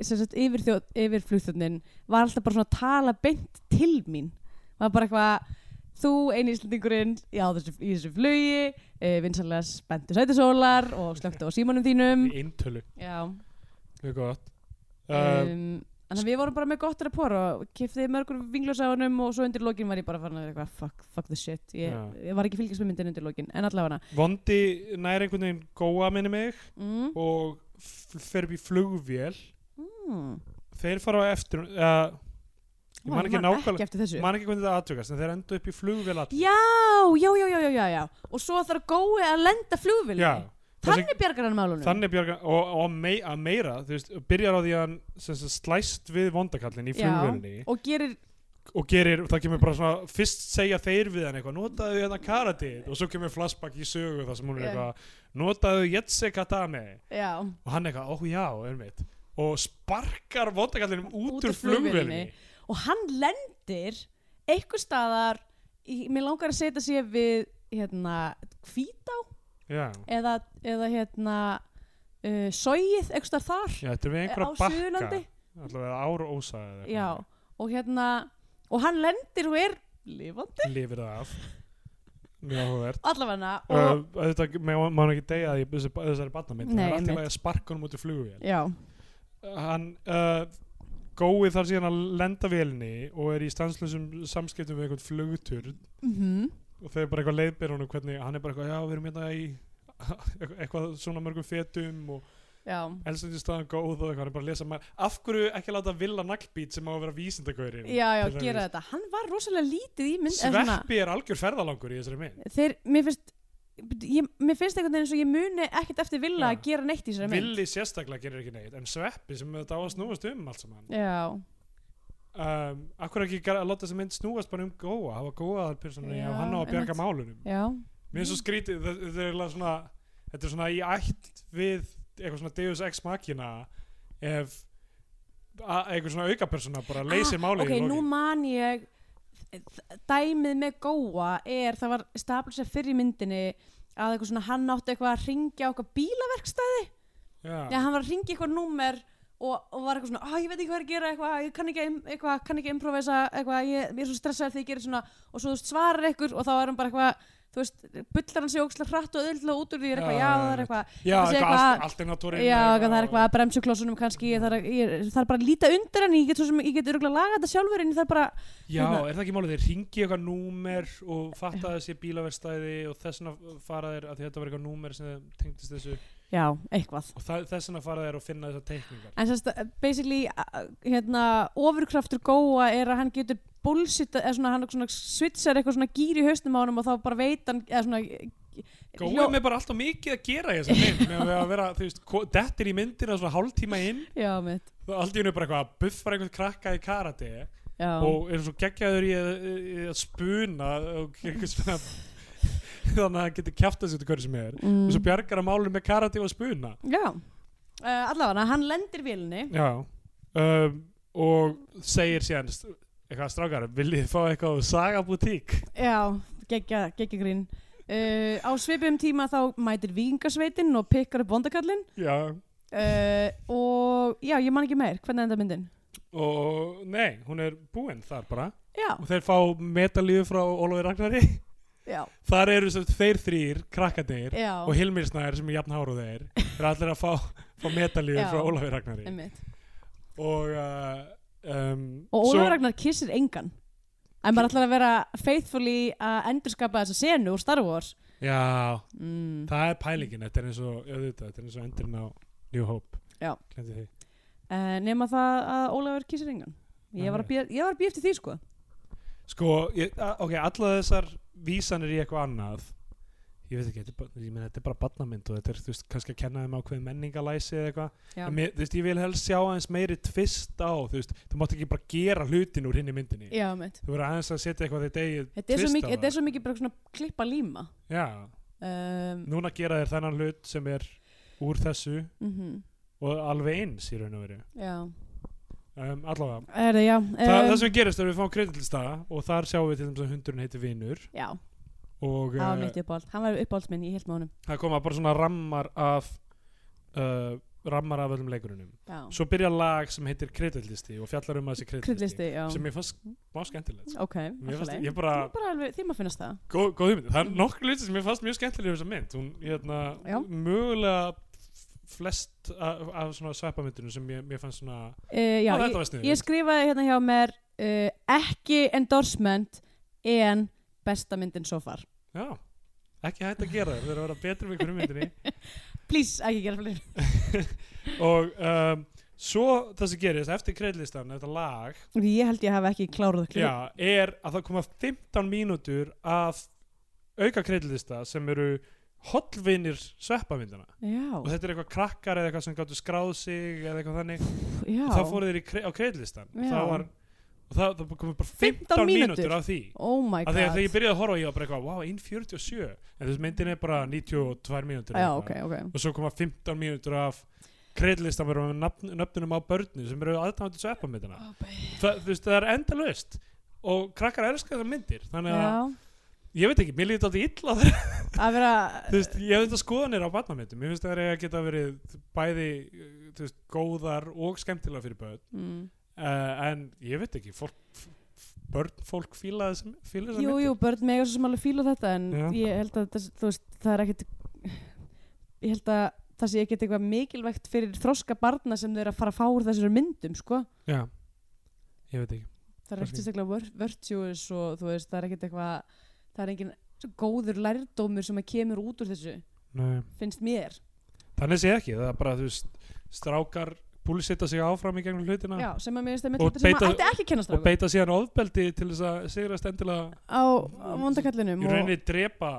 [SPEAKER 3] sem sagt, yfir, þjó, yfir flugþjóðnin var alltaf bara svona að tala beint til mín var bara eitthvað þú eini íslendingurinn já, þessu, í þessu flugi e, vinsalega spenntu sætisólar og slökktu á símanum þínum
[SPEAKER 2] í eintölu,
[SPEAKER 3] já,
[SPEAKER 2] mjög gott uh,
[SPEAKER 3] um, Þannig að við vorum bara með gott rapport og kiftiði mörgur vingljós á hannum og svo undir lokin var ég bara farin að vera eitthvað fuck, fuck the shit, ég,
[SPEAKER 2] Já.
[SPEAKER 3] ég var ekki að fylgjast með myndin undir lokin, en allavega
[SPEAKER 2] vondi nær einhvern veginn Góa minni mig
[SPEAKER 3] mm.
[SPEAKER 2] og f- fer upp í flugvél
[SPEAKER 3] Mm.
[SPEAKER 2] þeir fara á eftir uh, ég man ekki nákvæmlega
[SPEAKER 3] eftir þessu
[SPEAKER 2] man ekki hvernig það atvökast en þeir endu upp í flugvél allir
[SPEAKER 3] já, já, já, já, já, já, já og svo þarf gói að lenda flugvilni
[SPEAKER 2] Já, það sem-
[SPEAKER 3] þannig bjargar hann málunum
[SPEAKER 2] Þannig bjarga, og, og mei, að meira, þú veist, byrjar á því að hann sem sagt, slæst við vondakallin í flugvélinni
[SPEAKER 3] já, og gerir,
[SPEAKER 2] og gerir, það kemur bara svona, fyrst segja þeir við hann eitthvað, notaðu hérna karatið og svo kemur flashback í sögu þar sem hún er
[SPEAKER 3] Já.
[SPEAKER 2] eitthvað, notaðu jetse katame
[SPEAKER 3] já,
[SPEAKER 2] og hann eitthvað, ó já, einmitt og sparkar vondakallinum út,
[SPEAKER 3] Út úr
[SPEAKER 2] úr flugvélinni
[SPEAKER 3] og hann lendir einhver staðar í, mér langar að setja sér við hérna, hvítá
[SPEAKER 2] Já,
[SPEAKER 3] eða, eða hérna uh, sóið, einhver staðar þar
[SPEAKER 2] já, þetta er við einhverja
[SPEAKER 3] á
[SPEAKER 2] bakka
[SPEAKER 3] Suðurlandi
[SPEAKER 2] allavega ára ósa eða
[SPEAKER 3] já, og hérna og hann lendir og er lifandi
[SPEAKER 2] lifir það af mjög áhugavert
[SPEAKER 3] allavega og,
[SPEAKER 2] Uh, auðvitað má má hann ekki deyja því þessi- þessari barnamynd það
[SPEAKER 3] Nei,
[SPEAKER 2] er alltaf
[SPEAKER 3] einmitt.
[SPEAKER 2] að sparka honum út í flugvél
[SPEAKER 3] já,
[SPEAKER 2] hann uh, gói þar síðan að lenda vélinni og er í stanslösum samskiptum við einhvern flugtur
[SPEAKER 3] mhm
[SPEAKER 2] og þeir bara eitthvað leiðbyr honum hvernig hann er bara eitthvað, já við erum hérna í eitthvað svona mörgum fetum og
[SPEAKER 3] já
[SPEAKER 2] elsendistöðan góð og eitthvað, hann er bara að lesa maður af hverju ekki láta villa naglbít sem á að vera vísindagaurin
[SPEAKER 3] já, já, gera þetta hann var rosalega lítið í mynd eða svona,
[SPEAKER 2] Sveppi er algjör ferðalangur í þessari mynd
[SPEAKER 3] þeir, mér finnst ég, mér finnst einhvern veginn eins og ég muni ekkert eftir vilja
[SPEAKER 2] Já.
[SPEAKER 3] að gera neitt í þessari mynd
[SPEAKER 2] Villi sérstaklega gerir ekki neitt en Sveppi sem þetta á að snúast um allt saman
[SPEAKER 3] já,
[SPEAKER 2] um, akkur ekki gar- að láta þess að mynd snúast bara um góa, hafa góaðar persónu
[SPEAKER 3] Já,
[SPEAKER 2] og hann á að bjarga
[SPEAKER 3] einmitt. Mhm.
[SPEAKER 2] málunum
[SPEAKER 3] já,
[SPEAKER 2] mér er svo skrítið, þa- þetta er eiginlega svona þetta er svona í ætt við eitthvað svona Deus Ex Machina ef a- eitthvað svona aukapersona bara leysir málið
[SPEAKER 3] Ah, ok,
[SPEAKER 2] í
[SPEAKER 3] nú
[SPEAKER 2] lokin
[SPEAKER 3] man ég dæmið með góa er, það var stabilisað fyrir í myndinni að eitthvað svona, hann átti eitthvað að ringja á eitthvað bílaverkstæð,
[SPEAKER 2] já,
[SPEAKER 3] já, hann var að ringja eitthvað númer og, og var eitthvað svona, "Ah, ég veit ekki hvað er að gera eitthvað, ég kann ekki, að im- eitthvað, kann ekki að improvisa eitthvað, ég, ég er svo stressað þegar ég gerir svona og svo þú veist, svarar ykkur og þá er hann bara eitthvað þú veist, bullar hann sig ókslega hratt og öðvöldlega út úr því er eitthvað,
[SPEAKER 2] Já, já,
[SPEAKER 3] já, það er
[SPEAKER 2] einmitt.
[SPEAKER 3] eitthvað
[SPEAKER 2] Já,
[SPEAKER 3] Það
[SPEAKER 2] eitthvað
[SPEAKER 3] sé eitthvað-
[SPEAKER 2] al- alternatorinn
[SPEAKER 3] já, það er eitthvað að bremsuklossunum kannski ég þarf, að- ég, ég þarf bara að líta undir henni ég get, svo sem, ég get örgulega lagað þetta sjálfur en ég þarf bara
[SPEAKER 2] Já,
[SPEAKER 3] hérna.
[SPEAKER 2] er það ekki málið, þeir ringi eitthvað númer og fatta þessi bílaverstæði og þessna fara þeir, að þetta var eitthvað númer sem þeim tengdist þessu
[SPEAKER 3] já, eitthvað
[SPEAKER 2] og það- þessna fara þeir og finna þessar teikningar
[SPEAKER 3] en sérst, basically a- hérna, ofurkraftur góa er að hann getur bullshit, eða svona hann svona switchar eitthvað svona gýr í haustum á honum og þá bara veit hann, eða svona
[SPEAKER 2] Góðum við bara alltaf mikið að gera í þessum mynd með að vera, þú veist, ko- dettir í myndina svona hálftíma inn
[SPEAKER 3] já, mitt
[SPEAKER 2] og allt í hennu bara eitthvað að buffar einhvern krakka í karate
[SPEAKER 3] já.
[SPEAKER 2] og er svo geggjaður í að, í að spuna og eitthvað svona þannig að hann getur kjæft þessu til hverju sem er
[SPEAKER 3] mm.
[SPEAKER 2] og svo bjargar að málum með karate og spuna
[SPEAKER 3] já, uh, allavega hann lendir vilni
[SPEAKER 2] Já um, og segir síðan st- eitthvað strákar, viljið þið fá eitthvað á Saga Boutique?
[SPEAKER 3] já, geggja, geggja grín uh, á svipum tíma þá mætir vikingasveitin og pikkar upp vondakallin
[SPEAKER 2] Já
[SPEAKER 3] uh, og já, ég man ekki meir hvernig enda myndin
[SPEAKER 2] og nei, hún er búinn þar bara
[SPEAKER 3] já,
[SPEAKER 2] og þeir fá metalíu frá Ólafur Ragnari
[SPEAKER 3] já,
[SPEAKER 2] þar eru sem sagt þeir þrýr krakkadeir
[SPEAKER 3] já
[SPEAKER 2] og Hilmir Snær sem er jafn háruð þeir þeir allir að fá, fá metalíu
[SPEAKER 3] Já.
[SPEAKER 2] frá Ólafur Ragnari
[SPEAKER 3] einmitt.
[SPEAKER 2] og uh, um,
[SPEAKER 3] og Ólafur
[SPEAKER 2] svo-
[SPEAKER 3] Ragnar kissir engan en maður ætlar að vera faithfully að endurskapa þessa senu úr Star Wars
[SPEAKER 2] Já,
[SPEAKER 3] mm.
[SPEAKER 2] það er pælingin þetta er eins og, auðvitað, þetta er eins og endurinn á New Hope
[SPEAKER 3] Já.
[SPEAKER 2] Gleymdi því.
[SPEAKER 3] uh, nema það að Ólafur kissir engan ég var að bíða- ég var að býja eftir því sko
[SPEAKER 2] Sko, ég, a- ok, alla þessar vísanir í eitthvað annað ég veit ekki, þetta er, bara- ég meina, þetta er bara barnamynd og þetta er, þú veist, kannski að kenna þeim á hverju menningalæsi eða eitthvað,
[SPEAKER 3] Já.
[SPEAKER 2] en mér, þú veist, ég vil helst sjá aðeins meiri tvist á, þú veist, þú mátt ekki bara gera hlutin úr hinn í myndinni
[SPEAKER 3] Já, mitt.
[SPEAKER 2] þú verður aðeins að setja eitthvað þitt eigið
[SPEAKER 3] þetta er svo
[SPEAKER 2] twist á
[SPEAKER 3] mikið, þetta er
[SPEAKER 2] það.
[SPEAKER 3] svo mikið bara svona klippa líma
[SPEAKER 2] Já,
[SPEAKER 3] um,
[SPEAKER 2] núna gera þér þennan hlut sem er úr þessu
[SPEAKER 3] mm
[SPEAKER 2] og alveg eins í raun og veru
[SPEAKER 3] já,
[SPEAKER 2] um, allavega,
[SPEAKER 3] er það já
[SPEAKER 2] Þa,
[SPEAKER 3] um,
[SPEAKER 2] það sem gerist er að við fáum kreditlstaða og þar sjáum við til þess að hundurinn heitir Vinur
[SPEAKER 3] já,
[SPEAKER 2] og
[SPEAKER 3] það var
[SPEAKER 2] eh,
[SPEAKER 3] mitt uppáhald hann var uppáhalds minn, ég held með honum
[SPEAKER 2] það koma bara svona rammar af uh, rammar af öllum leikurunum
[SPEAKER 3] já,
[SPEAKER 2] svo byrja lag sem heitir kreditlisti og fjallar um að þessi kreditlisti
[SPEAKER 3] krydlisti, já,
[SPEAKER 2] sem ég fannst má skemmtilegt sko.
[SPEAKER 3] ok
[SPEAKER 2] mér
[SPEAKER 3] allt í
[SPEAKER 2] fannst,
[SPEAKER 3] lagi.
[SPEAKER 2] ég bara,
[SPEAKER 3] Það er bara alveg, þið maður finnast það
[SPEAKER 2] góð, góð hugmynd það er nokkur luti sem ég fannst mjög skemmtileg við þessa mynd hún, hérna,
[SPEAKER 3] Já.
[SPEAKER 2] mögulega flest af, af svona sveppamyndunum sem ég, ég fannst svona
[SPEAKER 3] uh, já,
[SPEAKER 2] "Ó,
[SPEAKER 3] ég,
[SPEAKER 2] þetta var sniður
[SPEAKER 3] ég skrifaði hérna hjá mér uh, ekki endorsement en besta myndin so far
[SPEAKER 2] já, ekki hægt að gera þér þeir eru að vera betri með einhverjum myndinni
[SPEAKER 3] please ekki gera fleiri
[SPEAKER 2] og um, svo það sem gerist eftir kreditlistan, þetta lag
[SPEAKER 3] ég held ég hafa ekki klárað klip
[SPEAKER 2] Já, er að það koma 15 mínútur af auka kreidlista sem eru hollvinir sveppamyndina og
[SPEAKER 3] já,
[SPEAKER 2] þetta er eitthvað krakkar eða eitthvað sem gáttu skráð sig eða eitthvað þannig
[SPEAKER 3] já.
[SPEAKER 2] og það fóru þeir í kre á kreidlistan og
[SPEAKER 3] Já.
[SPEAKER 2] það var og það, það komið bara 15,
[SPEAKER 3] 15
[SPEAKER 2] mínútur.
[SPEAKER 3] mínútur
[SPEAKER 2] af því
[SPEAKER 3] oh my
[SPEAKER 2] að þegar, þegar ég
[SPEAKER 3] god
[SPEAKER 2] byrjaði að horfa á ég var bara eitthvað wow, 1.47 en þessi myndin er bara 92 mínútur
[SPEAKER 3] já,
[SPEAKER 2] eða
[SPEAKER 3] ok,
[SPEAKER 2] eitthvað.
[SPEAKER 3] ok
[SPEAKER 2] og svo koma 15 mínútur af kreidlistan verður með nafn, nöfnunum á börnu sem eru aðdáðandi sveppamyndina
[SPEAKER 3] Oh
[SPEAKER 2] það, þú veist, það er endalaust og krakkar elskar þessar myndir þannig að,
[SPEAKER 3] já,
[SPEAKER 2] ég veit ekki, mér líður þetta illa þegar,
[SPEAKER 3] að vera
[SPEAKER 2] þú veist, ég hef þetta skoðanir á barnamyndum, ég finnst það að geta verið bæði, uh, þú veist, góðar og skemmtilega fyrir börn,
[SPEAKER 3] mm.
[SPEAKER 2] uh, en ég veit ekki fólk, f- f- börn, fólk fíla þessar fíla þessar
[SPEAKER 3] jú,
[SPEAKER 2] myndir,
[SPEAKER 3] jú, börn mega svo sem alveg fíla þetta en
[SPEAKER 2] Já.
[SPEAKER 3] ég held að þess, þú veist, það er ekkit ég held að það sé ekkit eitthvað mikilvægt fyrir þroska barna sem þau eru að fara að fá úr þessari myndum sko.
[SPEAKER 2] já, ég veit ekki
[SPEAKER 3] það er
[SPEAKER 2] Kannski.
[SPEAKER 3] ekkert sérstaklega vir- virtuous og þú veist, það er ekkert eitthvað það er engin svo góður lærdómur sem að kemur út úr þessu,
[SPEAKER 2] Nei.
[SPEAKER 3] finnst mér
[SPEAKER 2] þannig sé ég ekki, það er bara, þú veist strákar búlsita sig áfram í gegnum hlutina
[SPEAKER 3] já, sem að mér finnst það með
[SPEAKER 2] Og
[SPEAKER 3] þetta sem að
[SPEAKER 2] beita-
[SPEAKER 3] ætti ekki að kennast
[SPEAKER 2] og beita síðan ofbeldi til þess að sigrast endilega
[SPEAKER 3] á á vondakallinum
[SPEAKER 2] Ég
[SPEAKER 3] og
[SPEAKER 2] rauninni drepa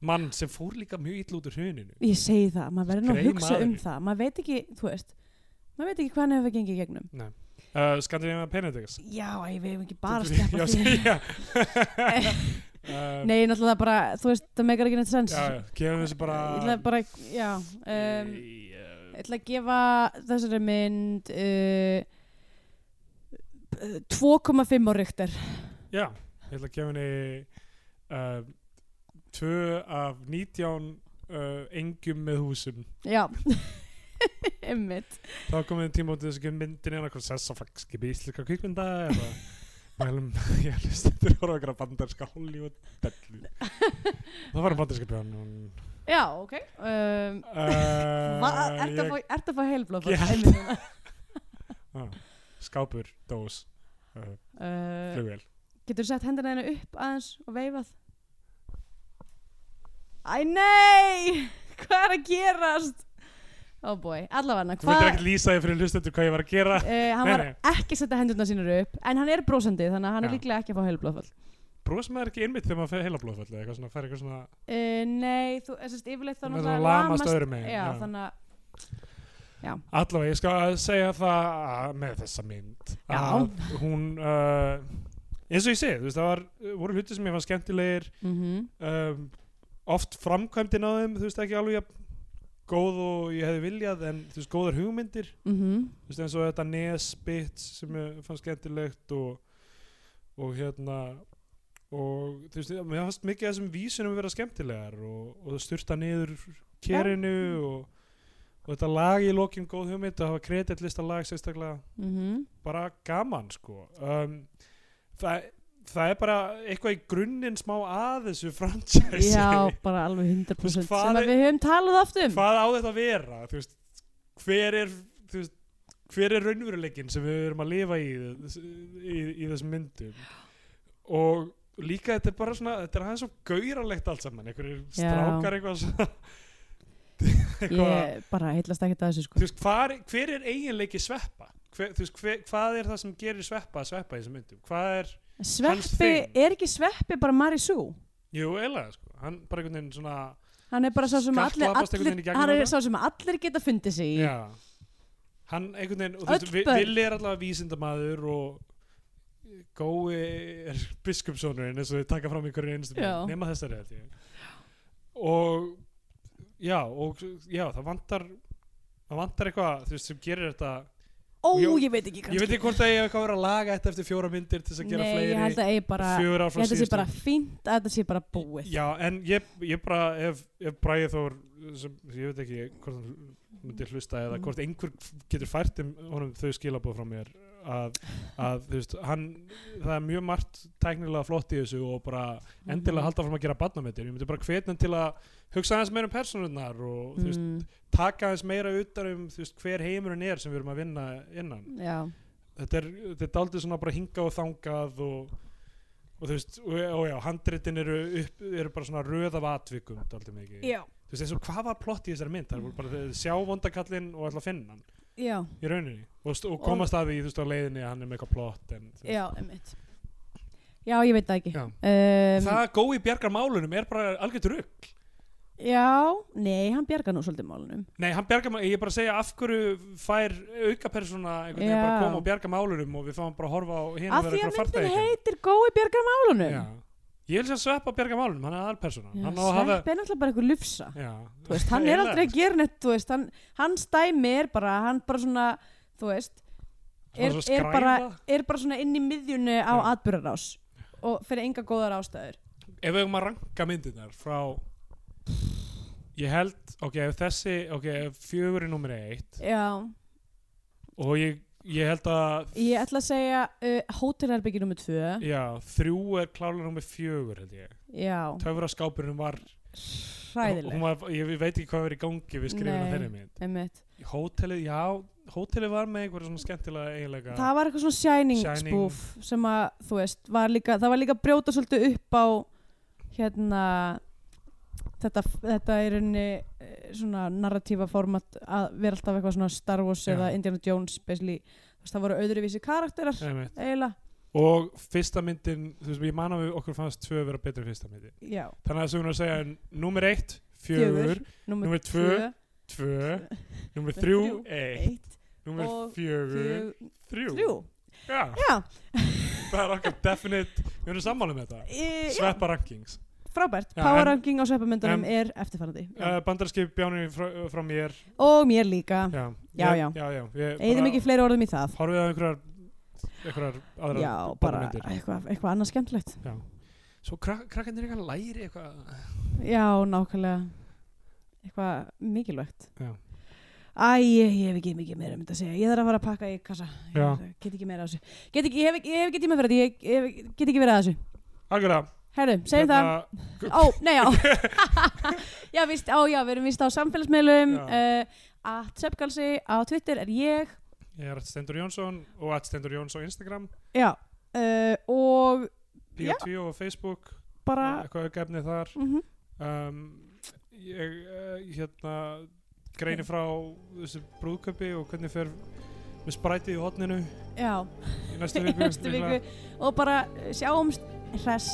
[SPEAKER 2] mann sem fór líka mjög illa út úr hruninu.
[SPEAKER 3] ég segi það, maður verður nú að
[SPEAKER 2] Grey
[SPEAKER 3] hugsa um
[SPEAKER 2] maðurinn.
[SPEAKER 3] það maður veit ekki, þú veist maður veit ekki hvað hann hefur gengið í gegnum
[SPEAKER 2] Uh, Skandinavíma Penedex.
[SPEAKER 3] já, æ, við hefum ekki bara að sleppa
[SPEAKER 2] Já,
[SPEAKER 3] því
[SPEAKER 2] segja. uh,
[SPEAKER 3] nei, náttúrulega bara, þú veist, það megar ekki neitt sens
[SPEAKER 2] Já, já, gefum þessu bara...
[SPEAKER 3] ég ætla bara, já um,
[SPEAKER 2] Í, uh,
[SPEAKER 3] Ég ætla að gefa þessari mynd uh, 2,5 á ríktar
[SPEAKER 2] já, ég ætla að gefa henni uh, tvö af 19 uh, engjum með húsum.
[SPEAKER 3] Já Einmitt.
[SPEAKER 2] þá komið tímótið þess að myndin er eitthvað sessa fagskip í íslenska kvikmynda eða mælum ég er listendur að horfa okkur að bandarska Hollywood dellu það var um bandarska björn
[SPEAKER 3] Já, ok. Um, uh, ertu að
[SPEAKER 2] uh,
[SPEAKER 3] fá, ert að fá heilblóð?
[SPEAKER 2] Ég held-
[SPEAKER 3] Einmitt núna. Eh,
[SPEAKER 2] ég, ah, skápur, dós uh,
[SPEAKER 3] Uh,
[SPEAKER 2] flugvél
[SPEAKER 3] getur sett hendina henni upp aðeins og veifað? Æ, nei! Hvað er að gerast? Ó oh boy, allavega
[SPEAKER 2] þú veitir
[SPEAKER 3] hvað...
[SPEAKER 2] ekkert lýsa því fyrir hlustendur hvað ég var að gera
[SPEAKER 3] Uh, hann
[SPEAKER 2] Nei,
[SPEAKER 3] var
[SPEAKER 2] nei.
[SPEAKER 3] ekki að setja hendurna sínur upp en hann er brosandi þannig að hann er
[SPEAKER 2] Já.
[SPEAKER 3] líklega ekki að fá heilublóðfall
[SPEAKER 2] brós maður ekki einmitt þegar maður fer heila blóðfall eða eitthvað svona, fær eitthvað svona
[SPEAKER 3] uh, nei, þú, þess að yfirleitt þá
[SPEAKER 2] Maður
[SPEAKER 3] náttúrulega
[SPEAKER 2] svona lamast öðrum megin,
[SPEAKER 3] já,
[SPEAKER 2] já.
[SPEAKER 3] þannig að
[SPEAKER 2] Allavega, ég skal segja það að- með þessa mynd
[SPEAKER 3] Já.
[SPEAKER 2] að hún uh, eins og ég segi, þú veist, það var, voru hluti sem ég fann skemmtilegir
[SPEAKER 3] mhm,
[SPEAKER 2] um, oft framkvæmdin á þeim, þú veist, ekki alveg jafn góð og ég hefði viljað en þú veist, góðar hugmyndir,
[SPEAKER 3] mhm,
[SPEAKER 2] þú veist, eins og þetta nesbit sem ég fann skemmtilegt og, og hérna og þú veist, mér fannst mikið af þessum vísunum vera skemmtilegar og, og styrta niður kerinu og, og þetta lag í lokin góð hugmynd og hafa kreditlista lag sérstaklega
[SPEAKER 3] mhm
[SPEAKER 2] bara gaman sko um, það, það er bara eitthvað í grunninn smá að þessu franchise
[SPEAKER 3] já, bara alveg 100%
[SPEAKER 2] Þú veist, hvað
[SPEAKER 3] sem
[SPEAKER 2] er-
[SPEAKER 3] að við höfum talað oft um
[SPEAKER 2] hvað á þetta að vera þú veist, hver er þú veist, hver er raunveruleikin sem við erum að lifa í í, í þessum myndum og líka þetta er bara svona þetta er aðeins svo gauralegt allt saman einhverjir
[SPEAKER 3] Já.
[SPEAKER 2] strákar eitthvað svona eitthvað
[SPEAKER 3] ég bara heitlast ekkert að þessu
[SPEAKER 2] þú
[SPEAKER 3] sko
[SPEAKER 2] veist, hvar, hver er eiginleiki sveppa hver, þú veist, hver, hvað er það sem gerir sveppa að sveppa í þessum myndum hvað er hans
[SPEAKER 3] sveppi,
[SPEAKER 2] þing.
[SPEAKER 3] er ekki sveppi bara Marisú
[SPEAKER 2] Jú, eiginlega, sko. Hann bara einhvern veginn svona,
[SPEAKER 3] hann er bara sá sem allir,
[SPEAKER 2] Skallglapast einhvern veginn í
[SPEAKER 3] allir
[SPEAKER 2] gegnum
[SPEAKER 3] hann er
[SPEAKER 2] þetta.
[SPEAKER 3] sá sem allir geta fundið sig í
[SPEAKER 2] já. Hann einhvern veginn, og þú
[SPEAKER 3] Öll
[SPEAKER 2] veist, Vi-
[SPEAKER 3] börn.
[SPEAKER 2] Villi er allavega vísindamaður og Gói er biskupssonurinn eins og þau taka fram í hverju einustu
[SPEAKER 3] Já.
[SPEAKER 2] mynd, nema þessari held ég. Og, já, og, já, það vantar, það vantar eitthvað, þú veist, sem gerir þetta,
[SPEAKER 3] ó,
[SPEAKER 2] Jú,
[SPEAKER 3] ég veit ekki
[SPEAKER 2] ég
[SPEAKER 3] kannski
[SPEAKER 2] veit ekki hvort að ég hef eitthvað verið að laga þetta eftir fjóra myndir til þess að gera
[SPEAKER 3] nei,
[SPEAKER 2] fleiri,
[SPEAKER 3] ég held að ég bara ég
[SPEAKER 2] fjögur ár frá
[SPEAKER 3] held að þetta sé
[SPEAKER 2] síðustu.
[SPEAKER 3] bara fínt að þetta sé bara búið
[SPEAKER 2] Já, en ég, ég bara ef, ef Bræði Þór sem, ég veit ekki hvort hann myndi hlusta eða
[SPEAKER 3] Mm.
[SPEAKER 2] hvort einhver getur fært um honum þau skilabóð frá mér að, að þú veist, hann það er mjög margt tæknilega flott í þessu og bara
[SPEAKER 3] Mhm.
[SPEAKER 2] endilega halda fram að gera badnametir, ég myndi bara hvetna til að hugsa aðeins meira um persónurnar og þú veist,
[SPEAKER 3] Mm,
[SPEAKER 2] taka aðeins meira utan um þú veist, hver heimurinn er sem við erum að vinna innan
[SPEAKER 3] já
[SPEAKER 2] þetta er, þetta er aldrei svona bara hinga og þangað og, og þú veist og, og já, handritin eru, upp, eru bara svona röð af atvikum dálítið mikið
[SPEAKER 3] Já,
[SPEAKER 2] þú veist eins og hvað var plott í þessari mynd það er bara þeir sjá vondakallinn og ætla að finna hann
[SPEAKER 3] já,
[SPEAKER 2] í rauninni og, st- og komast að því þú veist á leiðinni að hann er með eitthvað plott en, þú veist.
[SPEAKER 3] já, einmitt Já, ég veit það ekki
[SPEAKER 2] Já.
[SPEAKER 3] um,
[SPEAKER 2] það að gói bjargar málunum er bara algjört rugg
[SPEAKER 3] Já, nei, hann bjargar nú svolítið málunum
[SPEAKER 2] nei, hann bjargar málunum, ég er bara að segja af hverju fær aukapersona einhvern veginn bara
[SPEAKER 3] Já.
[SPEAKER 2] að koma og bjarga málunum og við fáum bara að horfa á hinn
[SPEAKER 3] Af því að myndin heitir gói bjargar málunum
[SPEAKER 2] Já. ég vil sér sveppa bjarga málunum, hann er aðalpersona
[SPEAKER 3] Já,
[SPEAKER 2] hann á að
[SPEAKER 3] Sveppi
[SPEAKER 2] hafa
[SPEAKER 3] er náttúrulega bara eitthvað lufsa
[SPEAKER 2] Já.
[SPEAKER 3] Þú veist, hann er
[SPEAKER 2] Eiginlega.
[SPEAKER 3] aldrei að gera neitt þú veist, hann, Hans dæmi er bara hann bara svona, þú veist
[SPEAKER 2] Svona
[SPEAKER 3] er,
[SPEAKER 2] svo
[SPEAKER 3] er, bara,
[SPEAKER 2] skræfa.
[SPEAKER 3] er bara svona inn í miðjunni á
[SPEAKER 2] Já.
[SPEAKER 3] atbyrðarás og fyrir enga góðar ástæður
[SPEAKER 2] ef við höfum að ranka myndirnar frá ég held, ok, ef þessi ok, ef fjögur er nummer eitt
[SPEAKER 3] Já,
[SPEAKER 2] og ég, ég held að
[SPEAKER 3] ég ætla að segja uh, Hótelherbyggi nr. 2
[SPEAKER 2] já, þrjú er klálega nummer fjögur held ég,
[SPEAKER 3] Já,
[SPEAKER 2] töfraskápurinn var hún
[SPEAKER 3] hræðileg
[SPEAKER 2] var, ég veit ekki hvað verið í gangi við skrifum
[SPEAKER 3] Nei.
[SPEAKER 2] þeirri mynd
[SPEAKER 3] Einmitt.
[SPEAKER 2] hótelið, já, hótelið var með einhverja svona skemmtilega eiginlega
[SPEAKER 3] það var eitthvað svona Shining,
[SPEAKER 2] Shining.
[SPEAKER 3] spoof sem að, þú veist, var líka, það var líka að brjóta svolítið upp á hérna þetta, þetta er einni svona narratífa format að vera alltaf eitthvað svona Star Wars
[SPEAKER 2] Já.
[SPEAKER 3] eða Indiana Jones basically, þú veist, það voru öðruvísi karakterar
[SPEAKER 2] Einmitt.
[SPEAKER 3] eiginlega,
[SPEAKER 2] og fyrsta myndin, þú veist, ég man að við okkur fannst tvö vera betri en fyrsta myndin
[SPEAKER 3] já,
[SPEAKER 2] þannig að þessum við að segja nummer eitt, fjögur,
[SPEAKER 3] nummer
[SPEAKER 2] Númer tvö, tvö, nummer þrjú,
[SPEAKER 3] þrjú,
[SPEAKER 2] eitt
[SPEAKER 3] eitt,
[SPEAKER 2] Númer
[SPEAKER 3] Og
[SPEAKER 2] fjögur,
[SPEAKER 3] þrjú,
[SPEAKER 2] þrjú.
[SPEAKER 3] þrjú
[SPEAKER 2] Já,
[SPEAKER 3] já,
[SPEAKER 2] það er okkar definite, við erum sammála með þetta.
[SPEAKER 3] e, já,
[SPEAKER 2] Sveppa rankings.
[SPEAKER 3] frábært
[SPEAKER 2] Já, en-
[SPEAKER 3] power ranking á sveppamöndunum
[SPEAKER 2] en-
[SPEAKER 3] er eftirfarandi já.
[SPEAKER 2] Uh, bandarskip bjánir frá, frá mér.
[SPEAKER 3] og mér líka,
[SPEAKER 2] Já,
[SPEAKER 3] Já,
[SPEAKER 2] Ég-
[SPEAKER 3] já.
[SPEAKER 2] já, já. ég bara-
[SPEAKER 3] eigðum ekki fleiri orðum í það
[SPEAKER 2] Horfið á einhverjar, einhverjar aðrar
[SPEAKER 3] Já, bara
[SPEAKER 2] barnamyndir.
[SPEAKER 3] eitthvað, eitthvað annað skemmtilegt
[SPEAKER 2] Já. Svo krak krakkarnir eitthvað læri eitthvað.
[SPEAKER 3] Já, nákvæmlega Eitthvað mikilvægt
[SPEAKER 2] Já.
[SPEAKER 3] Æ, ég, ég hef ekki mikið meira um þetta að segja Ég þarf að fara að pakka í kassa Ég
[SPEAKER 2] Já.
[SPEAKER 3] get ekki meira að þessu get ekki, Ég hef ekki, ég hef ekki tíma fyrir þetta Ég, ég hef- get ekki verið að þessu
[SPEAKER 2] Algjörlega.
[SPEAKER 3] Herðu, segjum það
[SPEAKER 2] Hérna,
[SPEAKER 3] Ó, nei, já Já, víst, á, já, við erum víst á samfélagsmiðlum
[SPEAKER 2] Já.
[SPEAKER 3] uh, að Seppgalsi á Twitter er ég
[SPEAKER 2] Ég er Stendur Jónsson og at Stendur Jóns á Instagram,
[SPEAKER 3] Já uh, Og
[SPEAKER 2] P2 og Facebook,
[SPEAKER 3] bara
[SPEAKER 2] eitthvað aukefni þar.
[SPEAKER 3] mm -hmm.
[SPEAKER 2] Um, ég uh, hérna greini frá þessu brúðköpi og hvernig fer með sprætið í hotninu
[SPEAKER 3] Já,
[SPEAKER 2] í næstu
[SPEAKER 3] í
[SPEAKER 2] viku.
[SPEAKER 3] næstu viku Og bara eh, sjáumst hress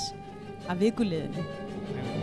[SPEAKER 3] að vikuliðinu
[SPEAKER 2] líklega.